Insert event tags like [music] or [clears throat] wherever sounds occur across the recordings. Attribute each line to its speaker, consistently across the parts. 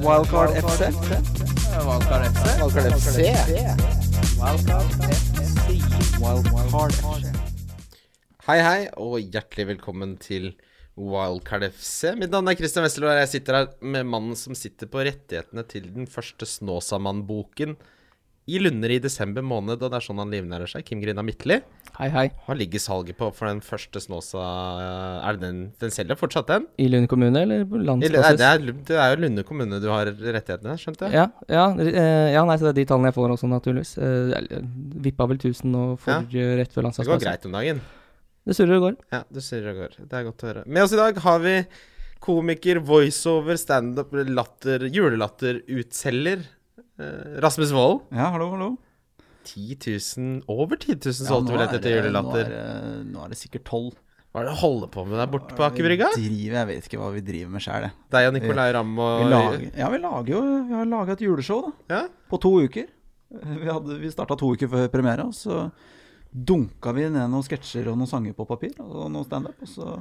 Speaker 1: Wildcard FC.
Speaker 2: Valkar FC.
Speaker 1: Wildcard FC. Wildcard FC.
Speaker 3: Hei, hei, og hjertelig velkommen til Wildcard FC. Mitt navn er Christian Westerlo, og jeg sitter her med mannen som sitter på rettighetene til den første Snåsamann-boken i Lunder i desember måned, og det er sånn han livnærer seg. Kim Grina Midtli.
Speaker 4: Hei, hei.
Speaker 3: Hva ligger salget på for den første Snåsa Er det den Den selger fortsatt, den?
Speaker 4: I Lund kommune, eller på
Speaker 3: Eller, nei,
Speaker 4: landsbasis?
Speaker 3: det, er, det er jo Lunde kommune du har rettighetene, skjønte jeg?
Speaker 4: Ja, ja, eh, ja, nei, så det er de tallene jeg får også, naturligvis. Eh, jeg Vippa vel 1000 nå for eh, rett før
Speaker 3: Det går
Speaker 4: landslagsmessa.
Speaker 3: greit om dagen.
Speaker 4: Det surrer og går.
Speaker 3: Ja, du surrer og går. Det er godt å høre. Med oss i dag har vi komiker, voiceover, standup, latter, julelatterutselger. eh, Rasmus Wold.
Speaker 2: Ja, hallo, hallo.
Speaker 3: 10 000, over 10 000
Speaker 2: Ja,
Speaker 3: solgte
Speaker 2: nå er
Speaker 3: billetter til
Speaker 2: det-
Speaker 3: julelatter.
Speaker 2: Nå er, det- nå er det sikkert tolv.
Speaker 3: Hva er det du holder på med der borte på Akebrygga?
Speaker 2: Driver, jeg vet ikke hva vi driver med sjæl, jeg.
Speaker 3: Deg og Nicolay Ramm
Speaker 2: Vi
Speaker 3: og
Speaker 2: lager, ja, vi lager jo Vi har laga et juleshow, da.
Speaker 3: ja?
Speaker 2: På to uker. Vi, hadde- vi starta to uker før premiere, og så dunka vi ned noen sketsjer og noen sanger på papir, og noen standup, og så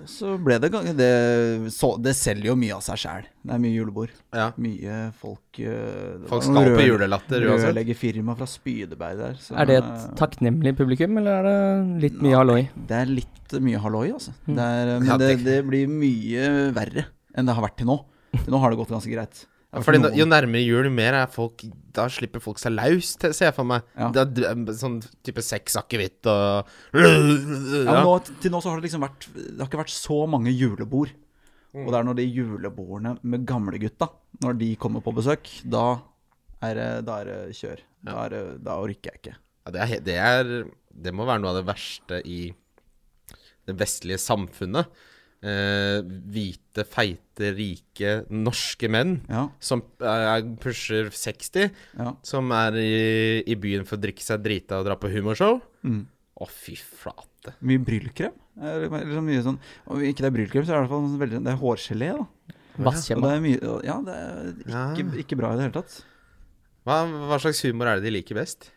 Speaker 2: og så ble det gang- det, så, det selger jo mye av seg sjæl. Det er mye julebord.
Speaker 3: ja.
Speaker 2: Mye folk eh, det var
Speaker 3: Folk
Speaker 2: noen
Speaker 3: skal på
Speaker 2: rør-
Speaker 3: julelatter uansett.
Speaker 2: Rørleggerfirma fra Spydeberg der. så-
Speaker 4: Er det et takknemlig publikum, eller er det litt mye halloi? Mm.
Speaker 2: Det er litt mye halloi, altså. Det er, men
Speaker 3: Ja, det-
Speaker 2: det, det blir mye verre enn det har vært til nå. Til nå har det gått ganske greit. Det har
Speaker 3: Fordi
Speaker 2: vært
Speaker 3: nå- Jo
Speaker 2: noen-
Speaker 3: nærmere jul, jo mer er folk Da slipper folk seg løs, te- ser jeg for meg.
Speaker 2: Ja.
Speaker 3: Det er d- sånn type sex, akevitt og
Speaker 2: ja, men
Speaker 3: ja.
Speaker 2: nå, til nå så har det liksom vært Det har ikke vært så mange julebord. Og det er når de julebordene med gamlegutta, når de kommer på besøk, da er det, da er det kjør. Da, er det, da orker jeg ikke.
Speaker 3: Ja, det, er, he- det, er, det må være noe av det verste i det vestlige samfunnet. Eh, hvite, feite, rike norske menn
Speaker 2: Ja,
Speaker 3: som eh, er- pusher 60,
Speaker 2: ja.
Speaker 3: som er i, i byen for å drikke seg drita og dra på humorshow. Å, fy flate.
Speaker 2: Mye brylkrem. Eller eller så mye sånn Om ikke det er brylkrem, så er det i hvert fall sånn veldig Det er hårgelé, da. Og
Speaker 4: Vasskjema.
Speaker 2: det er mye Ja, det er ikke, ikke bra i det hele tatt.
Speaker 3: Hva, hva slags humor er det de liker best?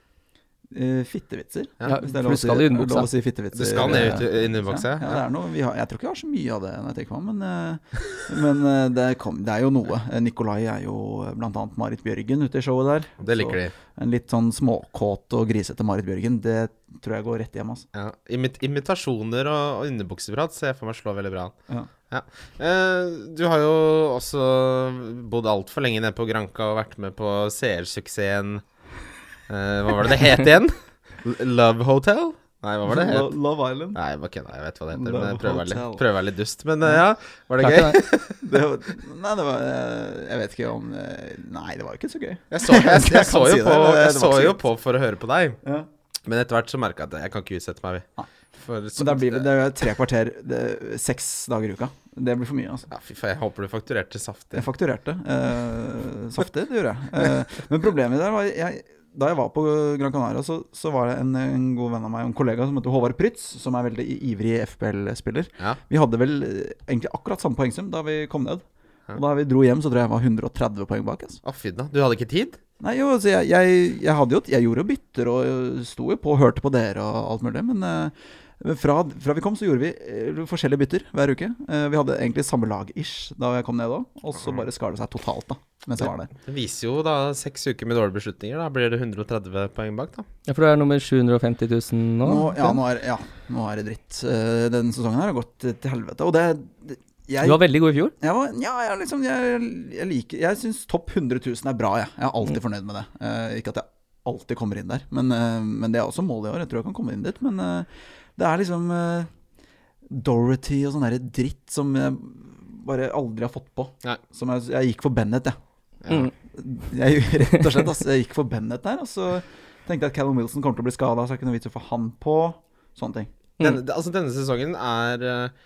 Speaker 2: Eh, fittevitser.
Speaker 3: Ja,
Speaker 4: Ja,
Speaker 2: Hvis det er
Speaker 4: for
Speaker 2: lov
Speaker 4: du
Speaker 2: å si-
Speaker 4: skal i
Speaker 2: er det lov å
Speaker 4: underbuksa.
Speaker 2: si fittevitser.
Speaker 3: Det skal ned ut
Speaker 2: eh,
Speaker 3: i i underbuksa.
Speaker 2: Ja, det er noe, vi har, jeg tror ikke vi har så mye av det, når jeg tenker meg om, men, eh, men eh, det, kom, det er jo noe. Eh, Nikolai er jo eh, blant annet Marit Bjørgen ute i showet der.
Speaker 3: Det liker de.
Speaker 2: En litt sånn småkåt og grisete Marit Bjørgen, det tror jeg går rett hjem, altså.
Speaker 3: Ja. Imit imitasjoner og, og underbukseprat ser jeg for meg slår veldig bra an.
Speaker 2: Ja.
Speaker 3: Ja. Eh, du har jo også bodd altfor lenge nede på Granka og vært med på seersuksessen eh, Hva var det det het
Speaker 2: [laughs]
Speaker 3: igjen? L- Love Hotel? Nei, hva var det det het?
Speaker 2: Love Island.
Speaker 3: Nei, jeg bare kødda. Jeg vet hva det heter.
Speaker 2: Love
Speaker 3: Men jeg prøver å være litt,
Speaker 2: Hotel.
Speaker 3: prøver å være litt dust. Men eh, ja, var det gøy?
Speaker 4: Klarte det.
Speaker 2: [laughs] Det, var- nei, det var eh, Jeg vet ikke om eh, Nei, det var jo ikke så gøy.
Speaker 3: Jeg
Speaker 2: [laughs]
Speaker 3: så, jeg, jeg,
Speaker 2: Jeg
Speaker 3: så,
Speaker 2: kan
Speaker 3: jo,
Speaker 2: si det,
Speaker 3: på,
Speaker 2: det-
Speaker 3: jeg
Speaker 2: det var
Speaker 3: så
Speaker 2: ikke så
Speaker 3: jo
Speaker 2: gøy.
Speaker 3: på for å høre på deg.
Speaker 2: Ja.
Speaker 3: Men etter hvert så merka jeg at jeg kan ikke utsette meg. vi. For,
Speaker 2: Men det, blir, det er jo tre kvarter, det, er seks dager i uka. Det blir for mye, altså.
Speaker 3: ja, fy faen, jeg håper du fakturerte saftig.
Speaker 2: Jeg fakturerte. Eh, saftig, det gjorde
Speaker 3: [laughs]
Speaker 2: jeg. Eh, men problemet der var jeg, Da jeg var på Gran Canaria, så, så var det en, en god venn av meg, en kollega som heter Håvard Prytz, som er veldig i- ivrig FBL-spiller.
Speaker 3: Ja.
Speaker 2: Vi hadde vel eh, egentlig akkurat samme poengsum da vi kom ned.
Speaker 3: Ja.
Speaker 2: Og da vi dro hjem, så tror jeg jeg var 130 poeng bak. Altså.
Speaker 3: Å, fy da. Du hadde ikke tid?
Speaker 2: Nei, jo, altså, jeg, jeg, jeg, hadde jo, jeg gjorde jo bytter og eh, sto jo på og hørte på dere og alt mulig, men eh, fra, fra vi kom, så gjorde vi eh, forskjellige bytter hver uke. Eh, vi hadde egentlig samme lag-ish da jeg kom ned òg, og så bare skar det seg totalt da, mens jeg var der.
Speaker 3: Det viser jo da seks uker med dårlige beslutninger. Da blir det 130 poeng bak, da.
Speaker 4: Ja, for du er nummer 750 000 nå?
Speaker 2: Nå, ja, nå er, ja, nå er det dritt. Eh, denne sesongen her har gått til helvete. Og det, det jeg,
Speaker 4: Du var veldig god i fjor.
Speaker 2: jeg var, ja, jeg, er liksom, jeg, jeg liker Jeg syns topp 100 000 er bra, jeg. Jeg er alltid fornøyd med det. Eh, ikke at jeg alltid kommer inn der, men, eh, men det er også målet i år. Jeg tror jeg kan komme inn dit, men eh, det er liksom eh, Dorothy og sånn derre dritt som jeg bare aldri har fått på.
Speaker 3: Nei.
Speaker 2: Som jeg, jeg gikk for Bennett, jeg.
Speaker 3: Ja.
Speaker 4: Mm.
Speaker 2: Jeg, [laughs] rett og slett, altså, jeg gikk for Bennett der, og så tenkte jeg at Callum Wilson kommer til å bli skada, så er det ikke noe vits i å få han på. Sånne ting.
Speaker 3: Denne, altså, denne sesongen er eh,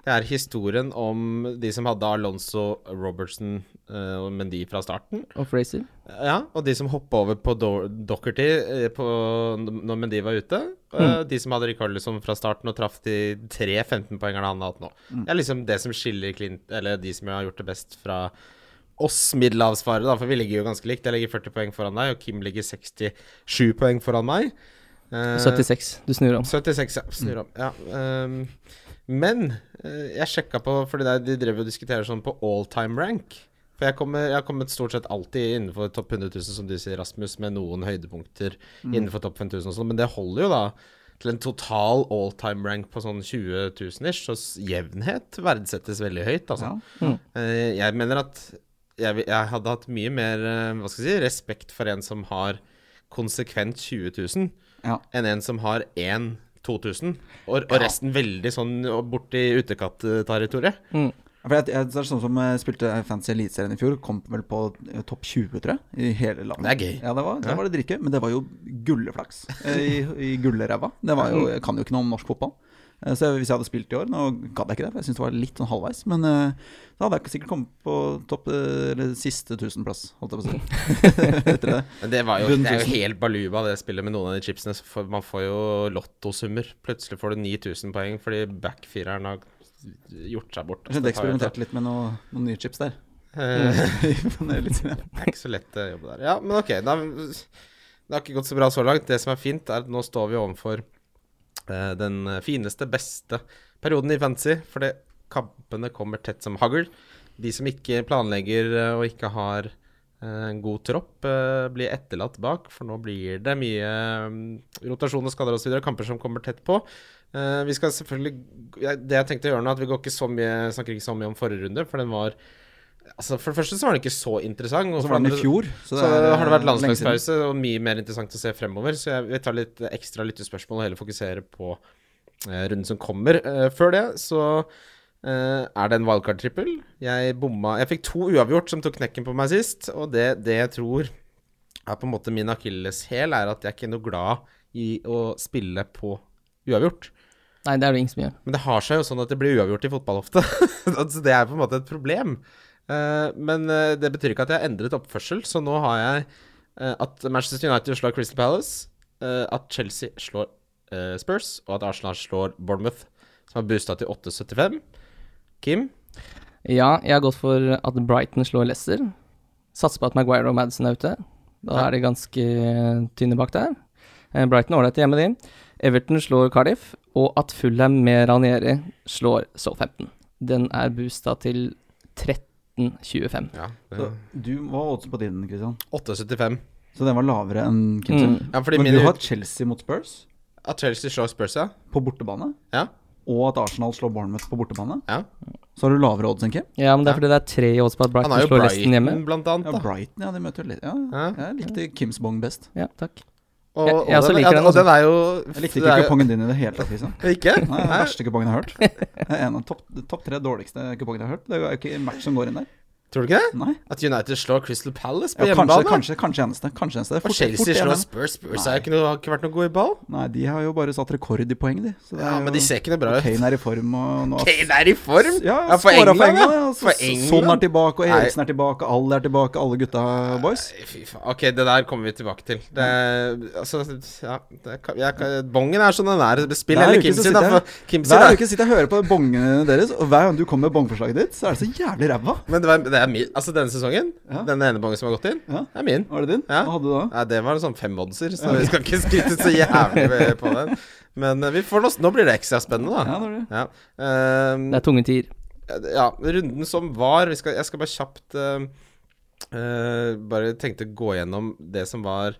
Speaker 3: Det er historien om de som hadde Alonso, Robertson eh, og Mendy fra starten.
Speaker 4: Og Fraser.
Speaker 3: Ja, og de som hoppa over på Do Docherty eh, på, når Mendy var ute. eh, De som hadde Rikarlison fra starten og traff de tre 15-poengerne han har hatt nå. Det er liksom det som skiller Clint, eller de som har gjort det best fra oss middelhavsfarere, da, for vi ligger jo ganske likt. Jeg ligger 40 poeng foran deg, og Kim ligger 67 poeng foran meg. Eh,
Speaker 4: 76. Du snur om.
Speaker 3: 76, ja. Snur om. Ja. ehm, men eh, jeg sjekka på Fordi det er- de drev og diskuterer sånn på all time rank. For jeg, kommer, jeg har kommet stort sett alltid innenfor topp 100 000, som du sier, Rasmus, med noen høydepunkter innenfor topp 5000 og sånn, men det holder jo da til en total all time rank på sånn 20 000 ish, så s- jevnhet verdsettes veldig høyt, altså. Eh, Jeg mener at jeg, vil- jeg hadde hatt mye mer eh, hva skal jeg si, respekt for en som har konsekvent 20 000,
Speaker 2: Ja.
Speaker 3: enn en som har én 2000, og, og resten veldig sånn borti utekatt-territoriet.
Speaker 2: For jeg, jeg, det er sånn som jeg spilte Fantasy Eliteserien i fjor, kom vel på eh, topp 20, tror jeg, i hele landet.
Speaker 3: Det er gøy.
Speaker 2: Ja, det var, det var det drikke, men det var jo gulleflaks eh, i, i gullræva. Det var
Speaker 3: Mm.
Speaker 2: jo, jeg kan jo ikke noe om norsk fotball. Eh, Så hvis jeg hadde spilt i år, nå gadd jeg ikke det, for jeg syntes det var litt sånn halvveis, men eh, da hadde jeg ikke sikkert kommet på topp eh, eller siste tusenplass,
Speaker 3: [laughs]
Speaker 2: holdt jeg på å si. Etter det.
Speaker 3: Men det, var jo,
Speaker 2: Bunn
Speaker 3: det er jo
Speaker 2: 1000.
Speaker 3: helt baluba, det spillet med noen av de chipsene. så får- man får jo lottosummer. Plutselig får du 9000 poeng fordi backfireren har gjort seg bort.
Speaker 2: Jeg skjønte jeg eksperimenterte litt med noe, noen nye chips der.
Speaker 3: Eh,
Speaker 2: [laughs] Men det er litt sånn, ja.
Speaker 3: Det er ikke så lett å jobbe der. Ja, men ok. Da, det har ikke gått så bra så langt. Det som er fint, er at nå står vi overfor eh, den fineste, beste perioden i fantasy. For det, kampene kommer tett som hagl. De som ikke planlegger eh, og ikke har eh, en god tropp, eh, blir etterlatt bak. For nå blir det mye mm, rotasjon og skader osv. Kamper som kommer tett på. Eh, vi skal selvfølgelig jeg- Det jeg tenkte å gjøre nå, er at vi går ikke så mye, snakker ikke så mye om forrige runde, for den var altså For det første så var den ikke så interessant. Og
Speaker 2: Så
Speaker 3: for
Speaker 2: var
Speaker 3: det
Speaker 2: den i
Speaker 3: andre-
Speaker 2: fjor.
Speaker 3: så,
Speaker 2: det er, eh,
Speaker 3: har det vært
Speaker 2: lenge siden.
Speaker 3: landslagspause, og mye mer interessant å se fremover. Så jeg vil ta litt ekstra lyttespørsmål og heller fokusere på eh, runden som kommer. Eh, før det så eh, er det en wildcard-trippel. Jeg bomma Jeg fikk to uavgjort som tok knekken på meg sist, og det, det jeg tror er på en måte min akilleshæl, er at jeg er ikke noe glad i å spille på uavgjort.
Speaker 4: Nei, det er det ingen som gjør.
Speaker 3: Men det har seg jo sånn at det blir uavgjort i fotball ofte. [laughs] altså, det er på en måte et problem. Eh, men eh, det betyr ikke at jeg har endret oppførsel, så nå har jeg eh, at Manchester United slår Crystal Palace, eh, at Chelsea slår eh, Spurs, og at Arsenal slår Bournemouth, som har boosta til 8,75. Kim?
Speaker 4: Ja, jeg har gått for at Brighton slår Leicester. Satser på at Maguire og Madison er ute. Da
Speaker 3: Ja.
Speaker 4: er det ganske eh, tynne bak der. Eh, Brighton er ålreit hjemme, de. Everton slår Cardiff. Og at Fulham med Ranieri slår Southampton. Den er boosta til 13,25.
Speaker 3: Ja.
Speaker 2: Så du var oddsen på din, Christian.
Speaker 3: 8,75.
Speaker 2: Så den var lavere enn Kim sin.
Speaker 4: Mm.
Speaker 3: Ja, fordi
Speaker 2: Men
Speaker 3: min
Speaker 2: du har
Speaker 3: ut
Speaker 2: Chelsea mot Spurs
Speaker 3: At Chelsea slår Spurs, ja.
Speaker 2: på bortebane,
Speaker 3: Ja.
Speaker 2: og at Arsenal slår Bournemouth på bortebane.
Speaker 3: ja.
Speaker 2: Så har du lavere odds enn Kim.
Speaker 4: Ja, men det er fordi det er tre i odds på at
Speaker 3: Han
Speaker 4: Brighton
Speaker 3: har jo
Speaker 4: slår Leicester hjemme.
Speaker 3: Brighton, blant
Speaker 2: Ja,
Speaker 3: annet. Da.
Speaker 2: Brighton, ja, de møter jo litt Ja,
Speaker 3: Ja.
Speaker 2: jeg likte Kims bong best.
Speaker 4: Ja, takk.
Speaker 3: Og,
Speaker 4: Jeg-
Speaker 3: og,
Speaker 4: jeg også
Speaker 3: den,
Speaker 4: liker
Speaker 3: ja,
Speaker 4: den,
Speaker 3: og
Speaker 4: altså.
Speaker 3: den er jo
Speaker 2: Jeg likte
Speaker 3: det
Speaker 2: ikke
Speaker 3: er jo-
Speaker 2: kupongen din i det hele tatt, Christian.
Speaker 3: Ikke?
Speaker 2: Nei, det er den verste kupongen jeg
Speaker 3: [laughs]
Speaker 2: har hørt. Det er En av topp topp tre dårligste kupongen jeg har hørt. Det er jo ikke en match som går inn der.
Speaker 3: Tror du ikke det?
Speaker 2: Nei.
Speaker 3: At United slår Crystal Palace på
Speaker 2: Ja, kanskje,
Speaker 3: hjemmebane?
Speaker 2: kanskje, kanskje eneste. Kanskje eneste.
Speaker 3: Og
Speaker 2: Fort-
Speaker 3: Chelsea
Speaker 2: fort
Speaker 3: slår
Speaker 2: igjen.
Speaker 3: Spurs. Spurs er jo ikke noe, har ikke vært noe god i ball.
Speaker 2: Nei, de har jo bare satt rekord i poeng, de. Så det
Speaker 3: Ja,
Speaker 2: er
Speaker 3: Men
Speaker 2: jo-
Speaker 3: de ser ikke noe bra ut. [laughs]
Speaker 2: Kane er i form, og nå
Speaker 3: Kane er i form!
Speaker 2: Ja, ja for England, ja. og så-
Speaker 3: For
Speaker 2: så-
Speaker 3: England.
Speaker 2: Son er tilbake, og
Speaker 3: Nei.
Speaker 2: Eriksen er tilbake, alle er tilbake, alle gutta boys.
Speaker 3: Nei, Fy faen. Ok, det der kommer vi tilbake til. Det, altså, ja det, kan- jeg, kan- Bongen er som den er. Spill
Speaker 2: Hver
Speaker 3: heller
Speaker 2: uke så
Speaker 3: Kimsi,
Speaker 2: sitter
Speaker 3: da.
Speaker 2: jeg-
Speaker 3: For Kimsi,
Speaker 2: Hver
Speaker 3: da.
Speaker 2: uke sitter jeg og hører på bongene deres, og hver gang du kommer med bongforslaget ditt, så er det så jævlig ræva.
Speaker 3: Men det, var, det er min. Altså, denne sesongen,
Speaker 2: Ja.
Speaker 3: den ene bongen som har gått inn,
Speaker 2: Ja.
Speaker 3: er min.
Speaker 2: Var det din?
Speaker 3: Ja.
Speaker 2: Hva hadde du da?
Speaker 3: Nei, det var en sånn femoddser, så vi skal ikke skryte så jævlig på den. Men eh, vi får nå, nå blir det ekstra spennende, da.
Speaker 2: Ja, det var det.
Speaker 3: Ja. Ehm,
Speaker 4: Det er tunge tider.
Speaker 3: Ja, runden som var vi skal, Jeg skal bare kjapt eh, eh, Bare tenkte å gå gjennom det som var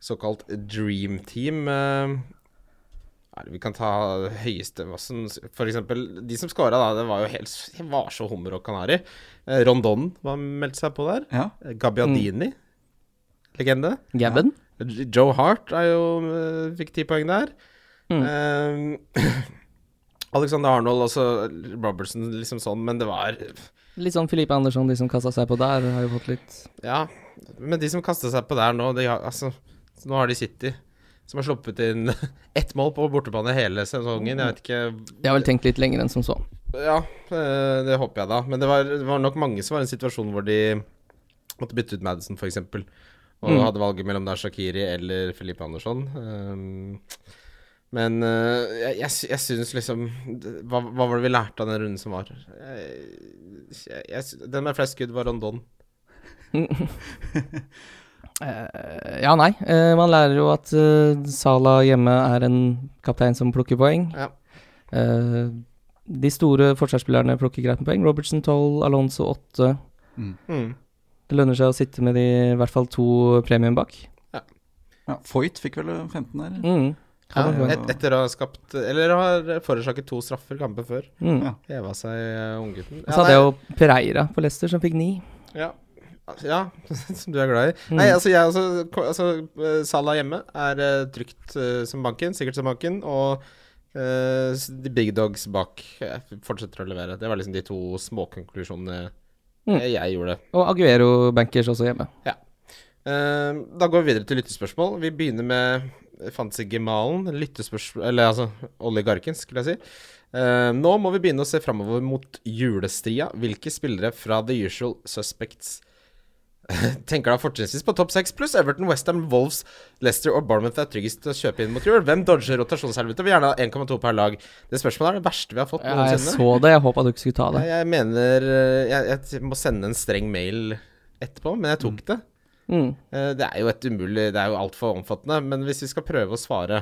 Speaker 3: såkalt dream team. eh. Nei, vi kan ta høyeste hva som- For eksempel, de som scora, da, det var jo helt det var så hummer og kanari. Eh, Rondon var meldt seg på der.
Speaker 2: Ja.
Speaker 3: Eh, Gabbiadini, legende.
Speaker 4: Gabben?
Speaker 3: Joe Hart er jo, eh, fikk ti poeng der. Eh, [clears throat] Alexander Arnold, altså Robertson, liksom sånn, men det var
Speaker 4: Litt sånn Filipe Andersson, de som kasta seg på der, har jo fått litt
Speaker 3: Ja. Men de som kasta seg på der nå, de har, altså, så nå har de City, som har sluppet inn [laughs] ett mål på bortebane hele sesongen. Jeg vet ikke
Speaker 4: De har vel tenkt litt lenger enn som så.
Speaker 3: Ja, eh, det håper jeg da. Men det var, det var nok mange som var i en situasjon hvor de måtte bytte ut Madison, f.eks. Og
Speaker 4: Mm.
Speaker 3: hadde valget mellom der Shakiri eller Filipe Andersson. Um, men eh, jeg, jeg, sy- jeg syns liksom det- hva, hva var det vi lærte av den runden som var? Jeg, jeg, jeg, sy- den med flest skudd var Rondon.
Speaker 4: Eh, ja, nei. Eh, man lærer jo at uh, Sala hjemme er en kaptein som plukker poeng.
Speaker 3: Ja.
Speaker 4: Eh, de store forsvarsspillerne plukker greit med poeng. Robertson 12, Alonso 8.
Speaker 2: Mm.
Speaker 3: Mm.
Speaker 4: Det lønner seg å sitte med de i hvert fall to premium bak.
Speaker 2: Ja, Foyt fikk vel 15 her?
Speaker 4: Mm.
Speaker 3: Ja,
Speaker 2: Ja,
Speaker 3: et, etter å ha skapt Eller har forårsaket to straffer kamper før.
Speaker 4: Mm.
Speaker 2: Ja.
Speaker 3: Heva seg eh, unggutten.
Speaker 4: Og så hadde jeg jo Pereira på Leicester som fikk ni.
Speaker 3: Ja. Altså, ja, [laughs] som du er glad i. Nei, altså, jeg også ko- altså, eh, Salah hjemme er eh, trygt eh, som banken, sikkert som banken. Og eh, s- de big dogs bak eh, fortsetter å levere. Det var liksom de to småkonklusjonene
Speaker 4: Mm.
Speaker 3: eh, jeg gjorde.
Speaker 4: Og Aguero bankers også hjemme.
Speaker 3: Eh, da går vi videre til lyttespørsmål. Vi begynner med Fancy-gemalen. Lyttespørsmål Eller altså oligarken, skulle jeg si. Eh, nå må vi begynne å se framover mot julestria. Hvilke spillere fra The Usual Suspects [laughs] tenker da fortrinnsvis på topp seks pluss Everton, Westham, Wolves, Leicester og Bournemouth er tryggest til å kjøpe inn mot jul? Hvem dodger rotasjonshelvete? Vil gjerne ha 1,2 per lag. Det spørsmålet er det verste vi har fått
Speaker 4: Ja, jeg
Speaker 3: noensinne.
Speaker 4: så det, jeg håpa du ikke skulle ta det.
Speaker 3: Jeg, jeg mener eh, jeg, jeg må sende en streng mail etterpå, men jeg tok det.
Speaker 4: Mm.
Speaker 3: Eh, Det er jo et umulig Det er jo altfor omfattende. Men hvis vi skal prøve å svare,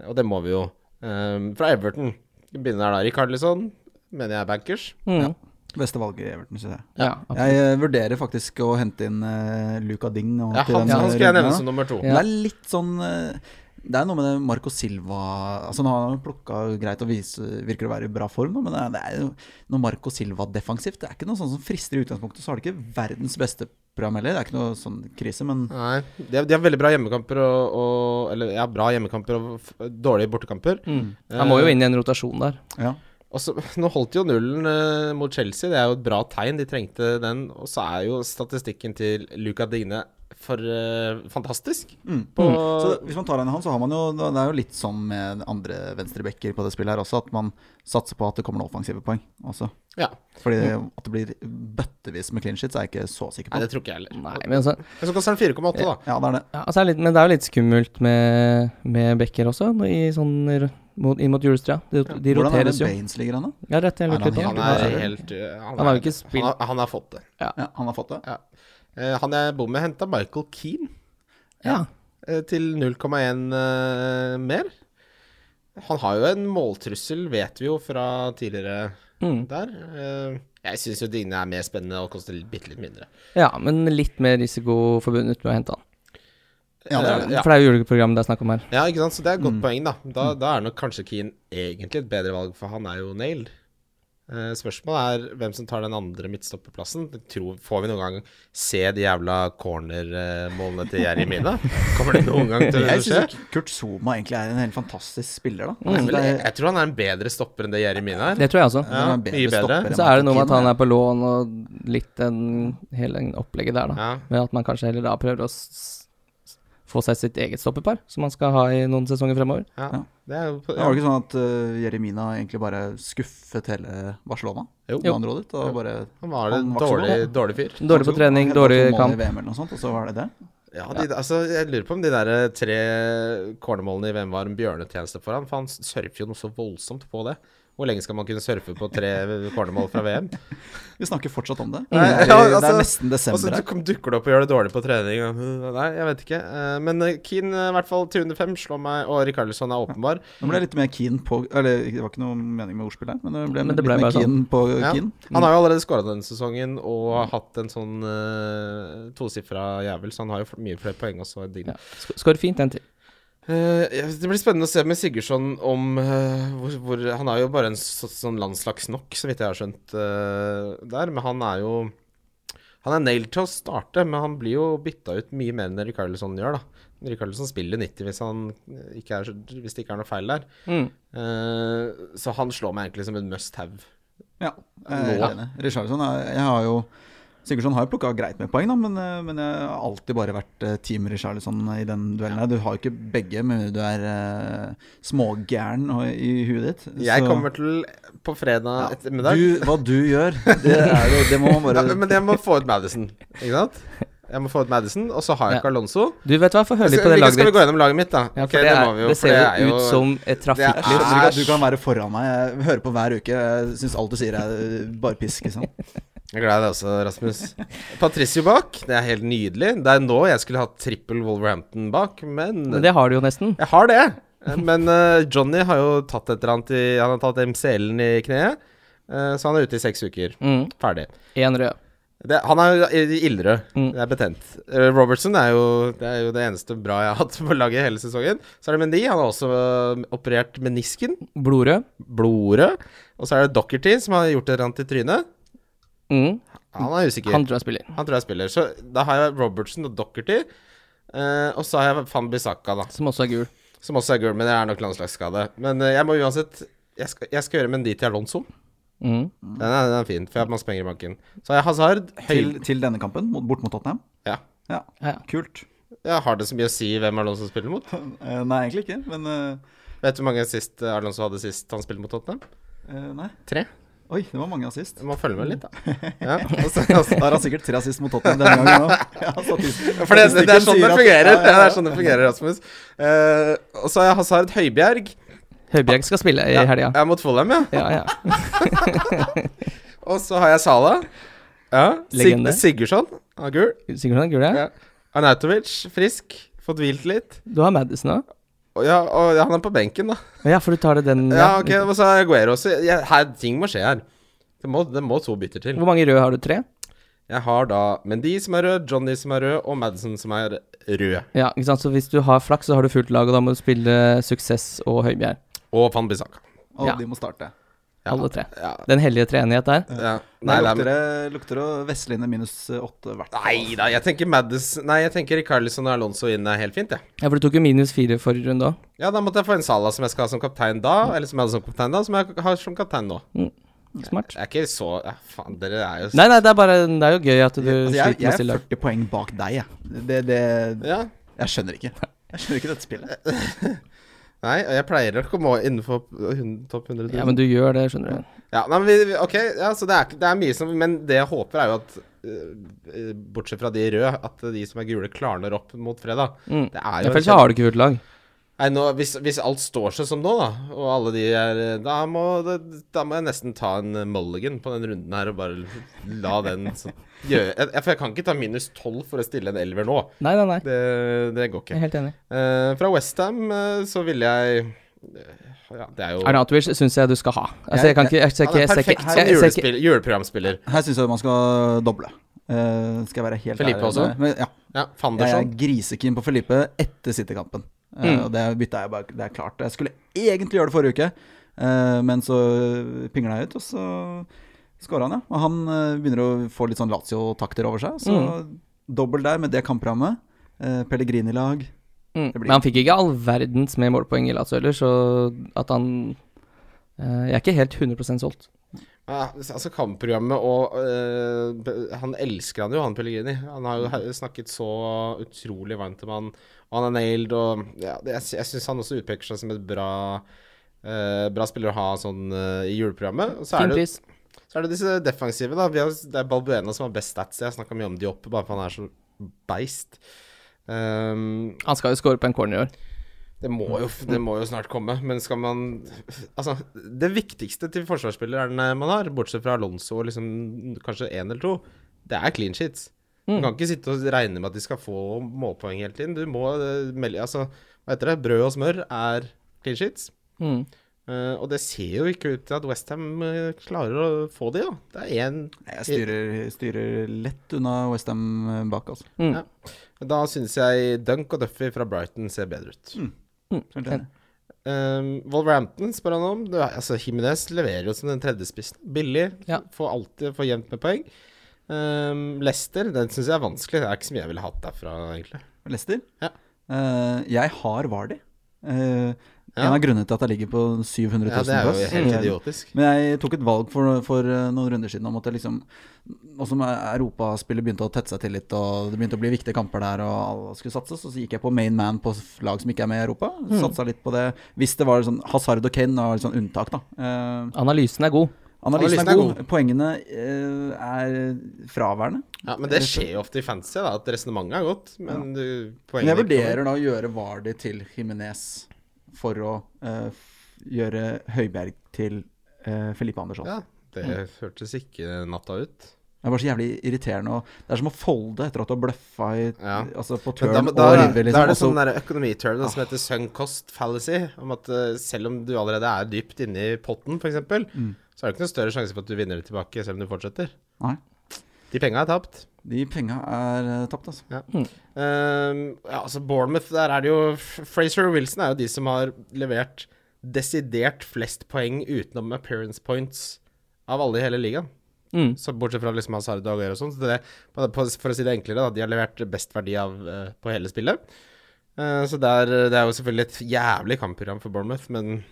Speaker 3: og det må vi jo ehm, Fra Everton vi begynner her da. Rikarlison mener jeg er bankers.
Speaker 4: Mm.
Speaker 2: Beste valget i Everton, syns jeg.
Speaker 4: Ja.
Speaker 2: Jeg eh, vurderer faktisk å hente inn eh, Luca Ding. nå
Speaker 3: Ja,
Speaker 2: til
Speaker 3: han,
Speaker 2: den
Speaker 3: han skulle jeg
Speaker 2: runden
Speaker 3: nevne
Speaker 2: her.
Speaker 3: som nummer to.
Speaker 4: Ja.
Speaker 2: Det er litt sånn eh, Det er noe med det Marco Silva Altså Nå har han plukka greit og vise, virker å være i bra form, nå, men det er, det er jo noe Marco Silva defensivt. Det er ikke noe sånn som frister i utgangspunktet. Så har de ikke verdens beste program heller. Det er ikke noe sånn krise, men
Speaker 3: Nei, de har, de har veldig bra hjemmekamper og, og Eller ja, bra hjemmekamper og f dårlige bortekamper. Eh,
Speaker 4: Mm. Han må jo inn i en rotasjon der.
Speaker 2: ja.
Speaker 3: Og så, [laughs] nå holdt jo nullen eh, mot Chelsea, det er jo et bra tegn. De trengte den. Og så er jo statistikken til Luca Digne for eh, fantastisk. På,
Speaker 2: mm. Så hvis man tar en i han, så har man jo Det er jo litt som med andre venstrebacker på det spillet her også, at man satser på at det kommer noen offensive poeng også.
Speaker 3: ja.
Speaker 2: Fordi det, at det blir bøttevis med clean sheets, er jeg ikke så sikker
Speaker 3: Nei,
Speaker 2: på.
Speaker 3: det tror ikke jeg heller.
Speaker 4: Nei, men altså,
Speaker 3: Men så koster den 4,8, da.
Speaker 2: Mm. Ja, det er det.
Speaker 4: ja, altså er det litt, Men det er jo litt skummelt med, med bekker også, nå i sånn r- mot, inn mot julestria. De, de
Speaker 2: Hvordan er det
Speaker 4: roteres jo.
Speaker 2: Baines ligger an, da?
Speaker 4: Ja, rett, jeg
Speaker 2: Er
Speaker 4: lurte litt på
Speaker 2: han
Speaker 3: Han
Speaker 4: det.
Speaker 3: er helt uh, Han,
Speaker 4: Han har
Speaker 3: er-
Speaker 4: jo ikke spilt-
Speaker 3: han, har- han har fått det.
Speaker 2: Ja, han har fått det.
Speaker 3: Ja. Eh, han jeg bor med, henta Michael Keane
Speaker 4: Ja.
Speaker 3: eh, til 0,1 eh, mer. Han har jo en måltrussel, vet vi jo fra tidligere
Speaker 4: Mm.
Speaker 3: der. Eh, jeg syns jo Dine er mer spennende og koster litt- bitte litt mindre.
Speaker 4: ja, men litt mer risiko forbundet med å hente han.
Speaker 2: Ja, det er
Speaker 3: Eh, ja.
Speaker 4: For det er jo juleprogrammet det er snakk om her.
Speaker 3: ja, ikke sant. Så det er et godt
Speaker 2: Mm.
Speaker 3: poeng, da. Da, da er nok kanskje Keane egentlig et bedre valg, for han er jo nailed. Eh, spørsmålet er hvem som tar den andre midtstopperplassen. Jeg Tror, får vi noen gang se de jævla cornermålene til
Speaker 2: [laughs]
Speaker 3: Jeremina? Kommer det noen gang til å
Speaker 2: Jeg
Speaker 3: skje?
Speaker 2: syns Kurt Zuma egentlig er en helt fantastisk spiller, da.
Speaker 4: Mm.
Speaker 3: Jeg,
Speaker 2: Jeg synes det er-
Speaker 3: jeg tror han er en bedre stopper enn det Jeremina er.
Speaker 4: Det tror jeg også.
Speaker 3: Ja,
Speaker 2: han er en
Speaker 3: mye bedre.
Speaker 2: stopper enn
Speaker 4: Så er det noe med at han
Speaker 2: Martin
Speaker 4: er på lån og litt den hele den opplegget der, da.
Speaker 3: Ja.
Speaker 4: Med at man kanskje heller da prøver å s s- få seg sitt eget stoppepar, som man skal ha i noen sesonger fremover.
Speaker 3: Ja.
Speaker 2: Ja.
Speaker 3: Det er, jo-
Speaker 2: Keane. Det var det ikke sånn at eh, Jeremina egentlig bare skuffet hele Barcelona?
Speaker 3: Jo.
Speaker 2: Med andre ord, og bare
Speaker 3: han var en
Speaker 2: Han var ikke så
Speaker 3: dårlig,
Speaker 2: god.
Speaker 3: dårlig fyr.
Speaker 4: Dårlig på trening,
Speaker 2: Han hadde to
Speaker 4: dårlig
Speaker 2: mål i
Speaker 4: kamp.
Speaker 2: VM eller noe sånt, og så var det det?
Speaker 3: Ja, de, altså, jeg lurer på om de der eh, tre cornermålene i VM var en bjørnetjeneste for han, for han surfer jo noe så voldsomt på det. Hvor lenge skal man kunne surfe på tre [laughs] cornermål fra VM?
Speaker 2: Vi snakker fortsatt om det.
Speaker 3: Nei,
Speaker 2: det, er,
Speaker 3: ja,
Speaker 2: det
Speaker 3: altså,
Speaker 2: er nesten
Speaker 3: Og så
Speaker 2: desember her.
Speaker 3: du- dukker det opp og gjør det dårlig på trening. og- [laughs] Nei, jeg vet ikke. Eh, Men eh, Keane, eh, i hvert fall til under fem, slår meg, og Rikarlisson er [laughs] åpenbar.
Speaker 2: Nå ble jeg litt mer keen på Eller det var ikke noe mening med ordspill her, men det ble,
Speaker 4: Men det ble
Speaker 2: litt mer
Speaker 4: bare sånn.
Speaker 2: keen på
Speaker 3: Ja.
Speaker 2: Keen.
Speaker 3: Han har jo allerede skåra denne sesongen og hatt en sånn uh, tosifra jævel, så han har jo f- mye flere poeng også enn din.
Speaker 4: Ja. Sk- Skår fint en til.
Speaker 3: Eh, ja, det blir spennende å se med Sigurdsson om eh, hvor, hvor Han er jo bare en så, sånn landslagsnok, så vidt jeg har skjønt eh, der. Men han er jo Han er nailed til å starte, men han blir jo bytta ut mye mer enn Rikarlison gjør, da. Rikarlison spiller 90 hvis, han eh, ikke er, så- hvis det ikke er noe feil der.
Speaker 4: Mm.
Speaker 3: Eh, så han slår meg egentlig som en must have.
Speaker 2: Ja,
Speaker 3: Nå.
Speaker 2: jeg er enig. Richarlison er, jeg har jo Sigurdsson har jo plukka greit med poeng, da, men, eh, men jeg har alltid bare vært eh, team Richarlison i den duellen. her. Du har jo ikke begge, men du er eh, smågæren og- i huet ditt.
Speaker 3: Jeg
Speaker 2: så-
Speaker 3: kommer til på fredag ettermiddag
Speaker 2: du, Hva du gjør, det, er jo, det må
Speaker 3: [laughs]
Speaker 2: man
Speaker 3: ja,
Speaker 2: bare
Speaker 3: Men jeg må få ut Madison, ikke sant? Jeg må få ut Madison, og så har jeg
Speaker 4: Ja.
Speaker 3: ikke Alonso.
Speaker 4: Du vet hva, få høre litt
Speaker 3: Skal-
Speaker 4: på det
Speaker 3: vi- Skal
Speaker 4: laget
Speaker 3: vi gå
Speaker 4: ditt.
Speaker 3: gjennom laget mitt, da?
Speaker 4: Ja,
Speaker 3: Ok,
Speaker 4: for det,
Speaker 3: må vi
Speaker 4: er,
Speaker 3: jo,
Speaker 4: det
Speaker 3: for
Speaker 4: ser
Speaker 3: er
Speaker 4: jo ut som et
Speaker 2: Jeg skjønner ikke at du
Speaker 3: Æsj.
Speaker 4: trafikklys.
Speaker 2: kan være foran meg. Jeg hører på hver uke. Jeg syns alt du sier er eh, bare pisk. Liksom.
Speaker 3: Jeg er glad i deg også, Rasmus. Patricio bak, det er helt nydelig. Det er nå jeg skulle hatt trippel Wolverhampton bak, men
Speaker 4: Men det har du jo nesten.
Speaker 3: Jeg har det! Men eh, Johnny har jo tatt et eller annet i Han har tatt MCL-en i kneet, eh, så han er ute i seks uker.
Speaker 4: Mm.
Speaker 3: Ferdig.
Speaker 4: Én rød.
Speaker 3: Det, han er jo ildrød.
Speaker 4: Mm.
Speaker 3: Det er betent. Eh, Robertson er jo, det er jo det eneste bra jeg har hatt på laget hele sesongen. Så er det Mendy. Han har også eh, operert menisken.
Speaker 4: Blodrød.
Speaker 3: Blodrød. Og så er det Dockerty som har gjort et eller annet i trynet.
Speaker 4: Mm.
Speaker 3: Han er usikker.
Speaker 4: Han
Speaker 3: Han,
Speaker 4: tror jeg spiller.
Speaker 3: tror jeg spiller. Så da har jeg Robertson og Dockerty. og så har jeg Van Bissaka, da.
Speaker 4: Som også er gul.
Speaker 3: Som også er gul, men det er nok landslagsskade. Men eh, jeg må uansett Jeg skal, jeg skal gjøre Mendy til Alonso.
Speaker 4: Mm.
Speaker 3: Den er, den er fin, for jeg har masse penger i banken. Så har jeg Hazard. Høy,
Speaker 2: Til, til denne kampen, mot, bort mot Tottenham.
Speaker 3: ja.
Speaker 2: Ja,
Speaker 4: Ja.
Speaker 2: kult. [laughs]
Speaker 3: Jeg har det så mye å si hvem Alonso spiller mot.
Speaker 2: Eh, nei, egentlig ikke, men eh,
Speaker 3: Vet du hvor mange sist eh, Alonso hadde sist han spilte mot Tottenham?
Speaker 2: eh, Nei.
Speaker 3: Tre.
Speaker 2: Oi, det var mange assist.
Speaker 3: Du må følge med litt, da. Ja, altså, altså.
Speaker 2: Da har han sikkert tre assist mot Tottenham denne gangen òg. [laughs] Ja, statistisk-
Speaker 3: For det, det er sånn
Speaker 2: sier
Speaker 3: det
Speaker 2: at-
Speaker 3: fungerer.
Speaker 2: Ja,
Speaker 3: Ja, det
Speaker 2: ja,
Speaker 3: er sånn det fungerer, Rasmus. Eh, og så har jeg Hazard Høibjerg.
Speaker 4: Høibjerg skal spille i
Speaker 3: Ja,
Speaker 4: helga.
Speaker 3: ja, mot Fulham, ja.
Speaker 4: Ja, ja.
Speaker 3: Og så har jeg Sala. Ja. Sig
Speaker 4: Legende.
Speaker 3: Sigurdsson. Han er gul.
Speaker 4: Sikkert han er gul, ja.
Speaker 3: Ja. Arnautovic, frisk. Fått hvilt litt.
Speaker 4: Du har Madison òg.
Speaker 3: Og, ja, og han er på benken, da.
Speaker 4: Ja, for du tar det den
Speaker 3: Ja, ok, Og så har jeg Guero. Så jeg, her, ting må skje her. Det må, det må to bytter til.
Speaker 4: Hvor mange røde har du? Tre?
Speaker 3: Jeg har da Mendy som er rød, Johnny som er rød, og Madison som er rød.
Speaker 4: Ja, ikke sant? Så hvis du har flaks, så har du fullt lag, og da må du spille Suksess og Høibjerg.
Speaker 3: Og Van Bissaka.
Speaker 2: Og
Speaker 4: Ja.
Speaker 2: de må starte.
Speaker 3: Ja.
Speaker 4: Alle tre.
Speaker 3: Ja.
Speaker 4: Den hellige treenighet der.
Speaker 3: ja.
Speaker 2: Nei,
Speaker 3: Nei, nei,
Speaker 2: lukter
Speaker 3: men-
Speaker 2: det lukter å Vestline minus eh, åtte hvert.
Speaker 3: nei da, jeg tenker Madison Nei, jeg tenker Carlison og Alonso inn er helt fint, jeg.
Speaker 4: Ja, for du tok jo minus fire forrige runde òg.
Speaker 3: Ja. da måtte jeg få en Salah som jeg skal ha som kaptein da, eller som jeg hadde som kaptein da, som jeg har som kaptein nå.
Speaker 4: Smart.
Speaker 3: Jeg er ikke så ja, Faen, dere er jo
Speaker 4: Nei, nei, det er bare Det er jo gøy at du
Speaker 2: Altså, jeg,
Speaker 4: sliter med å
Speaker 2: jeg
Speaker 4: stille
Speaker 2: er
Speaker 4: lag.
Speaker 2: 40 poeng bak deg, jeg. Det, det,
Speaker 3: Ja.
Speaker 2: jeg skjønner ikke. Jeg skjønner ikke dette spillet.
Speaker 3: Nei, og jeg pleier å komme innenfor hun- topp 100 000.
Speaker 4: Ja, men du gjør det, skjønner du.
Speaker 3: Ja, nei, men vi, vi- ok, ja, så det er, ikke- det er mye som Men det jeg håper, er jo at øh, øh, Bortsett fra de røde, at de som er gule, klarner opp mot fredag.
Speaker 4: Mm.
Speaker 3: Det er
Speaker 4: Ja,
Speaker 3: jo
Speaker 4: for ellers så har du ikke fullt lag.
Speaker 3: Nei, nå, hvis, hvis alt står seg som nå, da, og alle de er Da må, det- da må jeg nesten ta en eh, mulligan på den runden her og bare la den [laughs] sånn gjøre jeg, For jeg kan ikke ta minus 12 for å stille en elver nå.
Speaker 4: Nei, nei, nei.
Speaker 3: Det, det går [laughs]
Speaker 4: Jeg
Speaker 3: ikke.
Speaker 4: er helt enig.
Speaker 3: Eh, fra Westham uh, så ville jeg eh, Ja, det er jo
Speaker 4: Arnatovic syns jeg du skal ha. Altså, jeg kan ikke Jeg ser
Speaker 3: Han er
Speaker 4: ikke jeg ser ikke-
Speaker 3: perfekt som
Speaker 4: jeg ser ikke-
Speaker 3: julespill- juleprogramspiller.
Speaker 2: Her syns jeg man skal doble. Eh, skal jeg være helt
Speaker 3: Felipe
Speaker 2: ærlig med
Speaker 3: også?
Speaker 2: deg. Men, ja.
Speaker 3: Ja,
Speaker 2: Jeg er
Speaker 3: Fanderson.
Speaker 2: grisekeen på Felipe etter City-kampen. Eh,
Speaker 4: Mm.
Speaker 2: Og det bytta jeg bare, det er klart. Jeg skulle egentlig gjøre det forrige uke, eh, men så pingla jeg ut, og så skåra han, ja. Og han eh, begynner å få litt sånn Lazio-takter over seg, så
Speaker 3: Mm.
Speaker 2: dobbel der med det kamprammet. Eh, Pellegrini-lag.
Speaker 4: Mm.
Speaker 2: blir-
Speaker 4: Men han fikk ikke all verdens med målpoeng i Lazio heller, så at han eh, Jeg er ikke helt 100 solgt.
Speaker 3: Ja, altså kampprogrammet og øh, be- Han elsker han jo, han Pellegrini. Han har jo he- snakket så utrolig varmt om han, og han er nailed, og ja, det, jeg, sy- jeg syns han også utpeker seg som et bra øh, Bra spiller å ha sånn øh, i juleprogrammet. Og så
Speaker 4: Fin
Speaker 3: er, det,
Speaker 4: pris.
Speaker 3: så er det disse defensive, da. Vi har, det er Balbuena som har best stats. Jeg snakka mye om de oppe, bare for han er så beist. Ehm,
Speaker 4: Han skal jo score på en corner i år.
Speaker 3: det må, jo, det må jo snart komme, men skal man Altså, det viktigste til forsvarsspilleren man har, bortsett fra Alonso og liksom kanskje én eller to, det er clean sheets. Du kan ikke sitte og regne med at de skal få målpoeng hele tiden. Du må eh, melde Altså, hva heter det? Brød og smør er clean sheets.
Speaker 4: Mm.
Speaker 3: Eh, og det ser jo ikke ut til at Westham uh, klarer å få de, da. Det er én
Speaker 2: Jeg styrer, styrer lett unna Westham bak, altså.
Speaker 4: Mm.
Speaker 3: Ja. Da syns jeg Dunk og Duffy fra Brighton ser bedre ut. Mm.
Speaker 2: Helt enig.
Speaker 3: Um, Wolverhampton spør han om. Det, er- altså, Jimenez leverer jo som den tredje spissen. Billig.
Speaker 4: Ja.
Speaker 3: Får alltid får jevnt med poeng. Um, Lester, den syns jeg er vanskelig. Det er ikke så mye jeg ville hatt derfra, egentlig.
Speaker 2: Lester?
Speaker 3: Ja.
Speaker 2: Eh, jeg har Vardy. Eh, En
Speaker 3: Ja.
Speaker 2: av grunnene til at jeg ligger på 700 000
Speaker 3: Ja, det er jo
Speaker 2: plass.
Speaker 3: helt
Speaker 2: Eh,
Speaker 3: idiotisk.
Speaker 2: Men jeg tok et valg for, for eh, noen runder siden om at jeg liksom Nå som europaspillet begynte å tette seg til litt, og det begynte å bli viktige kamper der, og alle skulle satses, og så gikk jeg på main man på lag som ikke er med i Europa. Satsa litt på det. Hvis det var sånn Hazard og Kane var litt sånn unntak, da. Eh,
Speaker 4: Analysen er god.
Speaker 2: analysen,
Speaker 3: Analysen
Speaker 2: er
Speaker 3: er
Speaker 2: god. Poengene eh, er fraværende.
Speaker 3: Ja, men det skjer jo ofte i fantasy, da, at resonnementet er godt. Men du,
Speaker 2: Men
Speaker 3: poenget
Speaker 2: jeg vurderer da å gjøre Vardy til Jimenez for å eh, f- gjøre Høibjerg til eh, Felipe Andersson.
Speaker 3: Ja, det
Speaker 2: Mm.
Speaker 3: hørtes ikke natta ut.
Speaker 2: Det er bare så jævlig irriterende. Og det er som å folde etter at du har bløffa i,
Speaker 3: Ja.
Speaker 2: altså på turn
Speaker 3: Men da,
Speaker 2: og
Speaker 3: da,
Speaker 2: river.
Speaker 3: da
Speaker 2: Liksom,
Speaker 3: er det
Speaker 2: og så- Ah.
Speaker 3: sånn der økonomiturn som heter sunk cost fallacy. Om at eh, selv om du allerede er dypt
Speaker 2: Mm.
Speaker 3: inne i potten, f.eks., eksempel så er det ikke noe større sjanse for at du vinner det tilbake selv om du fortsetter.
Speaker 2: Nei.
Speaker 3: De penga er tapt.
Speaker 2: De penga er eh, tapt, altså.
Speaker 4: Mm.
Speaker 3: Ehm, ja, altså Bournemouth, der er det jo Fraser og Wilson er jo de som har levert desidert flest poeng utenom appearance points av alle i hele ligaen.
Speaker 4: Mm.
Speaker 3: Så bortsett fra liksom Hazard og Aguero og sånn. Så det, på- på- for å si det enklere, da, de har levert best verdi av, eh, på hele spillet. Eh, så der, det er jo selvfølgelig et jævlig kampprogram for Bournemouth, men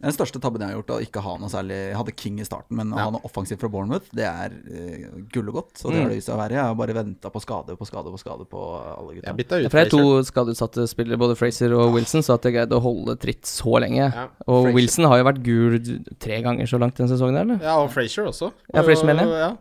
Speaker 2: Den største tabben jeg har gjort, er å ikke ha noe særlig Jeg hadde King i starten, men å
Speaker 3: Ja.
Speaker 2: ha noe offensivt fra Bournemouth, det er uh, gullegodt.
Speaker 3: Mm.
Speaker 2: Og det har det vist seg å være. Jeg har bare venta på skade på skade på skade på alle
Speaker 3: jeg
Speaker 2: gutta.
Speaker 3: bytta ut
Speaker 4: Ja, for det
Speaker 3: Fraser.
Speaker 4: er to skadeutsatte spillere, både Fraser og Wilson, så at jeg greide å holde tritt så lenge.
Speaker 3: Ja.
Speaker 4: og
Speaker 2: Fraser.
Speaker 4: Wilson har jo vært gul tre ganger så langt denne sesongen, eller?
Speaker 3: Ja, og Frazier også.
Speaker 4: Ja, Frazier mener jeg.
Speaker 3: Ja.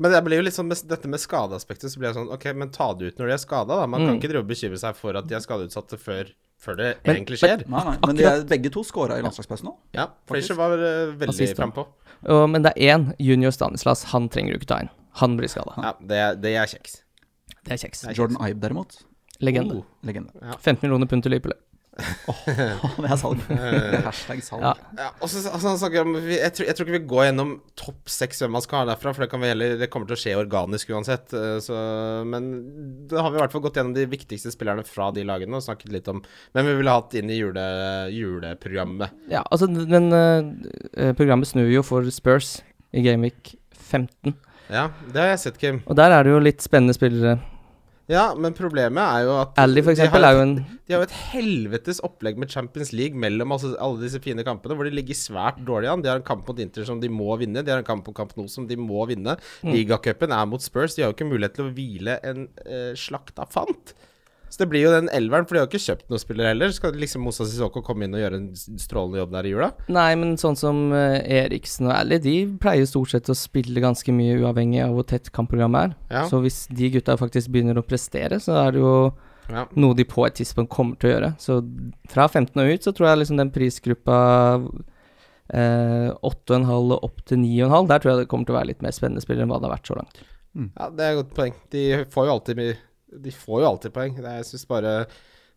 Speaker 3: Men det blir jo litt sånn med dette med skadeaspektet, så blir jeg sånn OK, men ta det ut når de er skada, da. Man kan ikke drive og bekymre seg for at de er skadeutsatte før, før det
Speaker 4: Mm. Men-
Speaker 3: egentlig skjer.
Speaker 2: Nei, nei, men de er, begge to scora i landslagspausen nå.
Speaker 3: ja, Frazier var eh, veldig
Speaker 4: Assist, da.
Speaker 3: frampå.
Speaker 4: Og, men det er én, junior Stanislas, han trenger du ikke ta inn. Han blir skada.
Speaker 3: Ja, det, er- det er kjeks.
Speaker 4: Det er kjeks.
Speaker 2: Jordan Ibe, derimot.
Speaker 4: Legende.
Speaker 3: Oh.
Speaker 2: Legende.
Speaker 3: [laughs]
Speaker 4: 15 millioner pund til Liverpool.
Speaker 2: [laughs] det er salg. Det er Hashtag salg.
Speaker 4: Ja.
Speaker 3: Ja, og så altså, han snakker om vi- jeg tror, jeg tror ikke vi går gjennom topp seks hvem man skal ha derfra, for det, kan vi heller, det kommer til å skje organisk uansett. eh, Så, men da har vi i hvert fall gått gjennom de viktigste spillerne fra de lagene og snakket litt om hvem vi ville hatt inn i jule, juleprogrammet.
Speaker 4: Ja, altså, men eh, programmet snur jo for Spurs i Gameweek 15.
Speaker 3: Ja, det har jeg sett, Kim.
Speaker 4: Og der er det jo litt spennende spillere.
Speaker 3: Ja, men problemet er jo at
Speaker 4: Ally, for
Speaker 3: de
Speaker 4: eksempel,
Speaker 3: har,
Speaker 4: er jo en
Speaker 3: De har jo et helvetes opplegg med Champions League mellom altså, alle disse fine kampene, hvor de ligger svært dårlig an. De har en kamp mot Inter som de må vinne, de har en kamp mot Camp Nou som de må vinne.
Speaker 4: Mm.
Speaker 3: Ligacupen er mot Spurs, de har jo ikke mulighet til å hvile en eh, slakta fant. Så det blir jo den elveren, for de har jo ikke kjøpt noen spillere heller. Skal liksom Moussa Sissoko komme inn og gjøre en s- strålende jobb der i jula?
Speaker 4: Nei, men sånn som eh, Eriksen og Ally, de pleier stort sett å spille ganske mye uavhengig av hvor tett kampprogrammet er.
Speaker 3: Ja.
Speaker 4: Så hvis de gutta faktisk begynner å prestere, så er det jo
Speaker 3: Ja.
Speaker 4: noe de på et tidspunkt kommer til å gjøre. Så fra 15 og ut, så tror jeg liksom den prisgruppa eh, 8,5 og opp til 9,5, der tror jeg det kommer til å være litt mer spennende spillere enn hva det har vært så langt.
Speaker 3: Ja, det er et godt poeng. De får jo alltid, mye- de får jo alltid poeng. Det, er- jeg synes bare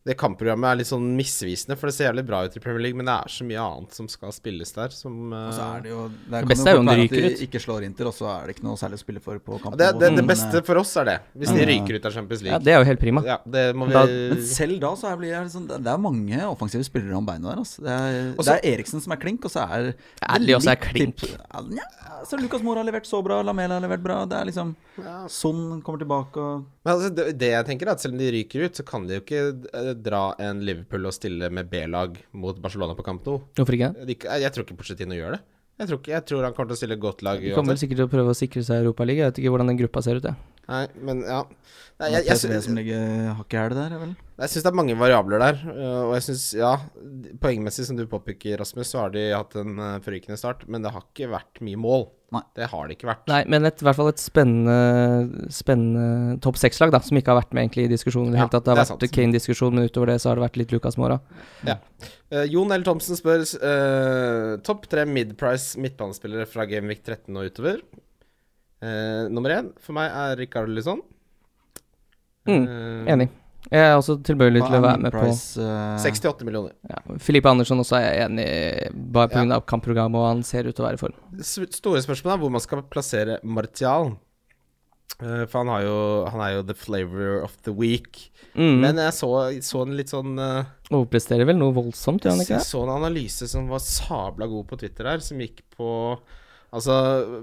Speaker 3: det kampprogrammet er litt sånn misvisende, for det ser jævlig bra ut i Premier League, men det er så mye annet som skal spilles der, som eh,
Speaker 2: Og så Altså, er det jo Det, kan
Speaker 4: beste er jo
Speaker 2: fort
Speaker 4: om de
Speaker 2: være at de
Speaker 4: ryker ut.
Speaker 2: Ikke slår Inter, og så er det ikke noe særlig å spille for på kampen.
Speaker 3: det, det, det
Speaker 2: Men,
Speaker 3: beste
Speaker 2: eh, Mm.
Speaker 3: for oss er det, hvis de
Speaker 2: Ja.
Speaker 3: ryker ut av Champions
Speaker 4: Ja,
Speaker 3: League.
Speaker 4: det er jo helt prima.
Speaker 3: Ja, det må vi
Speaker 4: Da-
Speaker 2: Men selv da så er blir jeg liksom, det det er mange offensive spillere om beinet der. Altså. Det, er,
Speaker 3: Og så-
Speaker 2: det er Eriksen som er klink, og så er
Speaker 4: Ally også er
Speaker 2: litt
Speaker 4: klink.
Speaker 2: tipp- Ja, så Lucas Moura har levert så bra, Lamela har levert bra. Det er liksom Son kommer tilbake og
Speaker 3: Men altså, det, det jeg tenker er at selv om de ryker ut, så kan de jo ikke eh, dra en Liverpool og stille med B-lag mot Barcelona på kamp nå.
Speaker 4: Hvorfor ikke?
Speaker 3: De, jeg tror ikke Pochettino gjør det. Jeg tror, ikke, jeg tror han kommer til å stille godt lag
Speaker 4: De kommer vel sikkert til å prøve å sikre seg Europaligaen. Jeg vet ikke hvordan den gruppa ser ut, jeg.
Speaker 3: Nei, men ja. Nei,
Speaker 2: Det
Speaker 3: jeg,
Speaker 2: er
Speaker 3: jeg,
Speaker 2: PSV
Speaker 3: jeg,
Speaker 2: som ligger hakk i hæl der, er vel.
Speaker 3: Jeg syns det er mange variabler der, øh, og jeg syns, ja Poengmessig, som du påpeker, Rasmus, så har de hatt en øh, forrykende start, men det har ikke vært mye mål.
Speaker 2: Nei.
Speaker 3: Det har det ikke vært.
Speaker 4: Nei, men et, i hvert fall et spennende, spennende topp seks-lag, da, som ikke har vært med egentlig i diskusjonen. i Det,
Speaker 3: Ja,
Speaker 4: hele tatt. det har
Speaker 3: det er
Speaker 4: vært
Speaker 3: sant.
Speaker 4: Kane-diskusjon, men utover det så har det vært litt Lucas Mora.
Speaker 3: Ja. Eh, Jon L. Thomsen spør eh, topp tre midprice midtbanespillere fra Gameweek 13 og utover. Eh, nummer én for meg er Rikard Lisson.
Speaker 4: Mm, Enig. Jeg er også tilbøyelig til å
Speaker 3: Ah,
Speaker 4: være med på
Speaker 2: eh,
Speaker 3: 68 Eh, millioner.
Speaker 4: ja. Filippe Andersson også er jeg enig i, bare
Speaker 3: Ja.
Speaker 4: pga. av kampprogrammet, og han ser ut til å være i form.
Speaker 3: S- store spørsmålet er hvor man skal plassere Martial. Eh, for han, har jo, han er jo the flavor of the week.
Speaker 4: Mm.
Speaker 3: Men jeg så, så en litt sånn eh,
Speaker 4: Overpresterer vel noe voldsomt, gjør han
Speaker 3: Jeg
Speaker 4: ikke det?
Speaker 3: så en analyse som var sabla god på Twitter her, som gikk på Altså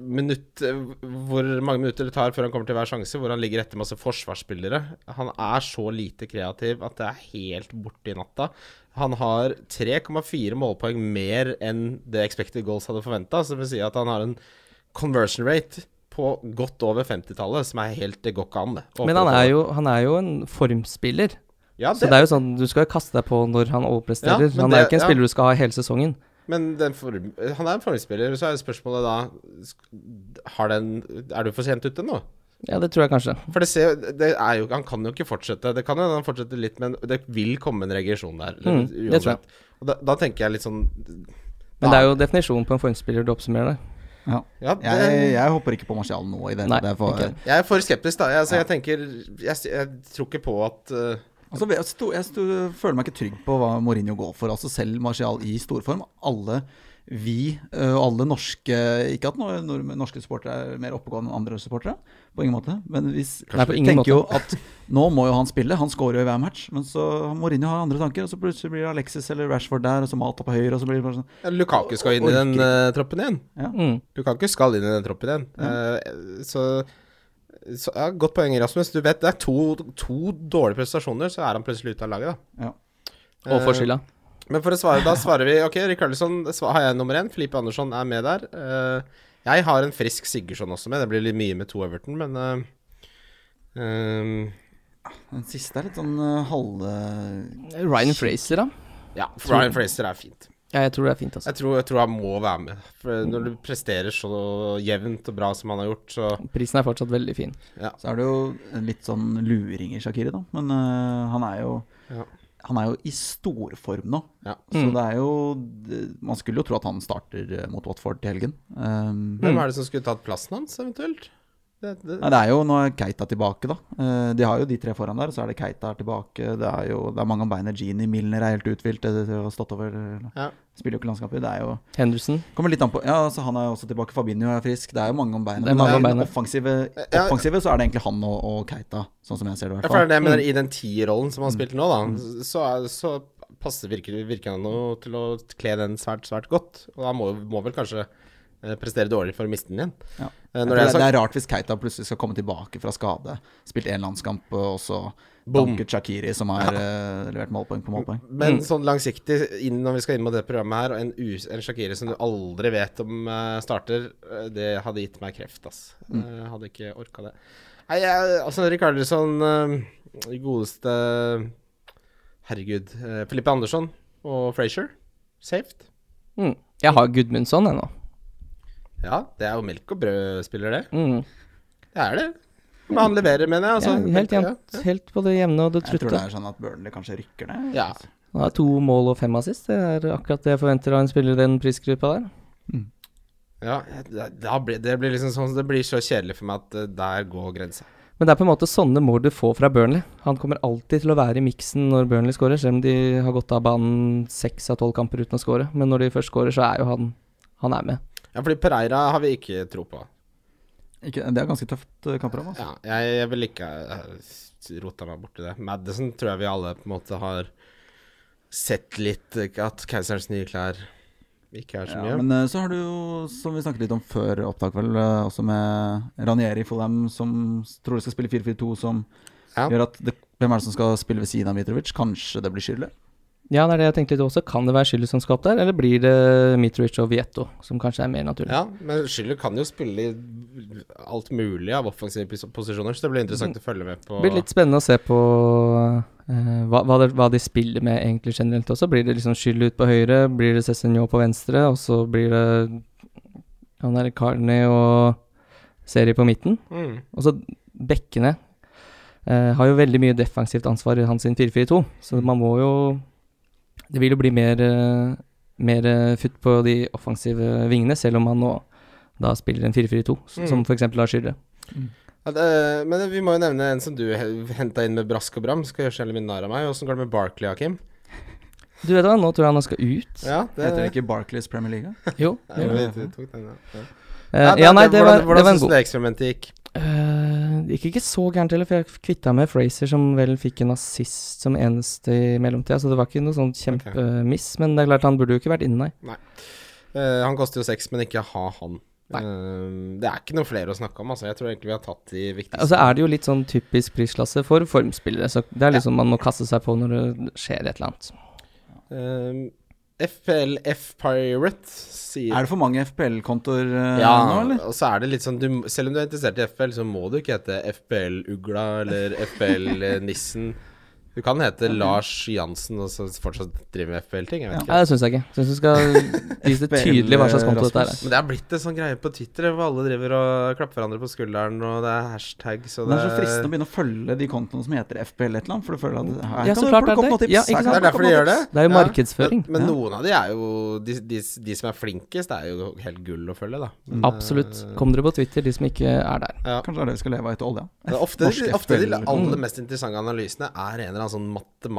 Speaker 3: minutt, hvor mange minutter det tar før han kommer til hver sjanse, hvor han ligger etter masse forsvarsspillere. Han er så lite kreativ at det er helt borte i natta. Han har 3,4 målpoeng mer enn det Expected Goals hadde forventa, som vil si at han har en conversion rate på godt over 50-tallet, som er helt Det går ikke an, det. å
Speaker 4: Men han
Speaker 3: opprettholde.
Speaker 4: er, jo, han er jo en formspiller,
Speaker 3: ja,
Speaker 4: så det er jo sånn du skal kaste deg på når han
Speaker 3: Ja,
Speaker 4: overpresterer.
Speaker 3: men
Speaker 4: han er
Speaker 3: det-
Speaker 4: jo ikke en
Speaker 3: ja.
Speaker 4: spiller du skal ha hele sesongen.
Speaker 3: Men den form, han er en formspiller, så er spørsmålet da sk- har den, Er du for sent ute nå?
Speaker 4: Ja, det tror jeg kanskje.
Speaker 3: For det ser, det er jo, han kan jo ikke fortsette. Det kan jo hende han fortsetter litt, men det vil komme en regresjon der.
Speaker 4: Mm, det tror jeg.
Speaker 3: uansett. Og da, da tenker jeg litt sånn
Speaker 4: Men det er jo definisjonen på en formspiller du oppsummerer det.
Speaker 2: ja.
Speaker 3: Ja, det,
Speaker 2: jeg,
Speaker 3: jeg,
Speaker 2: jeg hopper ikke på Martial nå i det.
Speaker 4: Nei,
Speaker 2: det er for,
Speaker 4: ok.
Speaker 3: er for skeptisk, da. Jeg, altså, jeg tenker jeg, jeg tror ikke på at eh,
Speaker 2: Altså, jeg sto, jeg sto, føler meg ikke trygg på hva Mourinho går for. Altså Selv Martial i storform. Alle vi eh, og alle norske Ikke at nor- nordmenn- norske supportere er mer oppegående enn andre supportere, på ingen måte. Men vi s-
Speaker 4: Nei, på ingen
Speaker 2: tenker
Speaker 4: måte.
Speaker 2: jo at nå må jo han spille, han scorer jo i hver match. Men så Mourinho har andre tanker, og så plutselig blir Alexis eller Rashford der, og så Mata på høyre, og så blir det bare sånn
Speaker 3: Ja, Lukaku skal inn i den eh, troppen igjen.
Speaker 4: Mm.
Speaker 3: Lukaku skal inn i den troppen igjen. Eh, så så ja, Godt poeng, Rasmus. Du vet, Det er to, to dårlige prestasjoner, så er han plutselig ute av laget. da
Speaker 2: Ja.
Speaker 4: Og
Speaker 3: Eh,
Speaker 4: for skylda.
Speaker 3: Men for å svare, da svarer vi OK, Rikardsson har jeg nummer én. Filipe Andersson er med der. Eh, jeg har en frisk Sigurdsson også med. Det blir litt mye med to Everton, men eh, eh,
Speaker 2: Den siste er litt sånn uh, halve
Speaker 4: Ryan Fraser, da.
Speaker 3: Ja, Ryan Fraser er fint.
Speaker 4: Ja, jeg tror det er fint, altså.
Speaker 3: Jeg tror, jeg tror han må være med. For når du presterer så jevnt og bra som han har gjort, så
Speaker 4: Prisen er fortsatt veldig fin.
Speaker 2: Så er det jo en litt sånn luring i Shakiri, da. Men eh, han er jo
Speaker 3: Ja.
Speaker 2: Han er jo i storform nå.
Speaker 3: Ja.
Speaker 2: Så
Speaker 4: Mm.
Speaker 2: det er jo det- Man skulle jo tro at han starter eh, mot Watford til helgen. Um,
Speaker 3: Hvem er det som skulle tatt plassen hans, eventuelt? Det, det,
Speaker 2: Nei, det er jo Nå er Keita tilbake, da. Eh, De har jo de tre foran der, og så er det Keita er tilbake. Det er jo det er mange om beinet. Genie Milner er helt uthvilt etter å ha stått over.
Speaker 3: Ja.
Speaker 2: Spiller jo ikke landskaper. Det er jo
Speaker 4: Henderson.
Speaker 2: Kommer litt an på Ja, altså, han er jo også tilbake. Fabinho er frisk. Det er jo mange om beinet.
Speaker 4: Det er
Speaker 2: Men
Speaker 4: mange
Speaker 2: det
Speaker 4: om
Speaker 2: er
Speaker 4: beinet.
Speaker 2: offensive,
Speaker 3: Ja.
Speaker 2: offensive så er det egentlig han og, og Keita, sånn som jeg ser det, i
Speaker 3: Ja,
Speaker 2: hvert
Speaker 3: for det er
Speaker 2: fall. Mm.
Speaker 3: det jeg mener, I den tierrollen som han spilte nå, da, så, er- så passer, virker, virker han jo til å kle den svært, svært godt. Og han må, må vel kanskje eh, prestere dårlig for å miste den igjen.
Speaker 2: Ja.
Speaker 3: Eh,
Speaker 2: Jeg
Speaker 3: Når
Speaker 2: tror
Speaker 3: det er
Speaker 2: det, det
Speaker 3: sagt,
Speaker 2: er rart hvis Keita plutselig skal komme tilbake fra skade. Spilt én landskamp, og så
Speaker 3: Boom.
Speaker 2: Danker Shakiri, som har eh, levert målpoeng på målpoeng.
Speaker 3: men sånn langsiktig, inn, når vi skal inn mot det programmet her, og en, us- en Shakiri som du aldri vet om eh, starter, eh, det hadde gitt meg kreft, ass.
Speaker 2: Mm.
Speaker 3: Eh, hadde ikke orka det. Nei, jeg, altså, Rikardlisson, uh, godeste Herregud. eh, Filippe Andersson og Frazier, saved.
Speaker 4: Mm. Jeg har Gudmundsson ennå.
Speaker 3: Ja, det er jo melk og brød-spiller, det.
Speaker 4: Mm.
Speaker 3: Det er det. Men han leverer, mener jeg. Altså.
Speaker 4: Ja, helt
Speaker 3: Ja,
Speaker 4: jevnt. Helt på det jevne og det
Speaker 2: Jeg tror det
Speaker 4: trutte.
Speaker 2: er sånn at Burnley kanskje rykker ned.
Speaker 3: Ja.
Speaker 4: Han har to mål og fem assist. Det er akkurat det jeg forventer av en spiller i den prisgruppa der.
Speaker 3: ja det, da blir, det blir liksom sånn Det blir så kjedelig for meg at eh, der går grensa.
Speaker 4: Men det er på en måte sånne mål du får fra Burnley. Han kommer alltid til å være i miksen når Burnley skårer, selv om de har gått av banen seks av tolv kamper uten å skåre. Men når de først skårer, så er jo han han er med.
Speaker 3: Ja, fordi Pereira har vi ikke tro på.
Speaker 2: Ikke, det er ganske tøft eh, kampprogram. Altså.
Speaker 3: Ja, jeg, jeg vil ikke eh, rota meg borti det. Madison tror jeg vi alle på en måte har sett litt eh, At keiserens nye klær ikke er så
Speaker 2: Ja,
Speaker 3: mye.
Speaker 2: men eh, så har du jo, som vi snakket litt om før opptak, vel, eh, også med Ranieri i Fulham, som s- tror de skal spille 4-4-2, som
Speaker 3: Ja.
Speaker 2: gjør at det, Hvem er det som skal spille ved siden av Mitrovic? Kanskje det blir Schürrle?
Speaker 4: Ja, det er det jeg tenkte litt også. Kan det være Schiller som skal opp der, eller blir det Mitrovic og Vietto, som kanskje er mer naturlig?
Speaker 3: Ja, men Schiller kan jo spille i alt mulig av offensive pos- posisjoner, så det blir interessant å følge med på.
Speaker 4: Det Mm. blir litt spennende å se på eh, hva, hva, det, hva de spiller med egentlig generelt også. Blir det liksom Schiller ut på høyre, blir det Cézinho på venstre, og så blir det han der Carney og Seri på midten?
Speaker 3: Mm.
Speaker 4: Altså, bekkene eh, har jo veldig mye defensivt ansvar i hans sin 4-4-2, så man må jo Det vil jo bli mer, eh, mer eh, futt på de offensive vingene, selv om man nå da spiller en 4-4-2, s-
Speaker 3: Mm.
Speaker 4: som f.eks. Lars Hyrre.
Speaker 3: Ja, det, eh, men vi må jo nevne en som du henta inn med brask og bram. Skal gjøre seg litt mye narr av meg. Åssen går det med Barkley, Hakim?
Speaker 4: Du vet hva, nå tror jeg han skal ut.
Speaker 3: Ja, det,
Speaker 2: Heter det ikke Barclays Premier League? da?
Speaker 4: Jo.
Speaker 3: Nei,
Speaker 4: jo.
Speaker 3: vi tok den, ja. Ja.
Speaker 4: Eh, ja, nei, det var,
Speaker 3: hvordan
Speaker 4: det var en
Speaker 3: syns du
Speaker 4: god.
Speaker 3: det eksperimentet gikk?
Speaker 4: Eh, Det gikk ikke så gærent heller, for jeg kvitta meg med Fraser, som vel fikk en assist som eneste i mellomtida, så det var ikke noe sånn kjempemiss. Men det er klart, han burde jo ikke vært inne, nei.
Speaker 3: Eh, han koster jo seks, men ikke ha han. Eh, det er ikke noe flere å snakke om, altså. Jeg tror egentlig vi har tatt de viktigste.
Speaker 4: Og så er det jo litt sånn typisk prisklasse for formspillere, så det er liksom man må kaste seg på når det skjer et eller annet.
Speaker 3: Eh, FLF Pirate sier
Speaker 2: Er det for mange FPL-kontoer eh,
Speaker 3: ja,
Speaker 2: nå, eller?
Speaker 3: og så er det litt sånn du, m- Selv om du er interessert i FPL, så må du ikke hete FPL-ugla eller FPL-nissen. Du kan hete Lars Jansen og så fortsatt drive med FPL-ting. Jeg vet
Speaker 4: Nei, det syns jeg ikke. Syns du skal vise tydelig hva slags konto dette
Speaker 2: Rasmus.
Speaker 4: er.
Speaker 3: Men det er blitt en sånn greie på Twitter hvor alle driver og klapper hverandre på skulderen, og det er hashtags og det
Speaker 2: Det er så fristende å begynne å følge de kontoene som heter FPL et eller annet, for du føler at her
Speaker 4: Ja,
Speaker 2: kan
Speaker 4: så
Speaker 2: du-
Speaker 4: klart
Speaker 2: får du
Speaker 4: er
Speaker 2: komme
Speaker 4: det.
Speaker 2: noen tips,
Speaker 4: Ja,
Speaker 2: her kan
Speaker 4: ikke
Speaker 3: Det
Speaker 2: du
Speaker 4: sant?
Speaker 3: er derfor
Speaker 2: komme
Speaker 3: de
Speaker 2: noen
Speaker 3: gjør det.
Speaker 2: tips.
Speaker 4: Det er jo
Speaker 3: Ja.
Speaker 4: markedsføring.
Speaker 3: Men, men
Speaker 4: Ja.
Speaker 3: noen av de er jo de, de, de som er flinkest, er jo helt gull å følge, da. Men,
Speaker 4: Absolutt.
Speaker 3: eh,
Speaker 4: Kom dere på Twitter, de som ikke er der.
Speaker 2: Kanskje det er det vi skal leve av etter olja.
Speaker 3: det er ofte,
Speaker 2: Norsk
Speaker 3: ofte de
Speaker 2: FPL.
Speaker 3: aller mest interessante analysene er en eller eller annen sånn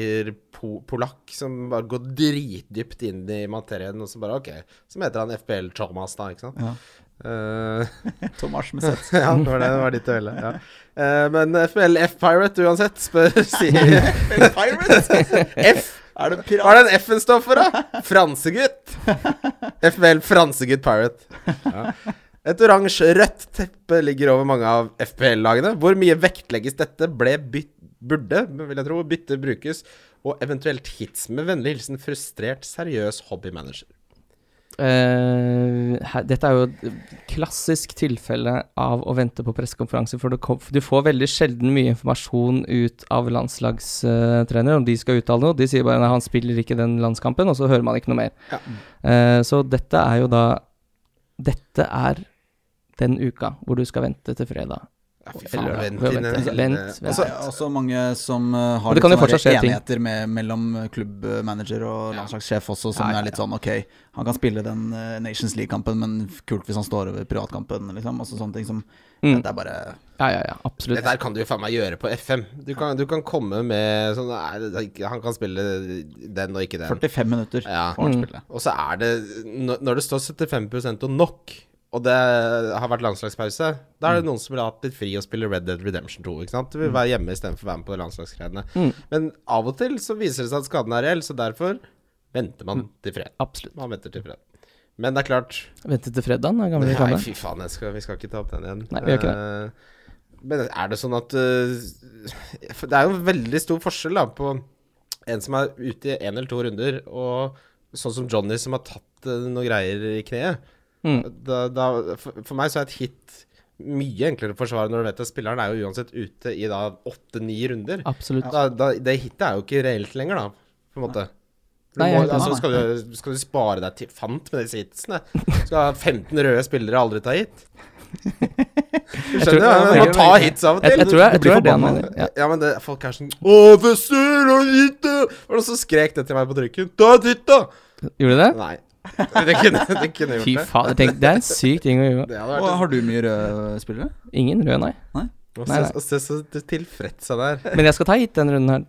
Speaker 3: matematiker-polakk som bare går dritdypt inn i materien, og så bare OK. Som heter han FPL Thomas, da, ikke sant.
Speaker 2: [laughs] Ja.
Speaker 3: Eh, [laughs]
Speaker 2: Tomas med sett.
Speaker 3: ja, det var det. Det var ditt øyne. Ja. Eh, men FPL F-Pirate uansett, spør [laughs] sier
Speaker 2: [laughs]
Speaker 3: F.
Speaker 2: Er det
Speaker 3: Hva
Speaker 2: pirat?
Speaker 3: er den F-en står for, da? Fransegutt. FPL Fransegutt Pirate. Ja. Et oransje rødt teppe ligger over mange av FPL-lagene. Hvor mye vektlegges dette? Ble bytt, burde, vil jeg tro, bytte brukes, og eventuelt hits. Med vennlig hilsen frustrert, seriøs hobbymanager.
Speaker 4: Eh, her, dette er jo et klassisk tilfelle av å vente på pressekonferanse, for du, kom, du får veldig sjelden mye informasjon ut av landslagstrener om de skal uttale noe. De sier bare at han spiller ikke den landskampen, og så hører man ikke noe mer.
Speaker 3: Ja.
Speaker 4: Eh, så dette er jo da Dette er den uka hvor du skal vente til fredag.
Speaker 3: Ja, fy
Speaker 4: Eller-
Speaker 3: vent
Speaker 4: vent,
Speaker 3: inn en-
Speaker 4: vent, vent.
Speaker 3: Altså,
Speaker 2: Altså, ja, også mange som eh,
Speaker 4: Og
Speaker 2: har
Speaker 4: det
Speaker 2: litt
Speaker 4: kan jo
Speaker 2: sånne
Speaker 4: fortsatt skje ting.
Speaker 2: enigheter med, mellom klubbmanager og landslagssjef også, som
Speaker 4: Ja, ja,
Speaker 2: er litt sånn ok, han kan spille den eh, Nations League-kampen, men kult hvis han står over privatkampen, liksom. Altså sånne ting som
Speaker 4: Mm.
Speaker 2: Dette er bare
Speaker 4: Ja, ja, ja, absolutt.
Speaker 3: Det der kan du jo faen meg gjøre på FM. Du kan, du kan komme med sånn nei, det er ikke- Han kan spille den og ikke den.
Speaker 2: 45 minutter.
Speaker 3: Ja.
Speaker 2: får han spille.
Speaker 3: Og så er det når- Når det står 75 og nok, og det har vært landslagspause, da er det noen som vil ha hatt litt fri og spille Red Dead Redemption 2. Ikke sant? Du vil være hjemme istedenfor å være med på de landslagsgreiene. Men av og til så viser det seg at skaden er reell, så derfor venter man til fred.
Speaker 4: Absolutt.
Speaker 3: Man venter til fred. Men det er klart
Speaker 4: Vente til fredagen, er gamle
Speaker 3: Nei,
Speaker 4: reklame.
Speaker 3: fy faen, jeg skal, vi skal ikke ta opp den igjen.
Speaker 4: Nei, vi gjør ikke
Speaker 3: det. Men er det sånn at eh, for Det er jo veldig stor forskjell da på en som er ute i én eller to runder, og sånn som Johnny som har tatt eh, noe greier i kneet.
Speaker 4: Mm.
Speaker 3: Da, da, for, for meg så er et hit mye enklere å forsvare når du vet at spilleren er jo uansett ute i da åtte-ni runder.
Speaker 4: Absolutt.
Speaker 3: Da, da, det hitet er jo ikke reelt lenger, da, på en måte. Du
Speaker 4: Nei, jeg
Speaker 3: må,
Speaker 4: er helt
Speaker 3: altså,
Speaker 2: enig.
Speaker 3: skal, du, skal du spare deg til fant med disse hitsene? Skal ha 15 røde spillere aldri ta hit? Du
Speaker 4: tror-
Speaker 3: skjønner? Ja, men du må ta hits av og
Speaker 4: Jeg,
Speaker 3: til.
Speaker 4: jeg tror,
Speaker 3: Du
Speaker 4: jeg,
Speaker 3: blir
Speaker 4: jeg tror det er det han
Speaker 3: forbanna.
Speaker 4: mener. Ja.
Speaker 3: Ja, men det, folk er sånn Å, Fessur, og hit, da!» Var det noen som skrek det til meg på trykken? Ta et hit, da!
Speaker 4: Gjorde du det?
Speaker 3: Nei. Det kunne, det kunne gjort
Speaker 4: Fy
Speaker 3: det.
Speaker 4: faen, tenk, det er en syk ting å gjøre.
Speaker 3: Det hadde
Speaker 2: Og
Speaker 3: vært
Speaker 2: har du mye røde spillere?
Speaker 4: Ingen rød, nei.
Speaker 3: Og
Speaker 4: Nei,
Speaker 3: se,
Speaker 4: nei.
Speaker 3: og se så tilfreds han er.
Speaker 4: Men jeg skal ta hit denne runden her.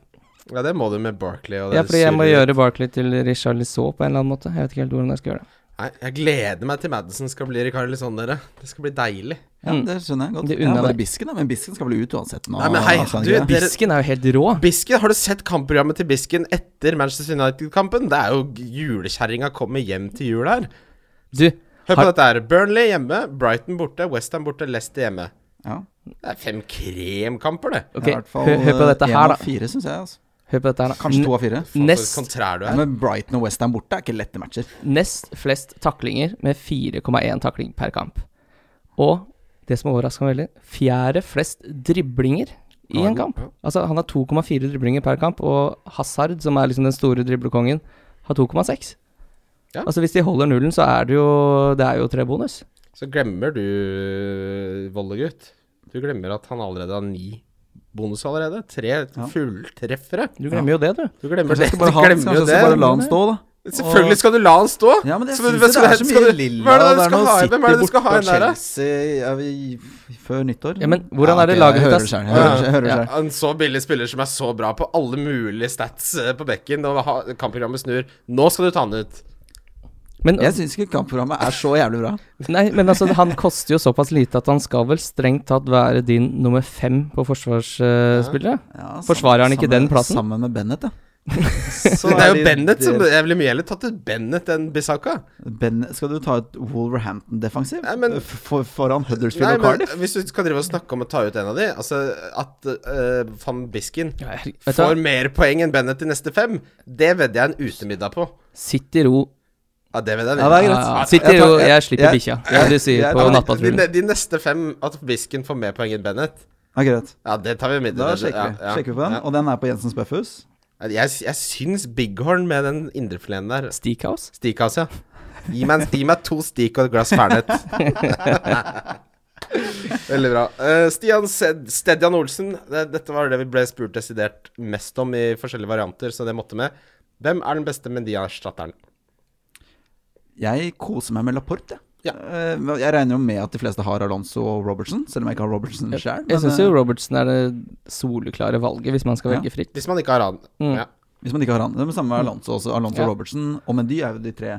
Speaker 3: Ja, det må du med Barkley og
Speaker 4: Ja,
Speaker 3: det
Speaker 4: fordi jeg må
Speaker 3: surre-
Speaker 4: gjøre Barkley til Richard Lissault på en eller annen måte. Jeg vet ikke helt hvordan jeg skal gjøre det.
Speaker 3: Nei, jeg gleder meg til Madison skal bli Rikard Lisson, dere. Det skal bli deilig.
Speaker 2: Ja,
Speaker 4: Mm.
Speaker 2: Det skjønner jeg godt.
Speaker 4: Det
Speaker 2: Ja,
Speaker 4: unner
Speaker 2: bare
Speaker 4: deg.
Speaker 2: bisken, da. Men bisken skal vel ut uansett nå. Altså,
Speaker 3: Nei, men hei,
Speaker 2: skal han
Speaker 3: du,
Speaker 2: ikke det?
Speaker 3: Dere-
Speaker 4: Bisken er jo helt rå.
Speaker 3: Bisken, har du sett kampprogrammet til Bisken etter Manchester United-kampen? Det er jo julekjerringa kommer hjem til jul her.
Speaker 4: Du,
Speaker 3: Hør på
Speaker 4: Har-
Speaker 3: dette her. Burnley hjemme, Brighton borte, Westham borte, Leicester hjemme.
Speaker 2: ja.
Speaker 3: Det er fem kremkamper, det.
Speaker 4: ok, hør, hør på dette
Speaker 2: eh, en
Speaker 4: her,
Speaker 2: av
Speaker 4: da.
Speaker 2: fire, syns jeg. Altså.
Speaker 4: Hør på dette her, da.
Speaker 2: Kanskje to av fire.
Speaker 4: N-
Speaker 3: Så
Speaker 4: Nest,
Speaker 3: kontrær du
Speaker 2: Ja,
Speaker 3: er.
Speaker 2: men Brighton og Westham borte er ikke lette matcher.
Speaker 4: nest flest taklinger med 4,1 takling per kamp. Og det som overrasker meg veldig, fjerde flest driblinger i en kamp. Altså, han har 2,4 driblinger per kamp, og Hazard, som er liksom den store driblekongen, har 2,6.
Speaker 3: Ja.
Speaker 4: Altså, hvis de holder nullen, så er det jo Det er jo tre bonus.
Speaker 3: Så glemmer du Vollegutt. Du glemmer at han allerede har ni bonus allerede. Tre fulltreffere.
Speaker 4: Du glemmer jo det, du.
Speaker 3: Du glemmer det.
Speaker 2: Kanskje jeg skal
Speaker 3: Du
Speaker 2: bare, ha,
Speaker 3: glemmer
Speaker 2: kanskje
Speaker 3: jo
Speaker 2: jeg skal bare
Speaker 3: det.
Speaker 2: la han stå, da.
Speaker 3: Selvfølgelig skal du la han stå.
Speaker 2: Ja, men jeg
Speaker 3: Så, men
Speaker 2: synes
Speaker 3: skal
Speaker 2: det
Speaker 3: du-
Speaker 2: er så
Speaker 3: skal
Speaker 2: mye
Speaker 3: du-
Speaker 2: lilla,
Speaker 3: Hva er det
Speaker 2: og
Speaker 3: du
Speaker 2: det er
Speaker 3: skal
Speaker 2: noe
Speaker 3: ha Hvem er det du skal
Speaker 2: City
Speaker 3: ha inn
Speaker 2: borte og
Speaker 3: der, da?
Speaker 2: Chelsea ja, vi, før nyttår.
Speaker 4: Ja, men hvordan er det
Speaker 2: ok,
Speaker 4: laget
Speaker 2: Jeg
Speaker 4: ditt,
Speaker 2: hører
Speaker 4: ass?
Speaker 2: selv, jeg hører selv, jeg hører
Speaker 4: Ja.
Speaker 2: selv.
Speaker 3: En så billig spiller som er så bra på alle mulige stats eh, på bekken, og ha, kampprogrammet snur. Nå skal du ta han ut.
Speaker 4: Men,
Speaker 2: Jeg syns ikke kampprogrammet er så jævlig bra.
Speaker 4: nei, men altså, han koster jo såpass lite at han skal vel strengt tatt være din nummer fem på forsvarsspillere.
Speaker 2: Ja,
Speaker 4: Forsvarer han ikke
Speaker 2: sammen-
Speaker 4: den plassen?
Speaker 2: Sammen med Bennett, ja.
Speaker 3: [laughs] Det er jo Bennett som Jeg ville mye heller tatt ut Bennett enn Bisaka.
Speaker 2: Bennett, skal du ta ut Wolverhampton-defensiv
Speaker 3: Nei, men-
Speaker 2: F- for, foran Huddersfield
Speaker 3: Nei,
Speaker 2: og
Speaker 3: men
Speaker 2: Cardiff?
Speaker 3: Hvis du skal drive og snakke om å ta ut en av de Altså at eh, van Bisken
Speaker 4: Ja, herregud, vet du hva?
Speaker 3: får mer poeng enn Bennett i neste fem, det vedder jeg en utemiddag på.
Speaker 4: Sitt i ro.
Speaker 3: Ja, det vedder jeg.
Speaker 2: Ja,
Speaker 3: en
Speaker 2: det er
Speaker 4: Ja,
Speaker 2: greit.
Speaker 4: ja. Sitt i
Speaker 2: Jeg tar-
Speaker 4: ro,
Speaker 2: jeg-
Speaker 4: jeg slipper
Speaker 2: jeg-
Speaker 4: bikkja, som de sier
Speaker 2: jeg-
Speaker 4: på
Speaker 2: jeg-
Speaker 3: middag.
Speaker 4: nattpatruljen.
Speaker 3: de, de neste fem, at Bisken får mer poeng enn Bennett,
Speaker 2: Ja, greit.
Speaker 3: ja, det tar vi med.
Speaker 2: Da sjekker vi,
Speaker 3: Ja, ja,
Speaker 2: sjekker vi på den.
Speaker 3: ja.
Speaker 2: Og den er på Jensens Bøffhus.
Speaker 3: Jeg, jeg syns Bighorn med den indrefileten der
Speaker 4: Steakhouse?
Speaker 3: Stikkas, ja. Gi meg, gi meg to stik og et glass
Speaker 2: [laughs]
Speaker 3: fernet. Veldig bra. Eh, Stian Sed Stedjan Olsen, det, dette var det vi ble spurt desidert mest om i forskjellige varianter, så det måtte med. Hvem er den beste Mendia-erstatteren?
Speaker 2: Jeg koser meg med Laporte, jeg.
Speaker 3: Ja.
Speaker 2: Eh, men jeg regner jo med at de fleste har Alonso og Robertson, selv om jeg ikke har Robertson sjøl.
Speaker 4: Jeg syns jo Robertson er det soleklare valget, hvis man skal
Speaker 2: eh, Ja.
Speaker 4: velge fritt.
Speaker 3: Hvis man ikke har han.
Speaker 4: Mm.
Speaker 3: Ja.
Speaker 2: Hvis man ikke har han. Det er det samme
Speaker 3: Mm.
Speaker 2: med Alonso også. Alonso
Speaker 4: Ja.
Speaker 2: og Robertson og Mendy er jo de tre